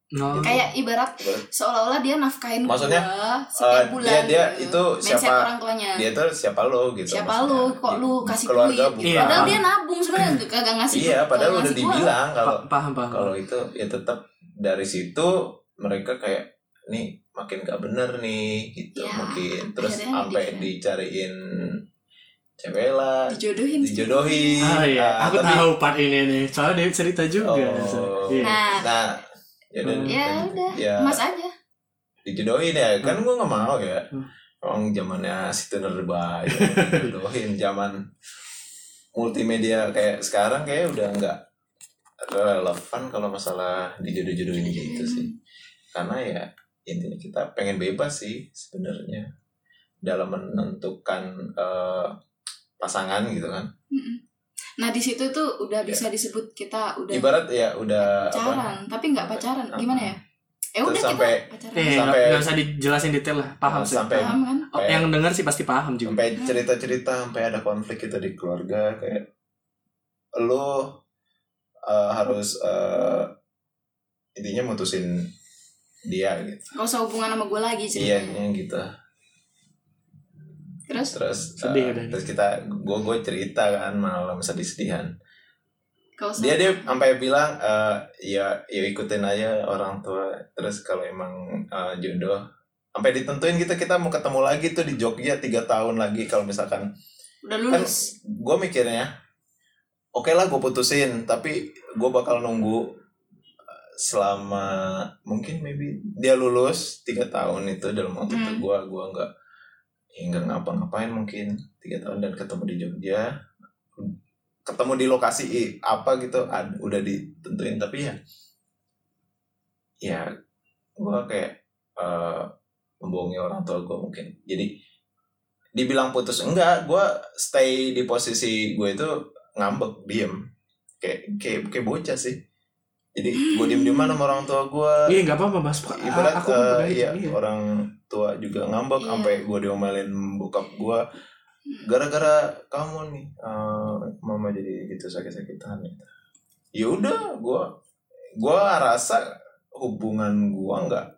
Speaker 1: No.
Speaker 2: Kayak ibarat
Speaker 3: Boleh.
Speaker 2: seolah-olah dia nafkahin
Speaker 3: Maksudnya,
Speaker 2: gua setiap
Speaker 3: eh,
Speaker 2: bulan.
Speaker 3: dia- dia
Speaker 2: gitu.
Speaker 3: itu
Speaker 2: Mindset
Speaker 3: siapa-
Speaker 2: orang tuanya.
Speaker 3: dia tuh siapa lo gitu
Speaker 2: siapa lu?
Speaker 3: maksudnya.
Speaker 2: Kok lu kasih
Speaker 3: keluarga
Speaker 2: duit?
Speaker 3: bukan
Speaker 1: Iya.
Speaker 2: Padahal dia nabung sebenarnya nggak- kagak ngasih.
Speaker 3: iya
Speaker 2: kagak
Speaker 3: padahal udah
Speaker 2: ngasih gua.
Speaker 3: dibilang kalau
Speaker 1: Pa- paham, paham.
Speaker 3: kalau
Speaker 2: Oh.
Speaker 3: itu ya tetap dari situ mereka kayak nih makin gak bener nih gitu
Speaker 2: Ya,
Speaker 3: mungkin terus
Speaker 2: akhirnya ya?
Speaker 3: sampai
Speaker 2: di-
Speaker 3: dicariin cewek lah
Speaker 2: Dijodohin.
Speaker 3: dijodohin
Speaker 1: Ah
Speaker 3: Ah,
Speaker 1: iya, aku
Speaker 3: tapi-
Speaker 1: tahu part ini nih. Soalnya Dewi cerita juga.
Speaker 3: Oh.
Speaker 1: Iya.
Speaker 2: Nah,
Speaker 3: nah ya, dan-
Speaker 1: Hmm.
Speaker 2: ya
Speaker 3: dan-
Speaker 2: udah.
Speaker 3: ya,
Speaker 2: Mas aja.
Speaker 3: dijodohin ya kan gue gak mau ya
Speaker 1: Hmm.
Speaker 3: orang zamannya situ nerba ya, dijodohin zaman multimedia kayak sekarang kayak udah nggak relevan kalau masalah dijodoh-jodohin gitu sih karena ya intinya kita pengen bebas sih sebenarnya dalam menentukan eh, pasangan gitu kan
Speaker 2: Mm-mm. Nah di situ tuh udah bisa disebut kita udah
Speaker 3: Iya. ibarat ya udah apa
Speaker 2: pacaran, tapi nggak pacaran. Gimana ya? Eh
Speaker 3: Terus
Speaker 2: udah
Speaker 3: sampai- Iya.
Speaker 2: kita pacaran.
Speaker 1: Eh, nggak-
Speaker 3: Sampai-
Speaker 1: nggak usah dijelasin detail lah. Paham sih.
Speaker 3: sampai
Speaker 2: Paham kan?
Speaker 1: Oh,
Speaker 3: kayak-
Speaker 1: yang denger sih pasti paham juga.
Speaker 3: sampai cerita-cerita sampai ada konflik itu di keluarga kayak lo eh, harus eh, intinya mutusin dia gitu
Speaker 2: Gak usah hubungan sama gue lagi ceritanya.
Speaker 3: iya intinya gitu
Speaker 2: Terus
Speaker 3: terus
Speaker 1: Sedih
Speaker 3: eh,
Speaker 1: udah.
Speaker 3: terus kita gue gue cerita kan malam sedih-sedihan
Speaker 2: gak usah.
Speaker 3: dia dia sampai bilang eh, ya ya ikutin aja orang tua terus kalau emang eh, jodoh sampai ditentuin gitu kita mau ketemu lagi tuh di Jogja tiga tahun lagi kalau misalkan
Speaker 2: udah
Speaker 3: kan
Speaker 2: lulus.
Speaker 3: gue mikirnya oke lah gue putusin tapi gue bakal nunggu eh, selama mungkin maybe dia lulus tiga tahun itu dalam waktu itu
Speaker 2: Hmm.
Speaker 3: gue gua nggak ya nggak ngapa-ngapain mungkin tiga tahun dan ketemu di Jogja ketemu di lokasi i- apa gitu ad- udah ditentuin tapi ya ya gue kayak eh, membohongi orang tua gue mungkin jadi dibilang putus enggak gue stay di posisi gue itu ngambek diem kayak kayak kayak bocah sih jadi gue diem diem sama orang tua gue
Speaker 1: Iya nggak apa-apa mas. Pak.
Speaker 3: ibarat
Speaker 1: aku
Speaker 3: eh,
Speaker 1: pernah
Speaker 3: iya,
Speaker 1: itu, iya.
Speaker 3: orang tua juga ngambek
Speaker 2: Iya.
Speaker 3: sampai gue diomelin bokap gue gara-gara kamu nih eh, mama jadi gitu sakit-sakitan gitu. ya udah gue gue rasa hubungan gue nggak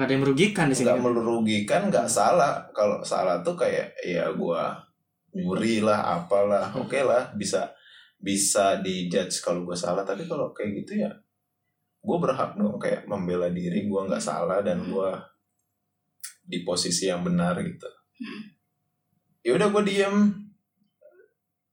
Speaker 1: Nggak ada yang merugikan di sini.
Speaker 3: nggak
Speaker 1: kan?
Speaker 3: merugikan
Speaker 1: Hmm.
Speaker 3: nggak salah kalau salah tuh kayak ya gue nyuri lah apalah
Speaker 1: Hmm.
Speaker 3: oke lah bisa bisa dijudge kalau gue salah tapi kalau kayak gitu ya gue berhak dong kayak membela diri gue nggak salah dan
Speaker 1: Hmm.
Speaker 3: gue di posisi yang benar gitu
Speaker 1: Hmm.
Speaker 3: ya udah gue diem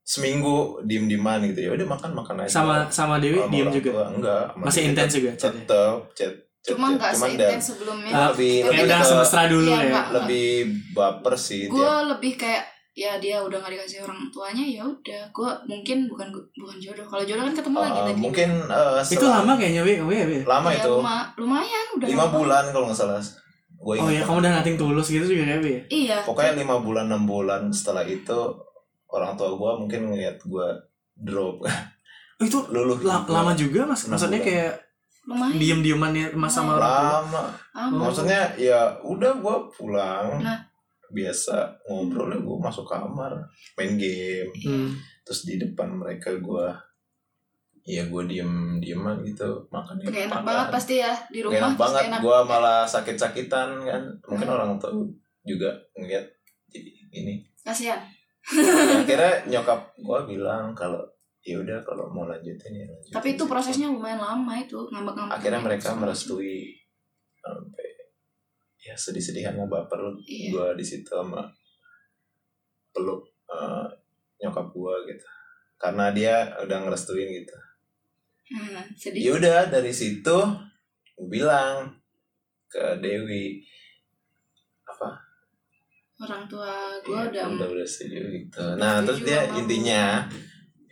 Speaker 3: seminggu diem dieman gitu ya udah makan makan aja
Speaker 1: Sama sama Dewi
Speaker 3: Sama
Speaker 1: diem
Speaker 3: orang
Speaker 1: juga.
Speaker 3: tua, enggak
Speaker 1: Masih intens juga
Speaker 3: iya.
Speaker 1: chatnya.
Speaker 3: tetap chat chat-
Speaker 2: Cuma
Speaker 3: chat.
Speaker 2: nggak
Speaker 3: Ya, Cuman dan
Speaker 2: seintens sebelumnya.
Speaker 1: Ah,
Speaker 3: lebih
Speaker 1: Kayak
Speaker 3: lebih
Speaker 1: udah
Speaker 3: ke-
Speaker 1: semestra dulu
Speaker 2: Iya,
Speaker 1: ya.
Speaker 2: Pak.
Speaker 3: lebih baper sih eh,
Speaker 2: gue
Speaker 3: dia
Speaker 2: lebih kayak ya dia udah gak dikasih orang tuanya ya udah gue mungkin bukan bukan jodoh kalau jodoh kan ketemu lagi
Speaker 3: Eh,
Speaker 2: tadi
Speaker 3: mungkin eh,
Speaker 1: Itu
Speaker 3: setelah-
Speaker 1: lama kayaknya Oh, iya, Wi. Wi, Wi.
Speaker 3: lama
Speaker 2: Ya,
Speaker 3: itu
Speaker 2: luma- lumayan udah
Speaker 3: lima
Speaker 2: lama.
Speaker 3: bulan kalau nggak salah gue
Speaker 1: Oh iya kamu udah nating tulus gitu juga ya Wi.
Speaker 2: iya
Speaker 3: pokoknya lima bulan enam bulan setelah itu orang tua gue mungkin ngeliat gue drop
Speaker 1: Oh, itu
Speaker 3: luluh
Speaker 1: la- lama juga mas.
Speaker 3: Enam
Speaker 1: Maksudnya
Speaker 3: bulan.
Speaker 1: kayak
Speaker 2: lumayan
Speaker 1: diem-diemannya mas sama orang tua.
Speaker 3: lama
Speaker 2: Lama.
Speaker 3: maksudnya ya udah gue pulang
Speaker 2: Nah.
Speaker 3: biasa ngobrolnya gue masuk kamar main game
Speaker 1: Hmm.
Speaker 3: terus di depan mereka gue ya gue diem dieman gitu makan
Speaker 2: Gak enak
Speaker 3: makan.
Speaker 2: banget pasti ya di
Speaker 3: Gak
Speaker 2: rumah
Speaker 3: enak
Speaker 2: pasti
Speaker 3: banget
Speaker 2: enak
Speaker 3: gue malah sakit-sakitan kan mungkin orang tua juga ngeliat jadi ini
Speaker 2: kasihan
Speaker 3: Iya, akhirnya nyokap gue bilang kalau ya udah kalau mau lanjutin ya lanjutin
Speaker 2: tapi itu Iya. prosesnya lumayan lama itu ngambek-ngambek
Speaker 3: akhirnya mereka merestui sampai ya sedih-sedihan mau baper
Speaker 2: Iya.
Speaker 3: gue di situ sama peluk eh, nyokap gue gitu karena dia udah ngerestuin gitu
Speaker 2: Hmm,
Speaker 3: ya
Speaker 2: sedih
Speaker 3: udah dari situ gue bilang ke Dewi apa
Speaker 2: orang tua gue udah
Speaker 3: Iya, udah udah setuju gitu
Speaker 2: Setuju
Speaker 3: nah terus dia
Speaker 2: sama lu.
Speaker 3: intinya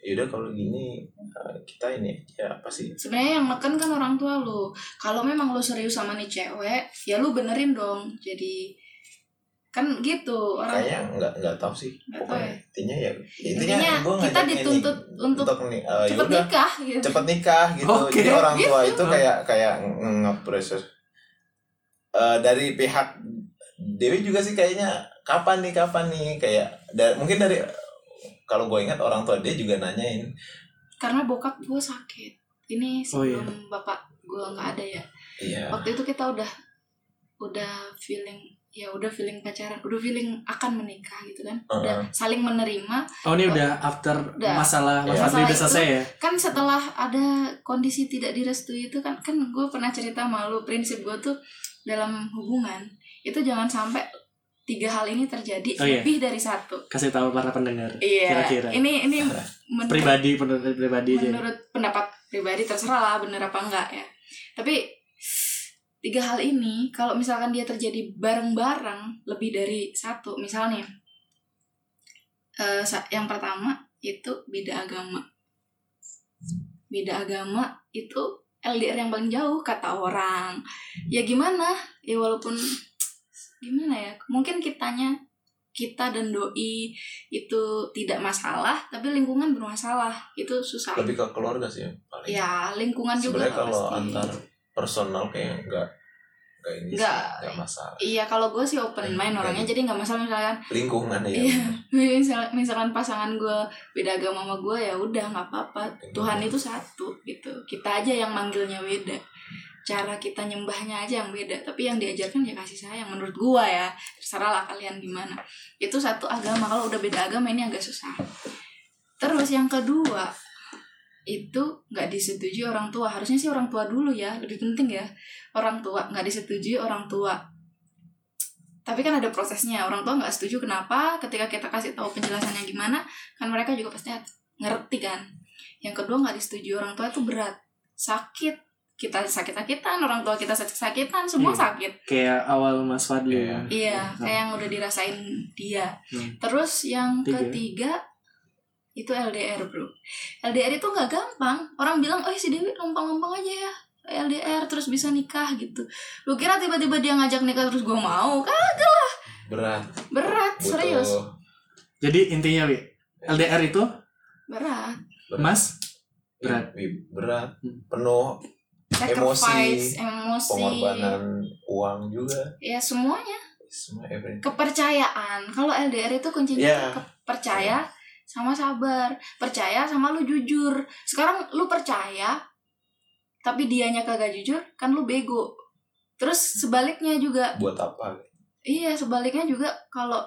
Speaker 3: yaudah kalau gini uh, kita ini ya apa sih
Speaker 2: sebenarnya yang neken kan orang tua lu kalau memang lu serius sama nih cewek ya lu benerin dong jadi kan gitu orang
Speaker 3: kayaknya nggak nggak tahu sih
Speaker 2: Nggak
Speaker 3: pokoknya
Speaker 2: tahu
Speaker 3: intinya ya
Speaker 2: Intinya kita
Speaker 3: gua ngajaknya
Speaker 2: dituntut untuk
Speaker 3: nih, uh,
Speaker 2: cepet
Speaker 3: yaudah,
Speaker 2: nikah gitu
Speaker 3: cepet nikah gitu
Speaker 1: Oke.
Speaker 3: jadi orang tua
Speaker 2: Gitu.
Speaker 3: itu kayak kayak nge- nge-pressure Uh, dari pihak Dewi juga sih kayaknya kapan nih kapan nih kayak da- mungkin dari kalau gue ingat orang tua dia juga nanyain
Speaker 2: karena bokap gue sakit ini
Speaker 1: Oh, iya.
Speaker 2: sebelum bapak gue nggak ada ya
Speaker 3: iya
Speaker 2: waktu itu kita udah udah feeling ya udah feeling pacaran udah feeling akan menikah gitu kan udah saling menerima
Speaker 1: Oh ini udah after
Speaker 2: Udah.
Speaker 1: masalah
Speaker 3: Iya.
Speaker 1: masalah
Speaker 2: Masalah
Speaker 1: udah selesai ya.
Speaker 2: kan setelah ada kondisi tidak direstui itu kan kan gue pernah cerita malu prinsip gue tuh dalam hubungan itu jangan sampai tiga hal ini terjadi
Speaker 1: Oh, iya.
Speaker 2: lebih dari satu
Speaker 1: Kasih tahu para pendengar.
Speaker 2: iya
Speaker 1: Kira-kira.
Speaker 2: ini ini men-
Speaker 1: Pribadi pendapat pribadi aja.
Speaker 2: menurut pendapat pribadi terserah lah bener apa enggak ya tapi tiga hal ini kalau misalkan dia terjadi bareng-bareng lebih dari satu misalnya eh, sa- yang pertama itu beda agama beda agama itu LDR yang paling jauh kata orang ya gimana ya walaupun gimana ya mungkin kitanya kita dan doi itu tidak masalah tapi lingkungan bermasalah itu susah
Speaker 3: Eh, lebih ke keluarga sih yang paling
Speaker 2: ya lingkungan juga
Speaker 3: sebenarnya kalau
Speaker 2: pasti.
Speaker 3: antar personal kayak enggak enggak ini sih,
Speaker 2: Nggak.
Speaker 3: nggak masalah
Speaker 2: iya kalau gue sih open mind
Speaker 3: Lingkungan.
Speaker 2: orangnya jadi nggak masalah misalkan
Speaker 3: lingkungan ya
Speaker 2: Iya. misalkan, misalkan pasangan gue beda agama sama gue ya udah nggak apa-apa Tuhan itu satu gitu kita aja yang manggilnya beda cara kita nyembahnya aja yang beda tapi yang diajarkan ya kasih sayang menurut gue ya terserah lah kalian gimana itu satu agama kalau udah beda agama ini agak susah terus yang kedua itu nggak disetujui orang tua harusnya sih orang tua dulu ya lebih penting ya orang tua nggak disetujui orang tua tapi kan ada prosesnya orang tua nggak setuju kenapa ketika kita kasih tahu penjelasannya gimana kan mereka juga pasti ngerti kan yang kedua nggak disetujui orang tua itu berat sakit kita sakit-sakitan orang tua kita sakit-sakitan semua
Speaker 1: Iya.
Speaker 2: sakit
Speaker 1: Kayak awal Mas Fadli.
Speaker 3: Iya.
Speaker 2: Iya,
Speaker 1: Nah.
Speaker 2: kayak yang udah dirasain dia.
Speaker 1: Hmm.
Speaker 2: Terus yang
Speaker 1: Tiga.
Speaker 2: ketiga itu LDR bro LDR itu nggak gampang orang bilang oh si Dewi lempeng-lempeng aja ya LDR terus bisa nikah gitu lu kira tiba-tiba dia ngajak nikah terus gue mau kagak lah
Speaker 3: berat
Speaker 2: berat
Speaker 3: butuh-
Speaker 2: serius
Speaker 1: Jadi intinya Wi, LDR itu
Speaker 2: berat
Speaker 1: Mas Berat.
Speaker 3: Ih, berat
Speaker 1: Hmm.
Speaker 3: penuh
Speaker 2: sacrifice emosi
Speaker 3: pengorbanan uang juga
Speaker 2: ya semuanya
Speaker 3: semua everything
Speaker 2: kepercayaan kalau LDR itu kuncinya
Speaker 3: Ya.
Speaker 2: ke- percaya sama sabar percaya sama lu jujur sekarang lu percaya tapi dianya kagak jujur kan lu bego terus sebaliknya juga
Speaker 3: buat apa
Speaker 2: Iya sebaliknya juga kalau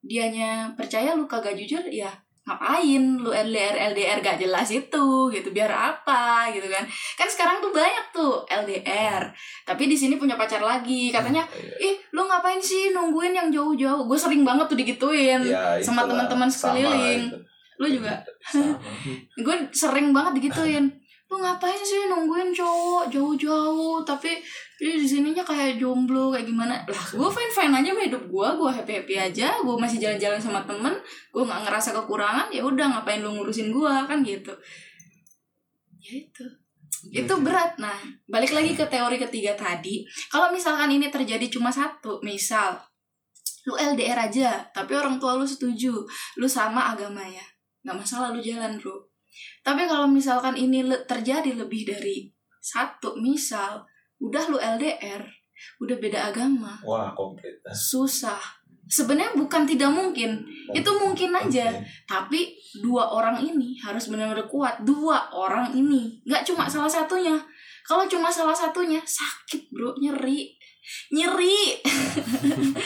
Speaker 2: dianya percaya lu kagak jujur ya ngapain lu LDR LDR gak jelas itu gitu biar apa gitu kan kan sekarang tuh banyak tuh LDR tapi di sini punya pacar lagi katanya
Speaker 3: Iya.
Speaker 2: ih lu ngapain sih nungguin yang jauh-jauh gue sering banget tuh digituin
Speaker 3: Ya,
Speaker 2: sama
Speaker 3: itulah.
Speaker 2: teman-teman
Speaker 3: Sama
Speaker 2: sekeliling.
Speaker 3: itu.
Speaker 2: lu juga
Speaker 3: Sama.
Speaker 2: gue sering banget digituin lu ngapain sih nungguin cowok jauh-jauh tapi dia di sininya kayak jomblo kayak gimana lah gue fine fine aja sama hidup gue gue happy happy aja gue masih jalan-jalan sama temen gue nggak ngerasa kekurangan ya udah ngapain lu ngurusin gue kan gitu ya itu itu berat nah balik lagi ke teori ketiga tadi kalau misalkan ini terjadi cuma satu misal lu LDR aja tapi orang tua lu setuju lu sama agamanya nggak masalah lu jalan bro tapi kalau misalkan ini le- terjadi lebih dari satu misal udah lu LDR udah beda agama
Speaker 3: wah komplit
Speaker 2: susah sebenarnya bukan tidak mungkin itu mungkin aja tapi dua orang ini harus benar-benar kuat dua orang ini nggak cuma salah satunya kalau cuma salah satunya sakit bro nyeri nyeri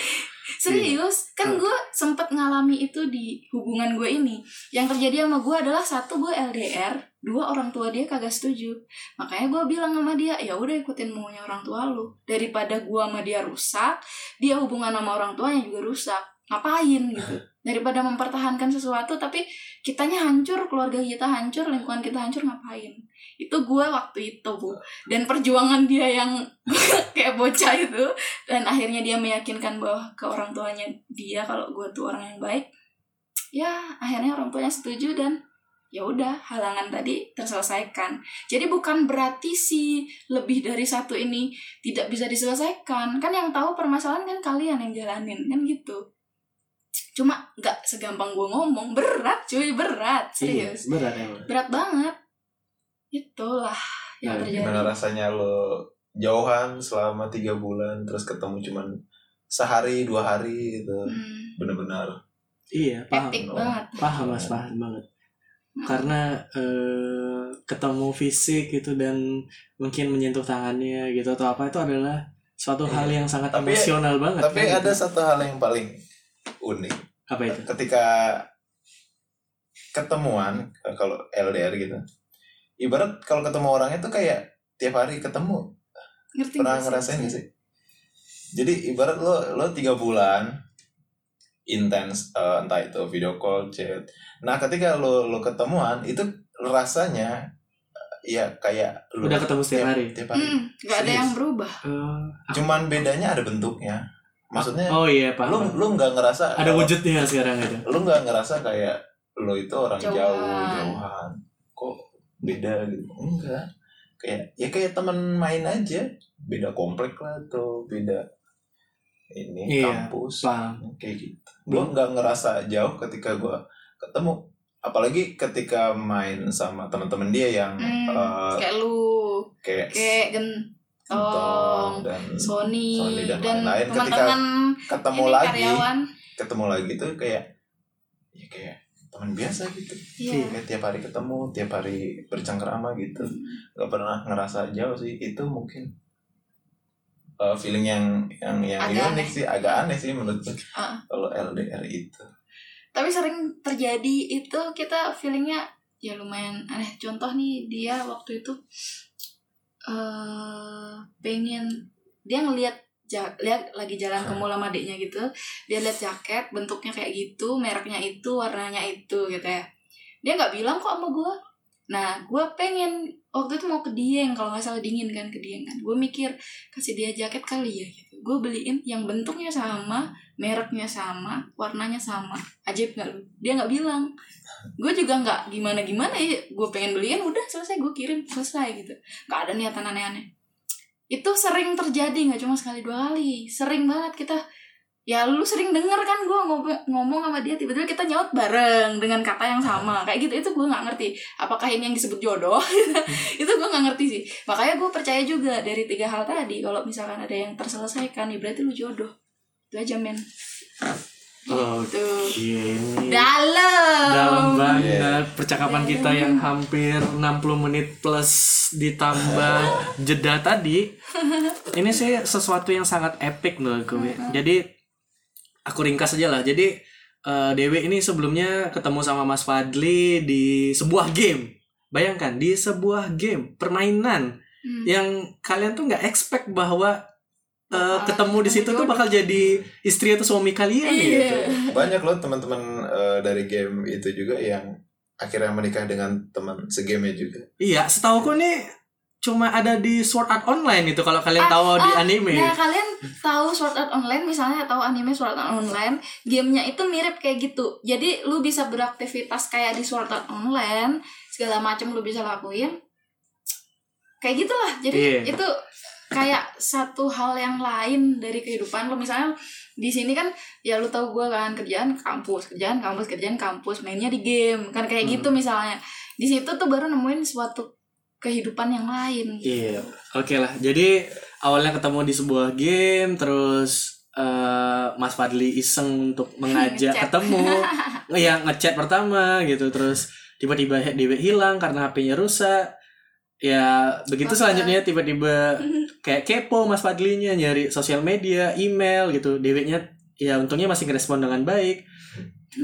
Speaker 2: serius kan gue sempet ngalami itu di hubungan gue ini yang terjadi sama gue adalah satu gue LDR dua orang tua dia kagak setuju makanya gue bilang sama dia ya udah ikutin maunya orang tua lu daripada gue sama dia rusak dia hubungan sama orang tuanya juga rusak ngapain gitu daripada mempertahankan sesuatu tapi kitanya hancur keluarga kita hancur lingkungan kita hancur ngapain itu gue waktu itu bu dan perjuangan dia yang kayak bocah itu dan akhirnya dia meyakinkan bahwa ke orang tuanya dia kalau gue tuh orang yang baik ya akhirnya orang tuanya setuju dan ya udah halangan tadi terselesaikan jadi bukan berarti si lebih dari satu ini tidak bisa diselesaikan kan yang tahu permasalahan kan kalian yang jalanin kan gitu cuma nggak segampang gue ngomong berat cuy berat
Speaker 1: Iya,
Speaker 2: serius
Speaker 1: berat emang.
Speaker 2: berat banget itulah yang
Speaker 1: Nah,
Speaker 2: terjadi
Speaker 3: gimana rasanya lo jauhan selama tiga bulan terus ketemu cuman sehari dua hari gitu
Speaker 2: hmm,
Speaker 3: bener-bener
Speaker 1: Iya, paham.
Speaker 2: epic banget
Speaker 1: Paham Mas,
Speaker 3: Iya.
Speaker 1: paham banget. Karena eh, ketemu fisik gitu dan mungkin menyentuh tangannya gitu atau apa itu adalah suatu
Speaker 3: Iya.
Speaker 1: hal yang sangat
Speaker 3: Tapi-
Speaker 1: emosional banget.
Speaker 3: tapi
Speaker 1: kan,
Speaker 3: ada
Speaker 1: gitu.
Speaker 3: satu hal yang paling unik
Speaker 1: apa itu?
Speaker 3: ketika ketemuan eh, kalau LDR gitu ibarat kalau ketemu orangnya tuh kayak tiap hari ketemu
Speaker 2: ngerti
Speaker 3: pernah
Speaker 2: nggak
Speaker 3: ngerasain gak sih jadi ibarat lo lo tiga bulan intens eh, entah itu video call chat nah ketika lo lo ketemuan itu rasanya eh, ya kayak lo
Speaker 1: Udah ketemu setiap hari.
Speaker 3: tiap hari
Speaker 2: Hmm, nggak ada
Speaker 3: Serius.
Speaker 2: yang berubah
Speaker 1: Eh,
Speaker 3: cuman bedanya ada bentuknya maksudnya
Speaker 1: oh iya,
Speaker 3: lo
Speaker 1: paham.
Speaker 3: lo nggak ngerasa
Speaker 1: ada wujudnya sekarang ada.
Speaker 3: lu nggak ngerasa kayak lu itu orang
Speaker 2: Jauhan.
Speaker 3: jauh jauhan kok beda gitu enggak kayak ya kayak teman main aja beda komplek lah atau beda ini
Speaker 1: Iya,
Speaker 3: kampus
Speaker 1: Paham.
Speaker 3: kayak gitu gua nggak ngerasa jauh ketika gua ketemu apalagi ketika main sama teman-teman dia yang
Speaker 2: Hmm,
Speaker 3: eh,
Speaker 2: kayak lu
Speaker 3: kayak
Speaker 2: kayak oh,
Speaker 3: Gentong
Speaker 2: gentong
Speaker 3: dan
Speaker 2: Sony,
Speaker 3: Sony dan
Speaker 2: dan
Speaker 3: lain-lain.
Speaker 2: teman-teman
Speaker 3: ketemu
Speaker 2: ini
Speaker 3: lagi
Speaker 2: karyawan
Speaker 3: ketemu lagi tuh kayak ya kayak teman biasa gitu
Speaker 2: Iya.
Speaker 3: Kayak tiap hari ketemu, tiap hari bercengkerama gitu. Gak pernah ngerasa jauh sih. Itu mungkin uh, feeling yang yang yang
Speaker 2: Agak aneh.
Speaker 3: unik sih, agak aneh sih menurut gue.
Speaker 2: Ah.
Speaker 3: Kalau LDR itu.
Speaker 2: tapi sering terjadi itu kita feelingnya ya lumayan aneh contoh nih dia waktu itu eh pengen dia ngelihat ja- lihat lagi jalan ke mall sama adiknya gitu dia lihat jaket bentuknya kayak gitu mereknya itu warnanya itu gitu ya dia nggak bilang kok sama gue nah gue pengen waktu itu mau ke Dieng kalau nggak salah dingin kan ke Dieng kan gue mikir kasih dia jaket kali ya gitu gue beliin yang bentuknya sama mereknya sama warnanya sama ajaib nggak lu dia nggak bilang gue juga nggak gimana gimana ya gue pengen beliin udah selesai gue kirim selesai gitu nggak ada niatan aneh-aneh itu sering terjadi nggak cuma sekali dua kali sering banget kita ya lu sering denger kan gue ngomong ngomong sama dia tiba-tiba kita nyaut bareng dengan kata yang sama kayak gitu itu gue nggak ngerti apakah ini yang disebut jodoh itu gue nggak ngerti sih makanya gue percaya juga dari tiga hal tadi kalau misalkan ada yang terselesaikan ya berarti lu jodoh itu aja men Gitu.
Speaker 1: Oke. Iya, ini
Speaker 2: dalam
Speaker 1: Dalam
Speaker 2: Iya.
Speaker 1: banget percakapan kita yang hampir 60 menit plus ditambah jeda tadi. Ini sih sesuatu yang sangat epic menurutku. ya. Jadi aku ringkas aja lah. Jadi eh, Dewi ini sebelumnya ketemu sama Mas Fadli di sebuah game. Bayangkan di sebuah game permainan
Speaker 2: Hmm.
Speaker 1: yang kalian tuh nggak expect bahwa eh,
Speaker 2: Bakalan
Speaker 1: ketemu di
Speaker 2: ketemu
Speaker 1: situ tuh
Speaker 2: jodoh.
Speaker 1: bakal jadi istri atau suami kalian
Speaker 2: iya
Speaker 1: gitu.
Speaker 3: banyak loh teman-teman eh, dari game itu juga yang akhirnya menikah dengan teman segame juga
Speaker 1: Iya, setahu aku nih cuma ada di Sword Art Online itu kalau kalian tahu di
Speaker 2: ah,
Speaker 1: anime.
Speaker 2: Nah kalian tahu Sword Art Online misalnya tahu anime Sword Art Online, gamenya itu mirip kayak gitu. Jadi lu bisa beraktivitas kayak di Sword Art Online, segala macam lu bisa lakuin. Kayak gitulah. Jadi
Speaker 1: Iya.
Speaker 2: itu kayak satu hal yang lain dari kehidupan lu. Misalnya di sini kan ya lu tahu gue kan kerjaan kampus, kerjaan kampus, kerjaan kampus, mainnya di game kan kayak
Speaker 1: Hmm.
Speaker 2: gitu misalnya. Di situ tuh baru nemuin suatu kehidupan yang lain.
Speaker 1: Iya,
Speaker 2: gitu.
Speaker 1: oke lah. Jadi awalnya ketemu di sebuah game, terus eh, Mas Fadli iseng untuk mengajak
Speaker 2: Ngechat.
Speaker 1: ketemu, ya ngechat pertama gitu, terus tiba-tiba Dewi hilang karena HP-nya rusak. Ya begitu
Speaker 2: Maka-
Speaker 1: selanjutnya tiba-tiba kayak kepo Mas Fadlinya nyari sosial media, email gitu. Dewinya ya untungnya masih ngerespon dengan baik.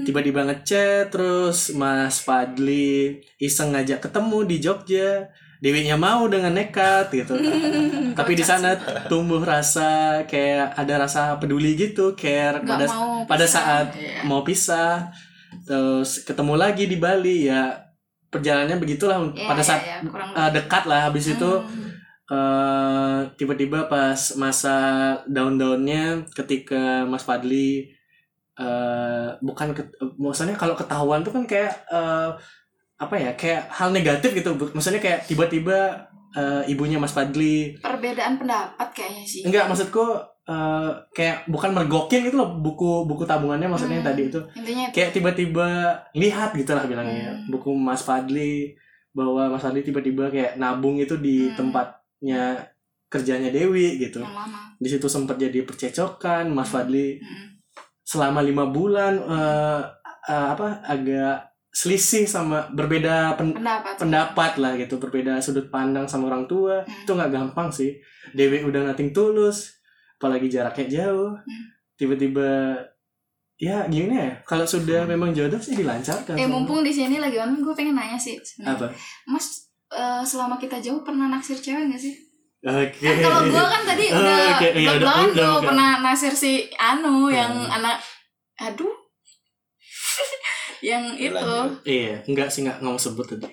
Speaker 1: Tiba-tiba ngechat terus Mas Fadli iseng ngajak ketemu di Jogja. Dewinya mau dengan nekat gitu. Tapi di sana tumbuh rasa kayak ada rasa peduli gitu, care
Speaker 2: Nggak
Speaker 1: pada
Speaker 2: mau
Speaker 1: pada
Speaker 2: pisah.
Speaker 1: saat
Speaker 2: Iya.
Speaker 1: mau pisah. Terus ketemu lagi di Bali ya perjalanannya begitulah
Speaker 2: Iya,
Speaker 1: pada
Speaker 2: iya,
Speaker 1: saat
Speaker 2: iya, kurang
Speaker 1: eh,
Speaker 2: lebih.
Speaker 1: dekat lah habis itu
Speaker 2: Hmm.
Speaker 1: eh tiba-tiba pas masa down-downnya ketika Mas Fadli eh bukan ke, eh, maksudnya kalau ketahuan tuh kan kayak eh, apa ya kayak hal negatif gitu Bu- maksudnya kayak tiba-tiba eh, ibunya Mas Fadli
Speaker 2: perbedaan pendapat kayaknya sih
Speaker 1: enggak maksudku eh, kayak bukan mergokin gitu loh buku buku tabungannya maksudnya yang
Speaker 2: Hmm.
Speaker 1: tadi itu
Speaker 2: intinya itu
Speaker 1: kayak tiba-tiba lihat gitu lah bilangnya
Speaker 2: Hmm.
Speaker 1: buku Mas Fadli bahwa Mas Fadli tiba-tiba kayak nabung itu di
Speaker 2: Hmm.
Speaker 1: tempatnya kerjanya Dewi gitu
Speaker 2: yang lama
Speaker 1: di situ sempat jadi percecokan Mas
Speaker 2: Hmm.
Speaker 1: Fadli
Speaker 2: Hmm.
Speaker 1: selama lima bulan eh, eh, apa agak selisih sama berbeda pen-
Speaker 2: pendapat
Speaker 1: pendapat lah gitu berbeda sudut pandang sama orang tua
Speaker 2: Hmm.
Speaker 1: itu nggak gampang sih Dewi udah nothing tulus apalagi jaraknya jauh
Speaker 2: Hmm.
Speaker 1: tiba-tiba ya gini ya kalau sudah memang jodoh sih dilancarkan
Speaker 2: eh mumpung di sini lagi on gue pengen nanya sih sebenarnya.
Speaker 1: kan apa
Speaker 2: mas eh, selama kita jauh pernah naksir cewek gak sih?
Speaker 1: oke
Speaker 2: Kan kalau gue kan tadi
Speaker 1: Oh,
Speaker 2: udah
Speaker 1: oke, iya, udah- udah,
Speaker 2: belak-belakan gue
Speaker 1: udah.
Speaker 2: pernah naksir si Anu yang
Speaker 1: Hmm.
Speaker 2: anak aduh yang
Speaker 3: Ya,
Speaker 2: itu
Speaker 3: lanjut.
Speaker 1: iya enggak sih nggak ngomong sebut tadi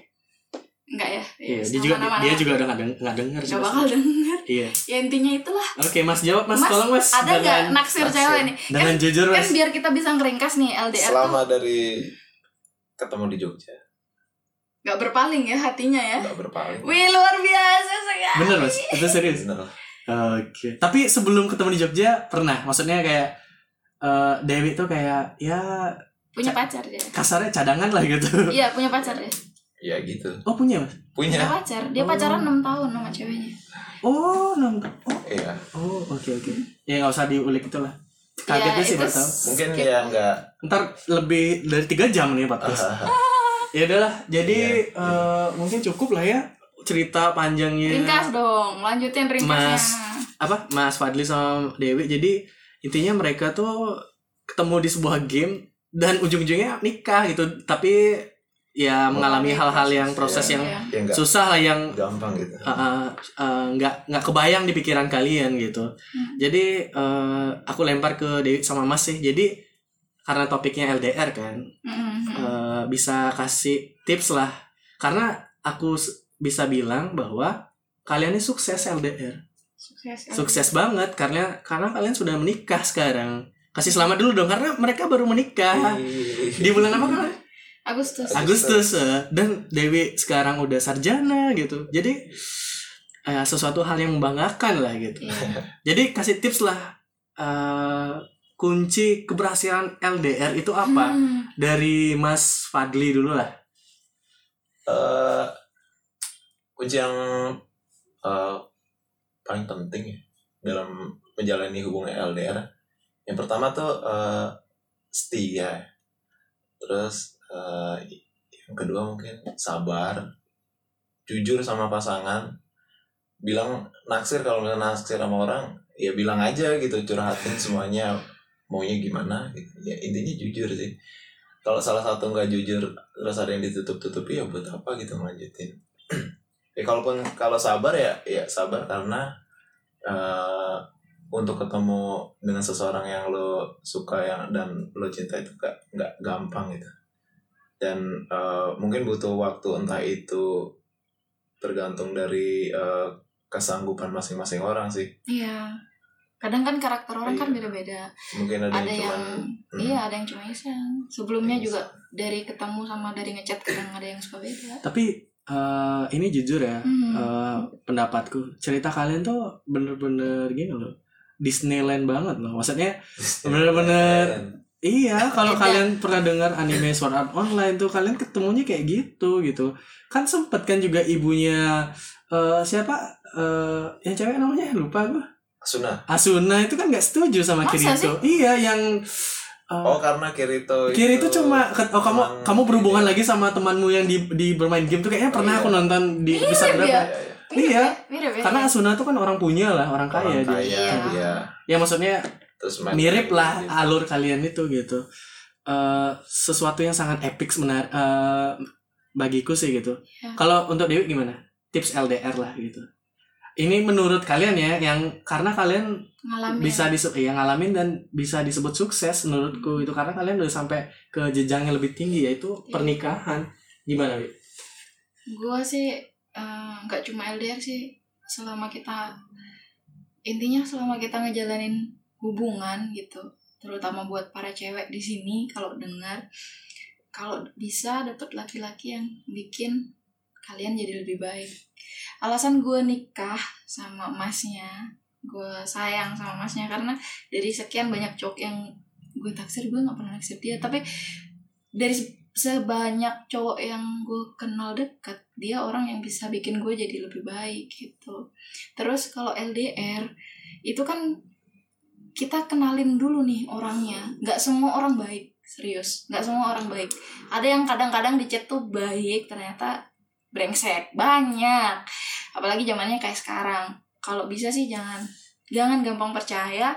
Speaker 2: enggak ya?
Speaker 1: iya dia juga
Speaker 2: sama-sama
Speaker 1: dia
Speaker 2: anak.
Speaker 1: juga udah nggak deng- nggak dengar sih
Speaker 2: Gak
Speaker 1: pasti.
Speaker 2: bakal denger
Speaker 1: iya
Speaker 2: Ya intinya itulah
Speaker 1: oke mas jawab mas,
Speaker 2: Mas,
Speaker 1: tolong mas
Speaker 2: Ada
Speaker 1: dengan,
Speaker 2: gak naksir
Speaker 3: naksir.
Speaker 2: cewek nih? Kan
Speaker 1: dengan jujur
Speaker 2: kan
Speaker 1: mas
Speaker 2: biar kita bisa ngeringkas nih LDR tuh
Speaker 3: selama dari ketemu di Jogja
Speaker 2: nggak berpaling ya hatinya ya
Speaker 3: nggak berpaling
Speaker 2: wih luar biasa sekali
Speaker 1: bener mas itu serius
Speaker 3: Bener lah.
Speaker 1: Oke. Tapi sebelum ketemu di Jogja pernah, maksudnya kayak eh, Dewi tuh kayak ya
Speaker 2: punya pacar dia
Speaker 1: kasarnya cadangan lah gitu.
Speaker 2: iya punya pacar dia
Speaker 3: ya gitu
Speaker 1: Oh punya mas?
Speaker 2: punya
Speaker 3: punya
Speaker 2: pacar dia
Speaker 1: Oh.
Speaker 2: pacaran 6 tahun sama ceweknya
Speaker 1: Oh nang. Oh
Speaker 3: iya
Speaker 1: oh, oke oke. Ya nggak usah diulik itu lah. Kaget
Speaker 2: Ya,
Speaker 1: sih
Speaker 2: itu
Speaker 1: baru tahu.
Speaker 3: mungkin
Speaker 2: skip.
Speaker 3: ya nggak
Speaker 1: Ntar lebih dari tiga jam nih podcast. Ya udahlah. Jadi
Speaker 3: Iya.
Speaker 1: eh, mungkin cukup lah ya cerita panjangnya.
Speaker 2: ringkas dong lanjutin ringkasnya
Speaker 1: Mas. apa Mas Fadli sama Dewi jadi intinya mereka tuh ketemu di sebuah game dan ujung-ujungnya nikah gitu tapi ya mengalami hal-hal yang proses yang
Speaker 2: Oh, Iya.
Speaker 3: ya nggak
Speaker 1: susah lah yang
Speaker 3: gampang gitu
Speaker 1: uh, uh, uh, nggak nggak kebayang di pikiran kalian gitu jadi uh, aku lempar ke Dewi sama Mas sih jadi karena topiknya LDR kan
Speaker 2: Mm-mm.
Speaker 1: eh, bisa kasih tips lah karena aku s- bisa bilang bahwa kalian ini sukses LDR
Speaker 2: Sukses.
Speaker 1: sukses banget karena karena kalian sudah menikah sekarang kasih selamat dulu dong karena mereka baru
Speaker 2: Iya,
Speaker 3: Iya.
Speaker 1: menikah di bulan apa kan
Speaker 2: Agustus.
Speaker 1: Agustus eh, dan Dewi sekarang udah sarjana gitu jadi eh, sesuatu hal yang membanggakan lah gitu
Speaker 2: Iya.
Speaker 1: jadi kasih tips lah eh, kunci keberhasilan LDR itu apa
Speaker 2: Hmm.
Speaker 1: dari Mas Fadli dulu lah
Speaker 3: Eh, kunci yang eh, paling penting ya dalam menjalani hubungan LDR yang pertama tuh eh, setia terus eh, yang kedua mungkin sabar jujur sama pasangan bilang naksir kalau misalnya naksir sama orang ya bilang aja gitu curhatin semuanya maunya gimana gitu. ya intinya jujur sih kalau salah satu nggak jujur terus ada yang ditutup-tutupi ya buat apa gitu ngelanjutin ya kalaupun kalau sabar ya ya sabar karena eh, untuk ketemu dengan seseorang yang lo suka yang dan lo cinta itu gak nggak gampang gitu dan eh, mungkin butuh waktu entah itu tergantung dari eh, kesanggupan masing-masing orang sih
Speaker 2: Iya. Kadang kan karakter orang kan
Speaker 3: Iya.
Speaker 2: beda-beda.
Speaker 3: mungkin ada,
Speaker 2: Ada
Speaker 3: yang cuman
Speaker 2: yang
Speaker 3: hmm,
Speaker 2: iya,
Speaker 1: Mm.
Speaker 2: ada yang cuma iseng. Sebelumnya
Speaker 1: Iya.
Speaker 3: Iseng.
Speaker 2: juga dari ketemu sama dari ngechat kadang ada yang suka beda.
Speaker 1: tapi eh, ini jujur ya
Speaker 2: Hmm.
Speaker 1: eh, pendapatku cerita kalian tuh bener-bener gini loh Disneyland banget loh maksudnya bener-bener Iya, kalau
Speaker 2: Beda.
Speaker 1: kalian pernah dengar anime Sword Art Online tuh kalian ketemunya kayak gitu gitu. Kan sempet kan juga ibunya eh, siapa eh yang cewek namanya lupa gua.
Speaker 3: Asuna
Speaker 1: Asuna itu kan nggak setuju sama
Speaker 2: Masa
Speaker 1: Kirito. Iya, yang eh,
Speaker 3: Oh karena Kirito
Speaker 1: Kirito cuma ket- oh, kamu
Speaker 3: cuman-
Speaker 1: kamu berhubungan lagi sama temanmu yang di di bermain game tuh kayaknya pernah
Speaker 3: ya. Iya.
Speaker 1: aku nonton di episode
Speaker 3: Iya,
Speaker 1: berapa.
Speaker 3: iya, iya.
Speaker 1: Iya.
Speaker 2: Mirip ya.
Speaker 1: Karena Asuna tuh kan orang punya lah, orang
Speaker 3: Orang
Speaker 1: kaya, dia.
Speaker 3: kaya,
Speaker 2: Iya.
Speaker 3: iya.
Speaker 1: Ya maksudnya
Speaker 3: Terus main-
Speaker 1: mirip lah
Speaker 3: gitu.
Speaker 1: alur kalian itu gitu Eh, sesuatu yang sangat epic menar eh, bagiku sih gitu
Speaker 2: Ya.
Speaker 1: kalau untuk Dewi gimana tips LDR lah gitu ini menurut kalian ya yang karena kalian
Speaker 2: ngalamin.
Speaker 1: bisa disebut yang ngalamin dan bisa disebut sukses menurutku itu karena kalian udah sampai ke jenjang yang lebih tinggi yaitu
Speaker 2: Hmm. Iya.
Speaker 1: pernikahan gimana Wi?
Speaker 2: Gue sih eh, nggak cuma LDR sih. Selama kita intinya selama kita ngejalanin hubungan gitu, terutama buat para cewek di sini kalau dengar kalau bisa dapet laki-laki yang bikin kalian jadi lebih baik. Alasan gue nikah sama emasnya, gue sayang sama emasnya karena dari sekian banyak cowok yang gue taksir gue nggak pernah naksir dia, tapi dari se- sebanyak cowok yang gue kenal dekat dia orang yang bisa bikin gue jadi lebih baik gitu. Terus kalau LDR itu kan kita kenalin dulu nih orangnya nggak semua orang baik serius nggak semua orang baik ada yang kadang-kadang di chat tuh baik ternyata brengsek banyak apalagi zamannya kayak sekarang kalau bisa sih jangan jangan gampang percaya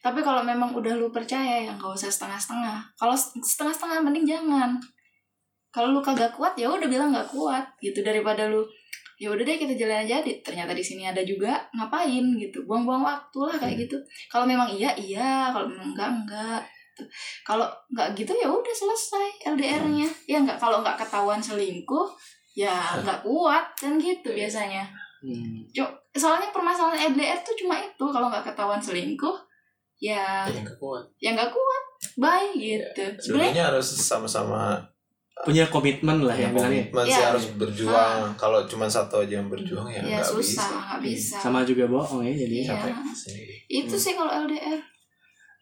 Speaker 2: tapi kalau memang udah lu percaya ya nggak usah setengah-setengah kalau setengah-setengah mending jangan kalau lu kagak kuat ya udah bilang nggak kuat gitu daripada lu ya udah deh kita jalan aja Di- ternyata di sini ada juga ngapain gitu buang-buang waktu lah kayak gitu kalau memang iya iya kalau memang enggak enggak Gitu. kalau enggak gitu ya udah selesai LDR-nya ya enggak kalau enggak ketahuan selingkuh ya enggak kuat kan gitu biasanya
Speaker 1: Hmm.
Speaker 2: soalnya permasalahan LDR tuh cuma itu kalau nggak ketahuan selingkuh ya
Speaker 3: Yang kekuat.
Speaker 2: ya nggak kuat bye gitu sebenarnya
Speaker 3: Sebenarnya harus sama-sama
Speaker 1: punya komitmen lah ya bilangnya
Speaker 3: komitmen sih
Speaker 2: Iya.
Speaker 3: harus berjuang. Kalau cuma satu aja yang berjuang ya
Speaker 2: ya
Speaker 3: nggak bisa.
Speaker 2: susah nggak bisa
Speaker 1: Iya. sama juga bohong ya jadi
Speaker 2: Iya.
Speaker 3: Capek sendiri.
Speaker 2: itu sih kalau LDR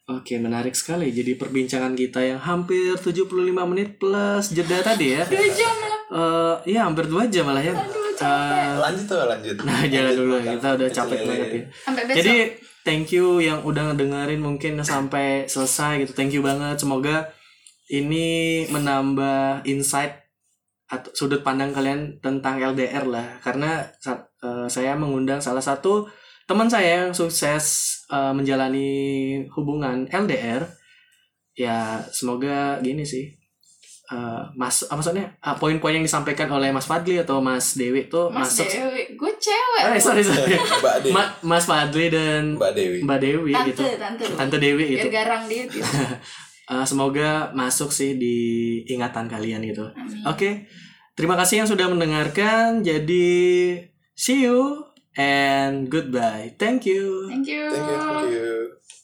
Speaker 1: Oke, menarik sekali. Jadi perbincangan kita yang hampir 75 menit plus jeda tadi ya.
Speaker 2: dua jam lah
Speaker 1: Eh, Iya, hampir 2 jam malah ya.
Speaker 2: Aduh,
Speaker 1: Eh,
Speaker 3: Lanjut tuh lanjut.
Speaker 1: nah, jangan dulu. Kita udah capek
Speaker 3: Kecil
Speaker 1: banget
Speaker 3: lele.
Speaker 1: ya.
Speaker 2: sampai besok
Speaker 1: Jadi, thank you yang udah ngedengerin mungkin sampai selesai gitu. Thank you banget. Semoga ini menambah insight atau sudut pandang kalian tentang LDR lah. Karena sa- eh, saya mengundang salah satu teman saya yang sukses eh, menjalani hubungan LDR. Ya, semoga gini sih. Eh, mas, apa maksudnya eh, poin-poin yang disampaikan oleh Mas Fadli atau Mas Dewi itu
Speaker 2: Mas
Speaker 1: masuk.
Speaker 2: Dewi gue cewek
Speaker 1: Eh, sorry, sorry.
Speaker 3: Mbak Dewi.
Speaker 1: Ma- Mas Fadli dan
Speaker 3: Mbak Dewi.
Speaker 1: Mbak Dewi
Speaker 2: tante
Speaker 1: gitu.
Speaker 2: tante
Speaker 1: Tante Dewi
Speaker 2: biar
Speaker 1: gitu.
Speaker 2: garang dia gitu.
Speaker 1: Eh, semoga masuk sih di ingatan kalian gitu.
Speaker 2: Amin.
Speaker 1: Oke. Terima kasih yang sudah mendengarkan. Jadi see you
Speaker 4: and goodbye. Thank you.
Speaker 5: Thank you.
Speaker 1: Thank you, thank you.